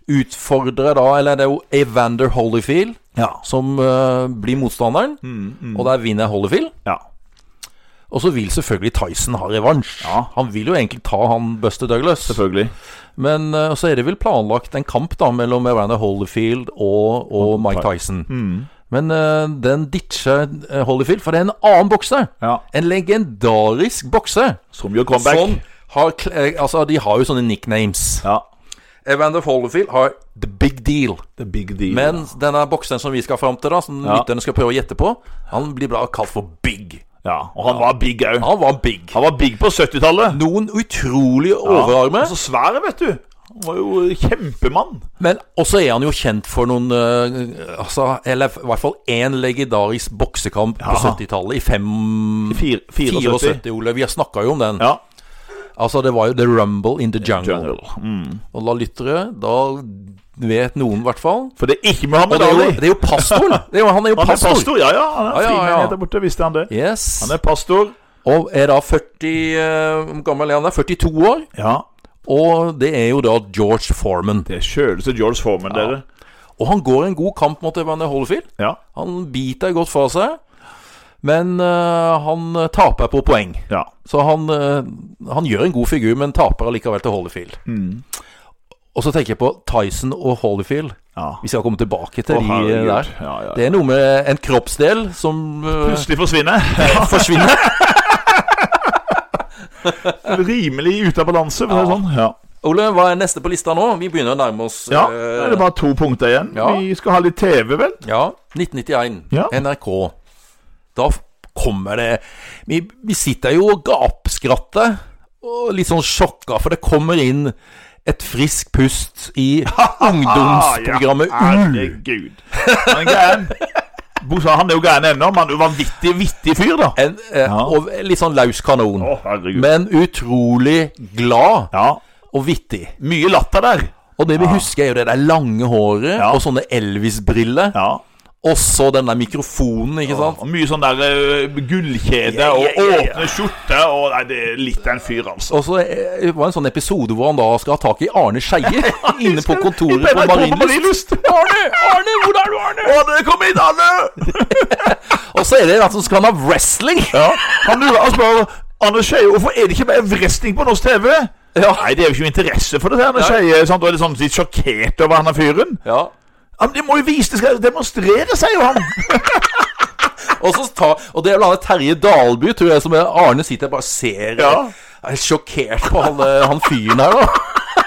A: utfordrer da Eller det er jo Evander Holyfield
B: Ja.
A: som eh, blir motstanderen.
B: Mm,
A: Og der vinner Holyfield.
B: ja.
A: Og så vil selvfølgelig Tyson ha revansj.
B: Ja.
A: Han vil jo egentlig ta han Buster Douglas.
B: Selvfølgelig.
A: Men eh, så er det vel planlagt en kamp da mellom Evander Holyfield og, og Mike Tyson.
B: Mm.
A: Men eh, den ditcher eh, Holyfield, for det er en annen bokser.
B: Ja.
A: En legendarisk bokser.
B: Som gjør comeback.
A: Som har kle- eh, Altså, de har jo sånne nicknames.
B: Ja.
A: Evander Holyfield har The Big Deal.
B: The big deal.
A: Men denne bokseren som vi skal fram til, da som
B: Ja.
A: lytterne skal prøve å gjette på, han blir da kalt for Big.
B: ja. Og han var big òg.
A: Han var big.
B: Han var big på 70-tallet.
A: Noen utrolige overarmer.
B: Og så svær, vet du. Han var jo kjempemann.
A: Men også er han jo kjent for noen eh, altså, Eller i hvert fall én legendarisk boksekamp på
B: Ja.
A: 70-tallet. I fem,
B: Fire- 74.
A: 74, Ole. Vi har snakka jo om den.
B: Ja.
A: Altså, det var jo The Rumble in the Jungle.
B: Jungle. Mm.
A: Og la lyttere Da vet noen, i hvert fall.
B: For det er ikke Muhammad
A: Og det er jo,
B: Ali.
A: det er jo pastoren! Det er jo, han er jo
B: Han er
A: pastor.
B: pastor. Ja, ja. Han er
A: Ja, ja,
B: frimenighet
A: ja.
B: der borte, visste han det.
A: Yes.
B: Han er pastor.
A: Og er da 40 eh, Hvor gammel er han? da? 42 år.
B: Ja.
A: Og det er jo da George Foreman.
B: Det er sjøleste George Foreman, dere.
A: Og han går en god kamp mot Evander Holyfield.
B: Ja.
A: Han biter godt fra seg, men eh, han taper på poeng.
B: Ja.
A: Så han, eh, han gjør en god figur, men taper allikevel til Holyfield.
B: Mm.
A: Og så tenker jeg på Tyson og Holyfield.
B: ja.
A: Vi skal komme tilbake til
B: Å,
A: de eh,
B: herregud.
A: der.
B: Ja, ja, ja.
A: Det er noe med en kroppsdel som eh,
B: Plutselig forsvinner.
A: forsvinner.
B: Rimelig ute av balanse, for å si det sånn. Ja.
A: Ole, hva er neste på lista nå? Vi begynner å nærme oss
B: ja. Da
A: eh,
B: er det bare to punkter igjen.
A: Ja.
B: Vi skal ha litt TV, vel?
A: ja, 1991.
B: Ja.
A: NRK. Da f- kommer det Vi, vi sitter jo og gapskratter og litt sånn sjokka, for det kommer inn et friskt pust i ungdomsprogrammet
B: Ah, ja.
A: U.
B: Herregud. Han er gæren. Bosa, han er jo gæren ennå, men han er jo vanvittig vittig fyr, da.
A: En, eh,
B: Ja.
A: Og litt sånn løs kanon.
B: Å, herregud.
A: Men utrolig glad
B: Ja.
A: og vittig.
B: Mye latter der.
A: Og det vi husker, er jo det der lange håret
B: Ja.
A: og sånne Elvis-briller.
B: Ja.
A: Og så den der mikrofonen, ikke sant.
B: Og mye sånn der eh, gullkjede
A: Ja, ja, ja,
B: og
A: ja.
B: åpne skjorte og Nei, det er litt av en fyr, altså.
A: Og så eh, det var det en sånn episode hvor han da skal ha tak i Arne Skeie inne på
B: I
A: kontoret
B: NRK
A: på Marienlyst.
B: Marienlyst.
A: Arne, Arne, hvor er du, Arne?
B: Å, det kom inn, Anne!
A: Og så er det en som skal ha wrestling!
B: Ja. Han, lurer, han spør Anders Skeie hvorfor er det ikke mer wrestling på norsk TV.
A: Ja.
B: Nei, det er jo ikke noe interesse for det. her, Anders
A: Nei.
B: Skeie. sant? Og er litt sånn litt sjokkert over han er fyren.
A: Ja.
B: Ja, men De må jo vise det skal demonstrere, sier jo han.
A: Og, så ta, og det er vel han Terje Dalby, tror jeg, som er Arne sitter og bare ser eh,
B: Ja.
A: Er sjokkert på han, eh, han fyren her, da.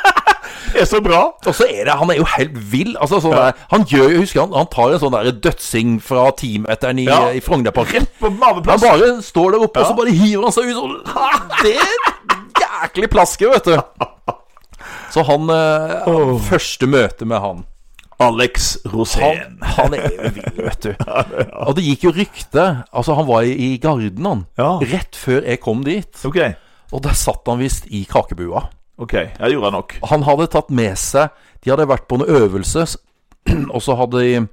B: Det er så bra.
A: Og så er det, Han er jo helt vill. altså sånn der, Han gjør jo, husker han, han tar en sånn der dødsing fra timeteren i, eh,
B: Ja.
A: i Frognerparken.
B: På
A: Han
B: maveplass.
A: bare står der oppe, og
B: Ja.
A: så bare hiver han seg ut sånn. Det er jæklig plaske, vet du. Så han eh, Første møte med han.
B: Alex Rosén.
A: Han, han er jo vill, vet du. Og det gikk jo rykte Altså, han var i, i Garden, han.
B: Ja.
A: Rett før jeg kom dit.
B: Ok.
A: Og der satt han visst i kakebua.
B: ok, Jeg gjorde han nok.
A: Han hadde tatt med seg De hadde vært på en øvelse, s- og så hadde de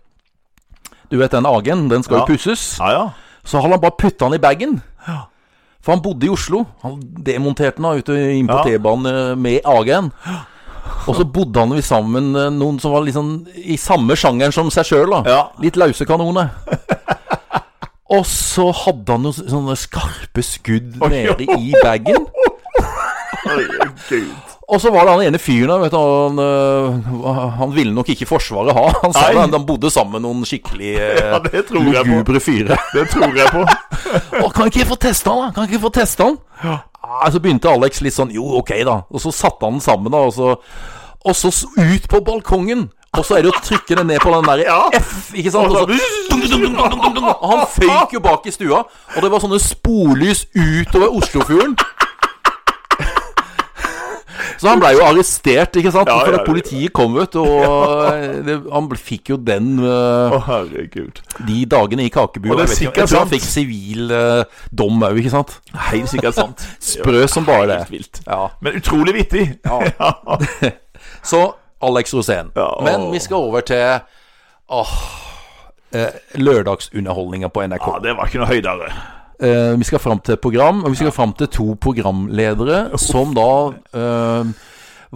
A: Du vet den Agen, den skal
B: Ja.
A: jo pusses.
B: Ja, ja.
A: Så hadde han bare putta den i bagen. For han bodde i Oslo. Han demonterte den da, ute inn på
B: Ja.
A: T-banen eh, med AG-en. Og så bodde han vi sammen eh, noen som var liksom i samme sjangeren som seg sjøl.
B: Ja.
A: Litt løse kanoner. Og så hadde han noen sånne skarpe skudd nede i bagen.
B: Herregud.
A: Og så var det han ene fyren der, vet du, han, øh, han ville nok ikke Forsvaret ha. Han sa
B: Nei.
A: det, han bodde sammen med noen skikkelig øh,
B: Ja, det tror jeg på.
A: lugubre fyrer.
B: Det tror jeg på.
A: Å, kan ikke jeg få teste han, da? Kan ikke jeg få teste han? Ah, Så begynte Alex litt sånn Jo, ok, da. Og så satte han den sammen, da. Og så, og så s- ut på balkongen. Og så er det å trykke den ned på den der
B: Ja.
A: F, ikke sant? Og
B: Og så-
A: så, dum, dum, dum, dum, dum, dum. Og han føyk jo bak i stua, og det var sånne sporlys utover Oslofjorden. Så han blei jo arrestert, ikke sant?
B: Ja, ja,
A: For
B: ja.
A: at politiet kom, vet du. Og eh, det, han ble- fikk jo den øh,
B: Å, herregud.
A: de dagene i kakebua.
B: Og det
A: Jeg
B: er
A: vet ikke-
B: sikkert
A: jeg tror han
B: sant.
A: fikk sivil eh, dom òg, ikke sant?
B: Helt sikkert sant.
A: Sprø som bare det.
B: Helt vilt.
A: Ja.
B: Men utrolig vittig. Ja.
A: Så Alex Rosén.
B: Ja, åh.
A: Men vi skal over til åh, eh, lørdagsunderholdninga på NRK.
B: ja, det var ikke noe høydere.
A: Eh, vi skal fram til et program, og vi skal fram til to programledere som da eh,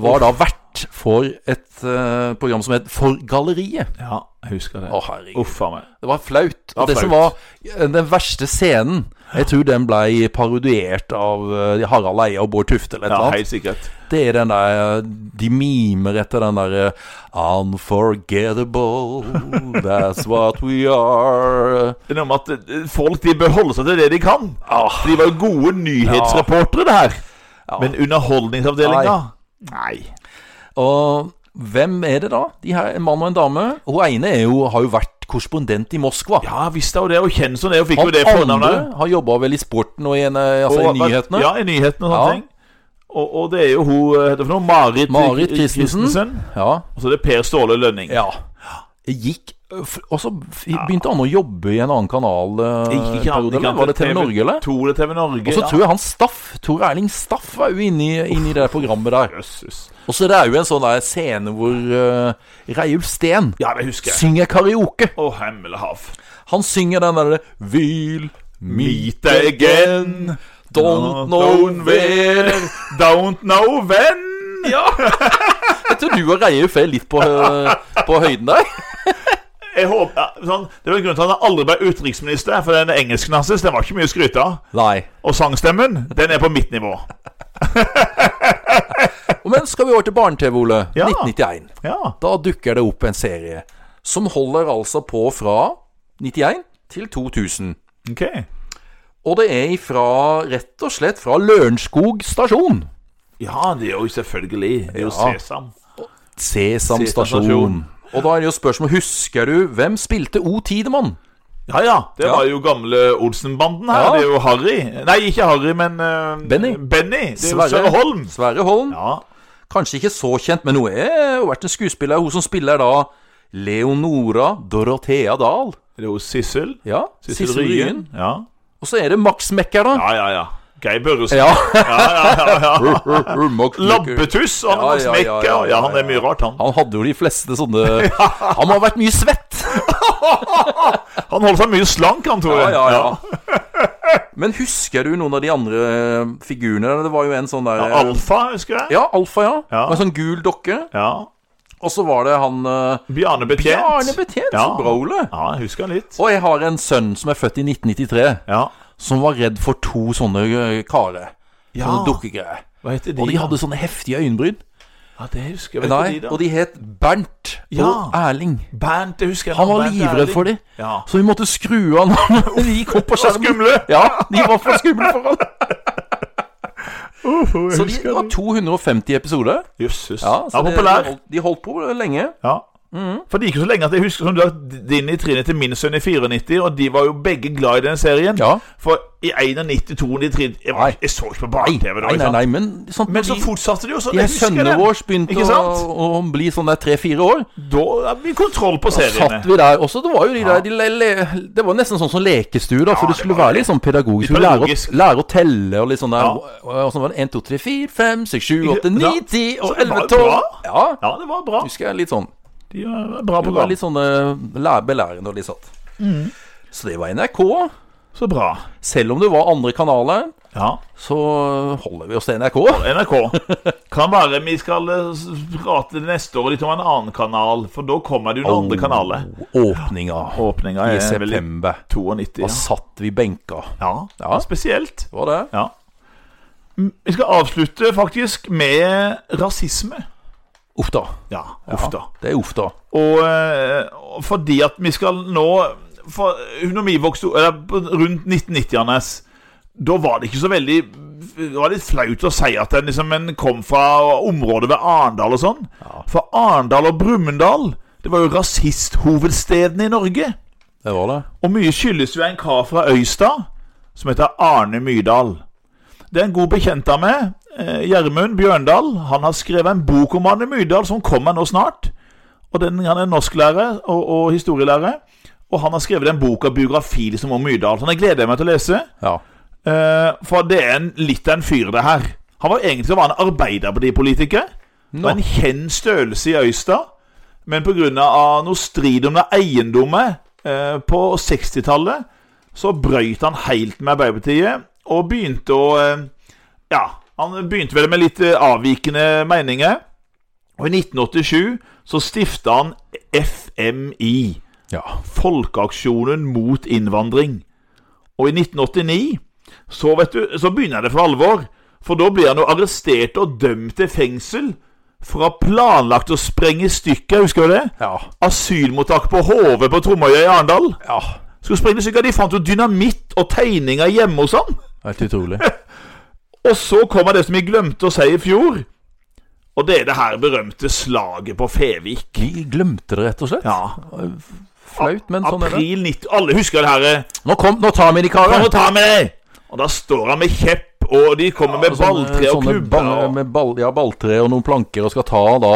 A: var da vert for et eh, program som het For galleriet.
B: Ja, jeg husker det.
A: Å, herregud.
B: Uff a meg.
A: Det var flaut. Og det
B: flaut.
A: som var eh, den verste scenen Jeg tror den blei parodiert av eh, Harald Eia og Bård Tufte eller et
B: Ja,
A: eller annet.
B: helt sikkert.
A: Det er den der eh, De mimer etter den derre Unforgettable, that's what we are.
B: Det er noe med at eh, folk de bør holde seg til det de kan.
A: Ah.
B: De var jo gode nyhetsreportere, det her. Men underholdningsavdelinga Nei.
A: Og hvem er det da? De her, En mann og en dame. Hun ene er jo, har jo vært korrespondent i Moskva.
B: Ja, visst er hun det. Og Kjensson er jo fikk jo
A: Han
B: det
A: andre
B: fornavnet.
A: har jobba vel i sporten og i, en, eh, altså,
B: Og-
A: i nyhetene.
B: Ja, i nyhetene og sånne
A: Ja.
B: ting. Og, og det er jo hun eh, heter det for noe, Marit,
A: Marit
B: Kri-
A: Christensen. ja.
B: Og så er det Per Ståle Lønning.
A: Ja. Jeg gikk f- Og så f- begynte han å jobbe i en annen kanal. eh,
B: Gikk ikke han
A: periode,
B: ikke
A: eller?
B: han
A: Var det
B: til
A: TV Norge, eller?
B: To det TV Norge,
A: Og så tror jeg han Staff, Tor Erling Staff er jo inne i- inne i det programmet der.
B: Jøsses.
A: Og så er det jo en sånn der scene hvor uh, Reiulf Steen
B: Ja, det husker jeg.
A: synger karaoke.
B: Å, himmel og hav.
A: Han synger den derre We'll
B: Meet again.
A: Don't know where
B: Don't know when.
A: Ja! Jeg tror du og Reiulf er litt på, eh, på høyden der.
B: Jeg håper, ja, sånn, det var en grunn til at han aldri ble utenriksminister, for den engelsken hans den var ikke mye å skryte av.
A: Nei.
B: Og sangstemmen, den er på mitt nivå.
A: Men skal vi over til barne-TV, Ole.
B: Ja.
A: 1991.
B: Ja.
A: Da dukker det opp en serie som holder altså på fra 91 til 2000.
B: Ok.
A: Og det er ifra, rett og slett fra Lørenskog stasjon.
B: Ja, det er jo selvfølgelig. Det er jo
A: Ja.
B: sesam.
A: Sesam
B: Sesam
A: stasjon.
B: stasjon.
A: Og da er det jo spørsmål Husker du hvem spilte O. Tidemann?
B: Ja, ja. Det
A: Ja.
B: var jo gamle Olsen-banden her.
A: Ja.
B: Det er jo Harry. Nei, ikke Harry, men eh,
A: Benny.
B: Benny. Det er jo Sverre Holm.
A: Sverre Holm.
B: Ja.
A: Kanskje ikke så kjent, men hun er jo vært en skuespiller. Hun som spiller da Leonora Dorothea Dahl.
B: Det er jo Sissel.
A: Ja,
B: Sissel
A: Sissel Ryen.
B: Ja.
A: Og så er det Max Mekker, da.
B: ja, ja, ja. Geir Børresen.
A: Ja.
B: Labbetuss og han
A: Ja,
B: var
A: ja, ja,
B: smekker.
A: ja, ja,
B: Ja, han er mye rart, han.
A: Han hadde jo de fleste sånne Han må ha vært mye svett!
B: Han holder seg mye slank, han, tror jeg.
A: Men husker du noen av de andre eh, figurene? Det var jo en sånn der
B: Ja. Alfa, husker jeg.
A: Ja, Alfa, ja.
B: Ja.
A: Og en sånn gul dokke.
B: Ja.
A: Og Og så var det han eh,
B: Bjarne Betjent.
A: Bjarne Betjent
B: Ja.
A: som Broly.
B: Ja, jeg husker han litt.
A: Og jeg har en sønn som er født i 1993,
B: Ja.
A: som var redd for to sånne eh, karer.
B: Ja.
A: Sånne dukkegreier.
B: Hva heter de?
A: Og de hadde sånne heftige øyenbryn.
B: Ja, det husker jeg. Hva
A: Nei,
B: heter de, da?
A: og de het Bernt
B: Ja.
A: og Erling.
B: Bernt, det husker jeg.
A: Han var
B: Bernt
A: livredd
B: Erling.
A: for dem,
B: Ja.
A: så vi måtte skru av når de gikk opp på
B: Så
A: skjermen.
B: skumle!
A: Ja, de var for skumle for han.
B: Jeg
A: Så de,
B: husker
A: det var 250 episoder.
B: Jøsses.
A: Ja,
B: han
A: så
B: var
A: det- Mhm.
B: populær.
A: De holdt, de holdt på lenge.
B: Ja. For det gikk jo så lenge at jeg husker som du har din i trinnet til min sønn i 94, og de var jo begge glad i den serien.
A: Ja.
B: For i 91, 92, jeg, var,
A: Nei.
B: jeg så ikke på barne-TV da.
A: Nei,
B: ikke
A: nei,
B: sant?
A: nei, men sånn,
B: Men så
A: de-
B: fortsatte det jo sånn.
A: de her
B: jeg husker
A: sønnene
B: det.
A: våre begynte
B: Ikke sant?
A: å, å bli sånn der tre-fire år.
B: Da har vi kontroll på seriene.
A: Satt vi der også, det var jo de der de le, le, Det var nesten sånn som lekestue, da, for
B: Ja,
A: det skulle
B: det var
A: være litt sånn pedagogisk.
B: Litt
A: Du lærer,
B: pedagogisk.
A: å- lærer å telle og litt sånn der
B: Ja.
A: og, og sånn var det 1, 2, 3, 4, 5, 6, 7, 8,
B: Ja.
A: 9, 10
B: Så
A: og
B: det var
A: 11, 12
B: bra.
A: Ja,
B: Ja, det var bra.
A: husker jeg litt sånn.
B: De var bra
A: Det var
B: program.
A: litt sånn eh, læ- belærende og litt sånn. Så det var NRK.
B: Så bra.
A: Selv om det var andre kanaler,
B: Ja.
A: så holder vi oss til NRK.
B: NRK. Kan være vi skal eh, s- prate neste år litt om en annen kanal, for da kommer det jo den andre kanalet.
A: Åpninga
B: Åpninga
A: Oh. i
B: er vel i
A: september.
B: 92,
A: Da
B: ja.
A: satt vi benka.
B: ja.
A: Ja.
B: Spesielt.
A: Var det?
B: Ja. Mm, Vi skal avslutte faktisk med rasisme.
A: Uff da.
B: Ja, uff da.
A: Det er uff da.
B: Og eh, og fordi at vi skal nå for, Når vi vokste eller, på- rundt 1990-erne, da var det ikke så veldig Det var litt flaut å si at en, liksom, en kom fra området ved Arendal og sånn. For Arendal og Brumunddal, det var jo rasisthovedstedene i Norge.
A: Det var det.
B: Og mye skyldes jo en kar fra Øystad som heter Arne Myrdal. Det er en god bekjent av meg, eh, Gjermund Bjørndal. Han har skrevet en bok om Arne Myrdal som kommer nå snart. Og den, Han er norsklærer og, og historielærer. Og han har skrevet en bok av biografi liksom, om Myrdal. Så den gleder jeg meg til å lese.
A: Ja.
B: eh, For det er en, litt av en fyr, det her. Han var egentlig så var han arbeiderpartipolitiker. Det var en kjent størrelse i Øystad, men pga. noe strid om noen eiendommer eh, på 60-tallet, så brøyt han helt med Arbeiderpartiet og begynte å eh, Ja, han begynte vel med litt eh, avvikende meninger. Og i 1987 så stifta han FMI,
A: Ja.
B: Folkeaksjonen mot innvandring. Og i 1989 så, vet du, så begynner det for alvor. For da blir han jo arrestert og dømt til fengsel for å ha planlagt å sprenge i stykker, husker du det?
A: Ja.
B: Asylmottak på Hove på Tromøya i Arendal.
A: ja.
B: Skulle sprenge i stykker, De fant jo dynamitt og tegninger hjemme hos han.
A: Helt utrolig.
B: Og så kommer det som vi glemte å si i fjor. Og det er det her berømte slaget på Fevik.
A: Vi glemte det, rett og slett.
B: Ja,
A: Flaut, men sånn er det.
B: April 90 Alle husker det her. eh,
A: Nå, kom, nå tar vi de
B: Kom
A: karene.
B: og ta med deg! Og da står han med kjepp, og de kommer med balltre og
A: sånne
B: klubber.
A: ball-
B: og-
A: med ball, ja, balltre og noen planker og skal ta da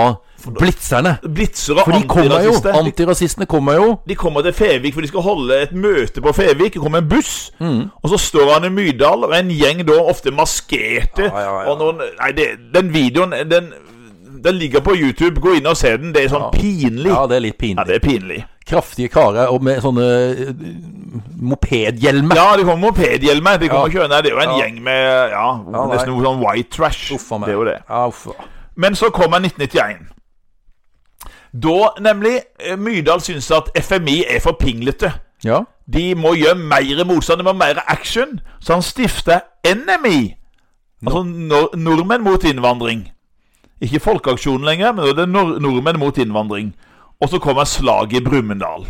A: blitzerne.
B: Blitzer og
A: For de kommer jo.
B: antirasister. De-
A: Antirasistene kommer jo.
B: De kommer til Fevik, for de skal holde et møte på Fevik. Det kommer en buss, og så står han i Myrdal, og en gjeng da, ofte maskerte
A: Ja, ja, ja.
B: Og noen, Nei, det, den videoen, den, den ligger på YouTube. Gå inn og se den. Det er sånn pinlig.
A: Ja, det er litt
B: Ja,
A: pinlig.
B: det er pinlig.
A: Kraftige karer og med sånne eh, mopedhjelmer.
B: Ja, det kommer mopedhjelmer. Det kommer
A: Ja.
B: kjørende. Det er jo en
A: Ja.
B: gjeng med ja,
A: nei.
B: nesten noe sånn white trash.
A: Uff a meg.
B: det er jo det.
A: Ja, uff.
B: Men så kommer 1991. Da nemlig eh, Myrdal syns at FMI er for pinglete.
A: Ja.
B: De må gjøre mer motstand, de må ha mer action. Så han stifter NMI. Altså nor Nordmenn mot innvandring. Ikke Folkeaksjonen lenger, men det er nor Nordmenn mot innvandring. Og så kommer slaget i Brumunddal.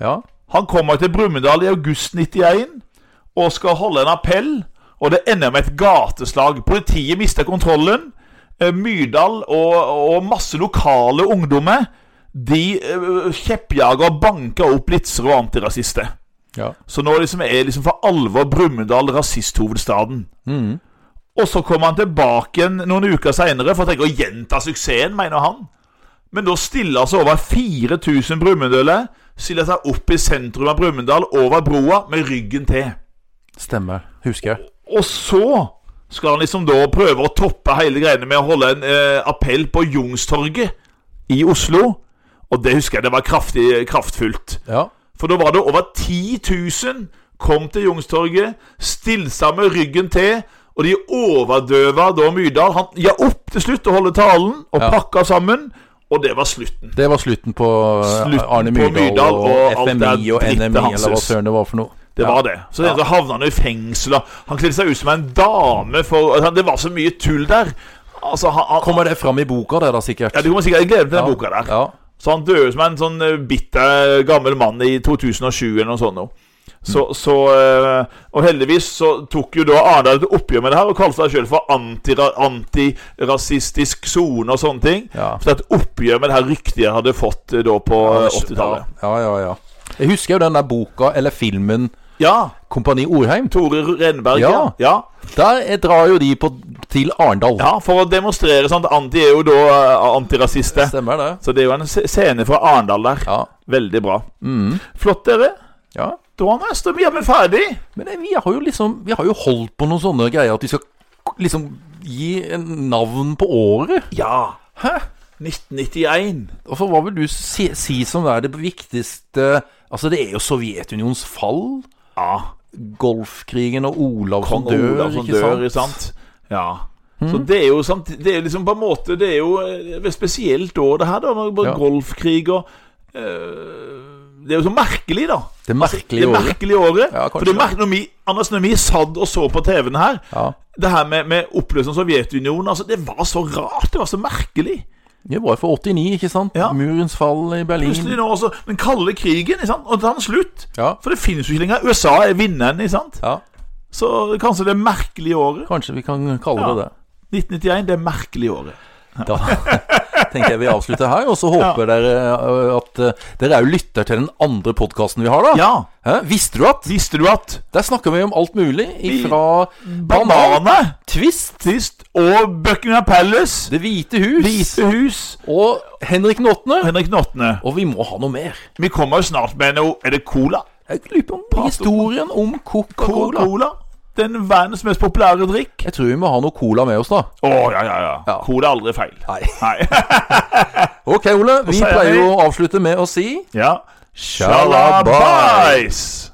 A: ja.
B: Han kommer til Brumunddal i august 91 og skal holde en appell, og det ender med et gateslag. Politiet mister kontrollen. Eh, Myrdal og, og masse lokale ungdommer de eh, kjeppjager og banker opp blitzere og antirasister.
A: ja.
B: Så nå liksom er liksom for alvor Brumunddal rasisthovedstaden. Og så kommer han tilbake igjen noen uker seinere for å tenke å gjenta suksessen, mener han. Men da stiller altså over 4000 brumunddøler stiller seg opp i sentrum av Brumunddal, over broa, med ryggen til.
A: Stemmer. Husker jeg.
B: Og så skal han liksom da prøve å toppe hele greiene med å holde en eh, appell på Jungstorget i Oslo. Og det husker jeg det var kraftig, kraftfullt.
A: Ja.
B: For da var det over 10 000 kom til Jungstorget, stillsamme ryggen til, og de overdøva da Myrdal. Han ga opp til slutt å holde talen, og
A: Ja.
B: pakka sammen. Og det var slutten.
A: Det var slutten på eh,
B: Slutten
A: Arne
B: på
A: Myrdal,
B: Myrdal og alt
A: og
B: det
A: FMI og
B: drittet
A: NMI,
B: hans.
A: eller hva søren det var for noe.
B: Det
A: Ja.
B: var det. Så det, så havna han jo i fengsel. og Han kledde seg ut som en dame for altså, Det var så mye tull der. Altså, han, han,
A: Kommer det fram i boka, det da, sikkert?
B: ja, du kommer sikkert glede deg til den
A: Ja,
B: boka der.
A: Ja.
B: Så han døde som en sånn eh, bitter gammel mann i 2007 eller noe sånt. nå. Så, så, eh, og heldigvis så tok jo da Arendal et oppgjør med det her og kalte seg sjøl for antira- antirasistisk sone og sånne ting.
A: Ja.
B: Så det er et oppgjør med det her ryktet jeg hadde fått eh, da på eh, 80-tallet.
A: Ja, ja, ja. Jeg husker jo den der boka, eller filmen,
B: Ja.
A: Kompani Orheim.
B: Tore Renberg, ja.
A: Ja.
B: ja.
A: Der eh, drar jo de på, til Arendal.
B: Ja, for å demonstrere sånn. Anti er jo da eh, antirasister.
A: Stemmer det.
B: Så det er jo en se- scene fra Arendal der.
A: Ja.
B: Veldig bra.
A: Mm.
B: Flott, dere.
A: ja.
B: Da Anders, da blir vi ferdig.
A: Men eh, vi har jo liksom Vi har jo holdt på noen sånne greier at vi skal k- liksom gi en navn på året.
B: Ja.
A: Hæ?
B: 1991.
A: Og så hva vil du si, si som er det viktigste Altså, det er jo Sovjetunionens fall.
B: Ja.
A: Golfkrigen og Olav som
B: Kong
A: dør,
B: Olav som
A: ikke
B: dør,
A: sant? Mhm.
B: ikke sant? Ja. Så det er jo sant, Det er liksom på en måte Det er jo eh, et spesielt år, det her, da. Når det bare
A: Ja.
B: golfkrig og eh, Det er jo så merkelig, da. Altså,
A: Det merkelige
B: Det er
A: året.
B: merkelig året.
A: Ja, kanskje
B: for det er
A: det.
B: mer når vi, Anders, når vi satt og så på TV-en her,
A: Ja.
B: det her med, med oppløsning av Sovjetunionen altså, Det var så rart. Det var så merkelig.
A: Det var for 89, ikke sant?
B: Ja.
A: Murens fall i
B: Plutselig
A: Berlin.
B: nå også Den kalde krigen, ikke sant? og da er den slutt.
A: Ja.
B: For det finnes jo ikke lenger. USA er vinneren, ikke sant?
A: ja.
B: Så kanskje det merkelige året.
A: Kanskje vi kan kalle det
B: Ja.
A: det.
B: 1991, det merkelige året.
A: Da tenker jeg vi avslutter her, og så håper dere ø, at ø, Dere er jo lytter til den andre podkasten vi har, da.
B: Ja,
A: Hæ? Visste du at?
B: visste du at
A: Der snakker vi om alt mulig.
B: Vi-
A: Ifra banan,
B: Banane
A: twist,
B: sist og Buckingham Palace,
A: Det hvite hus
B: Hvite hus
A: og Henrik den
B: og
A: åttende.
B: Henrik den åttende.
A: Og vi må ha noe mer.
B: Vi kommer jo snart med noe Er det cola?
A: Jeg lurer på om historien om Coca-Cola.
B: Cola? Den verdens mest populære drikk?
A: Jeg tror vi må ha noe cola med oss, da.
B: Å, ja, ja, ja.
A: Ja.
B: Cola er aldri feil.
A: Nei.
B: Nei.
A: Ok, Ole. Vi
B: sier
A: pleier
B: vi-
A: jo å avslutte med å si
B: ja.
A: Shalabais!
B: Shalabais!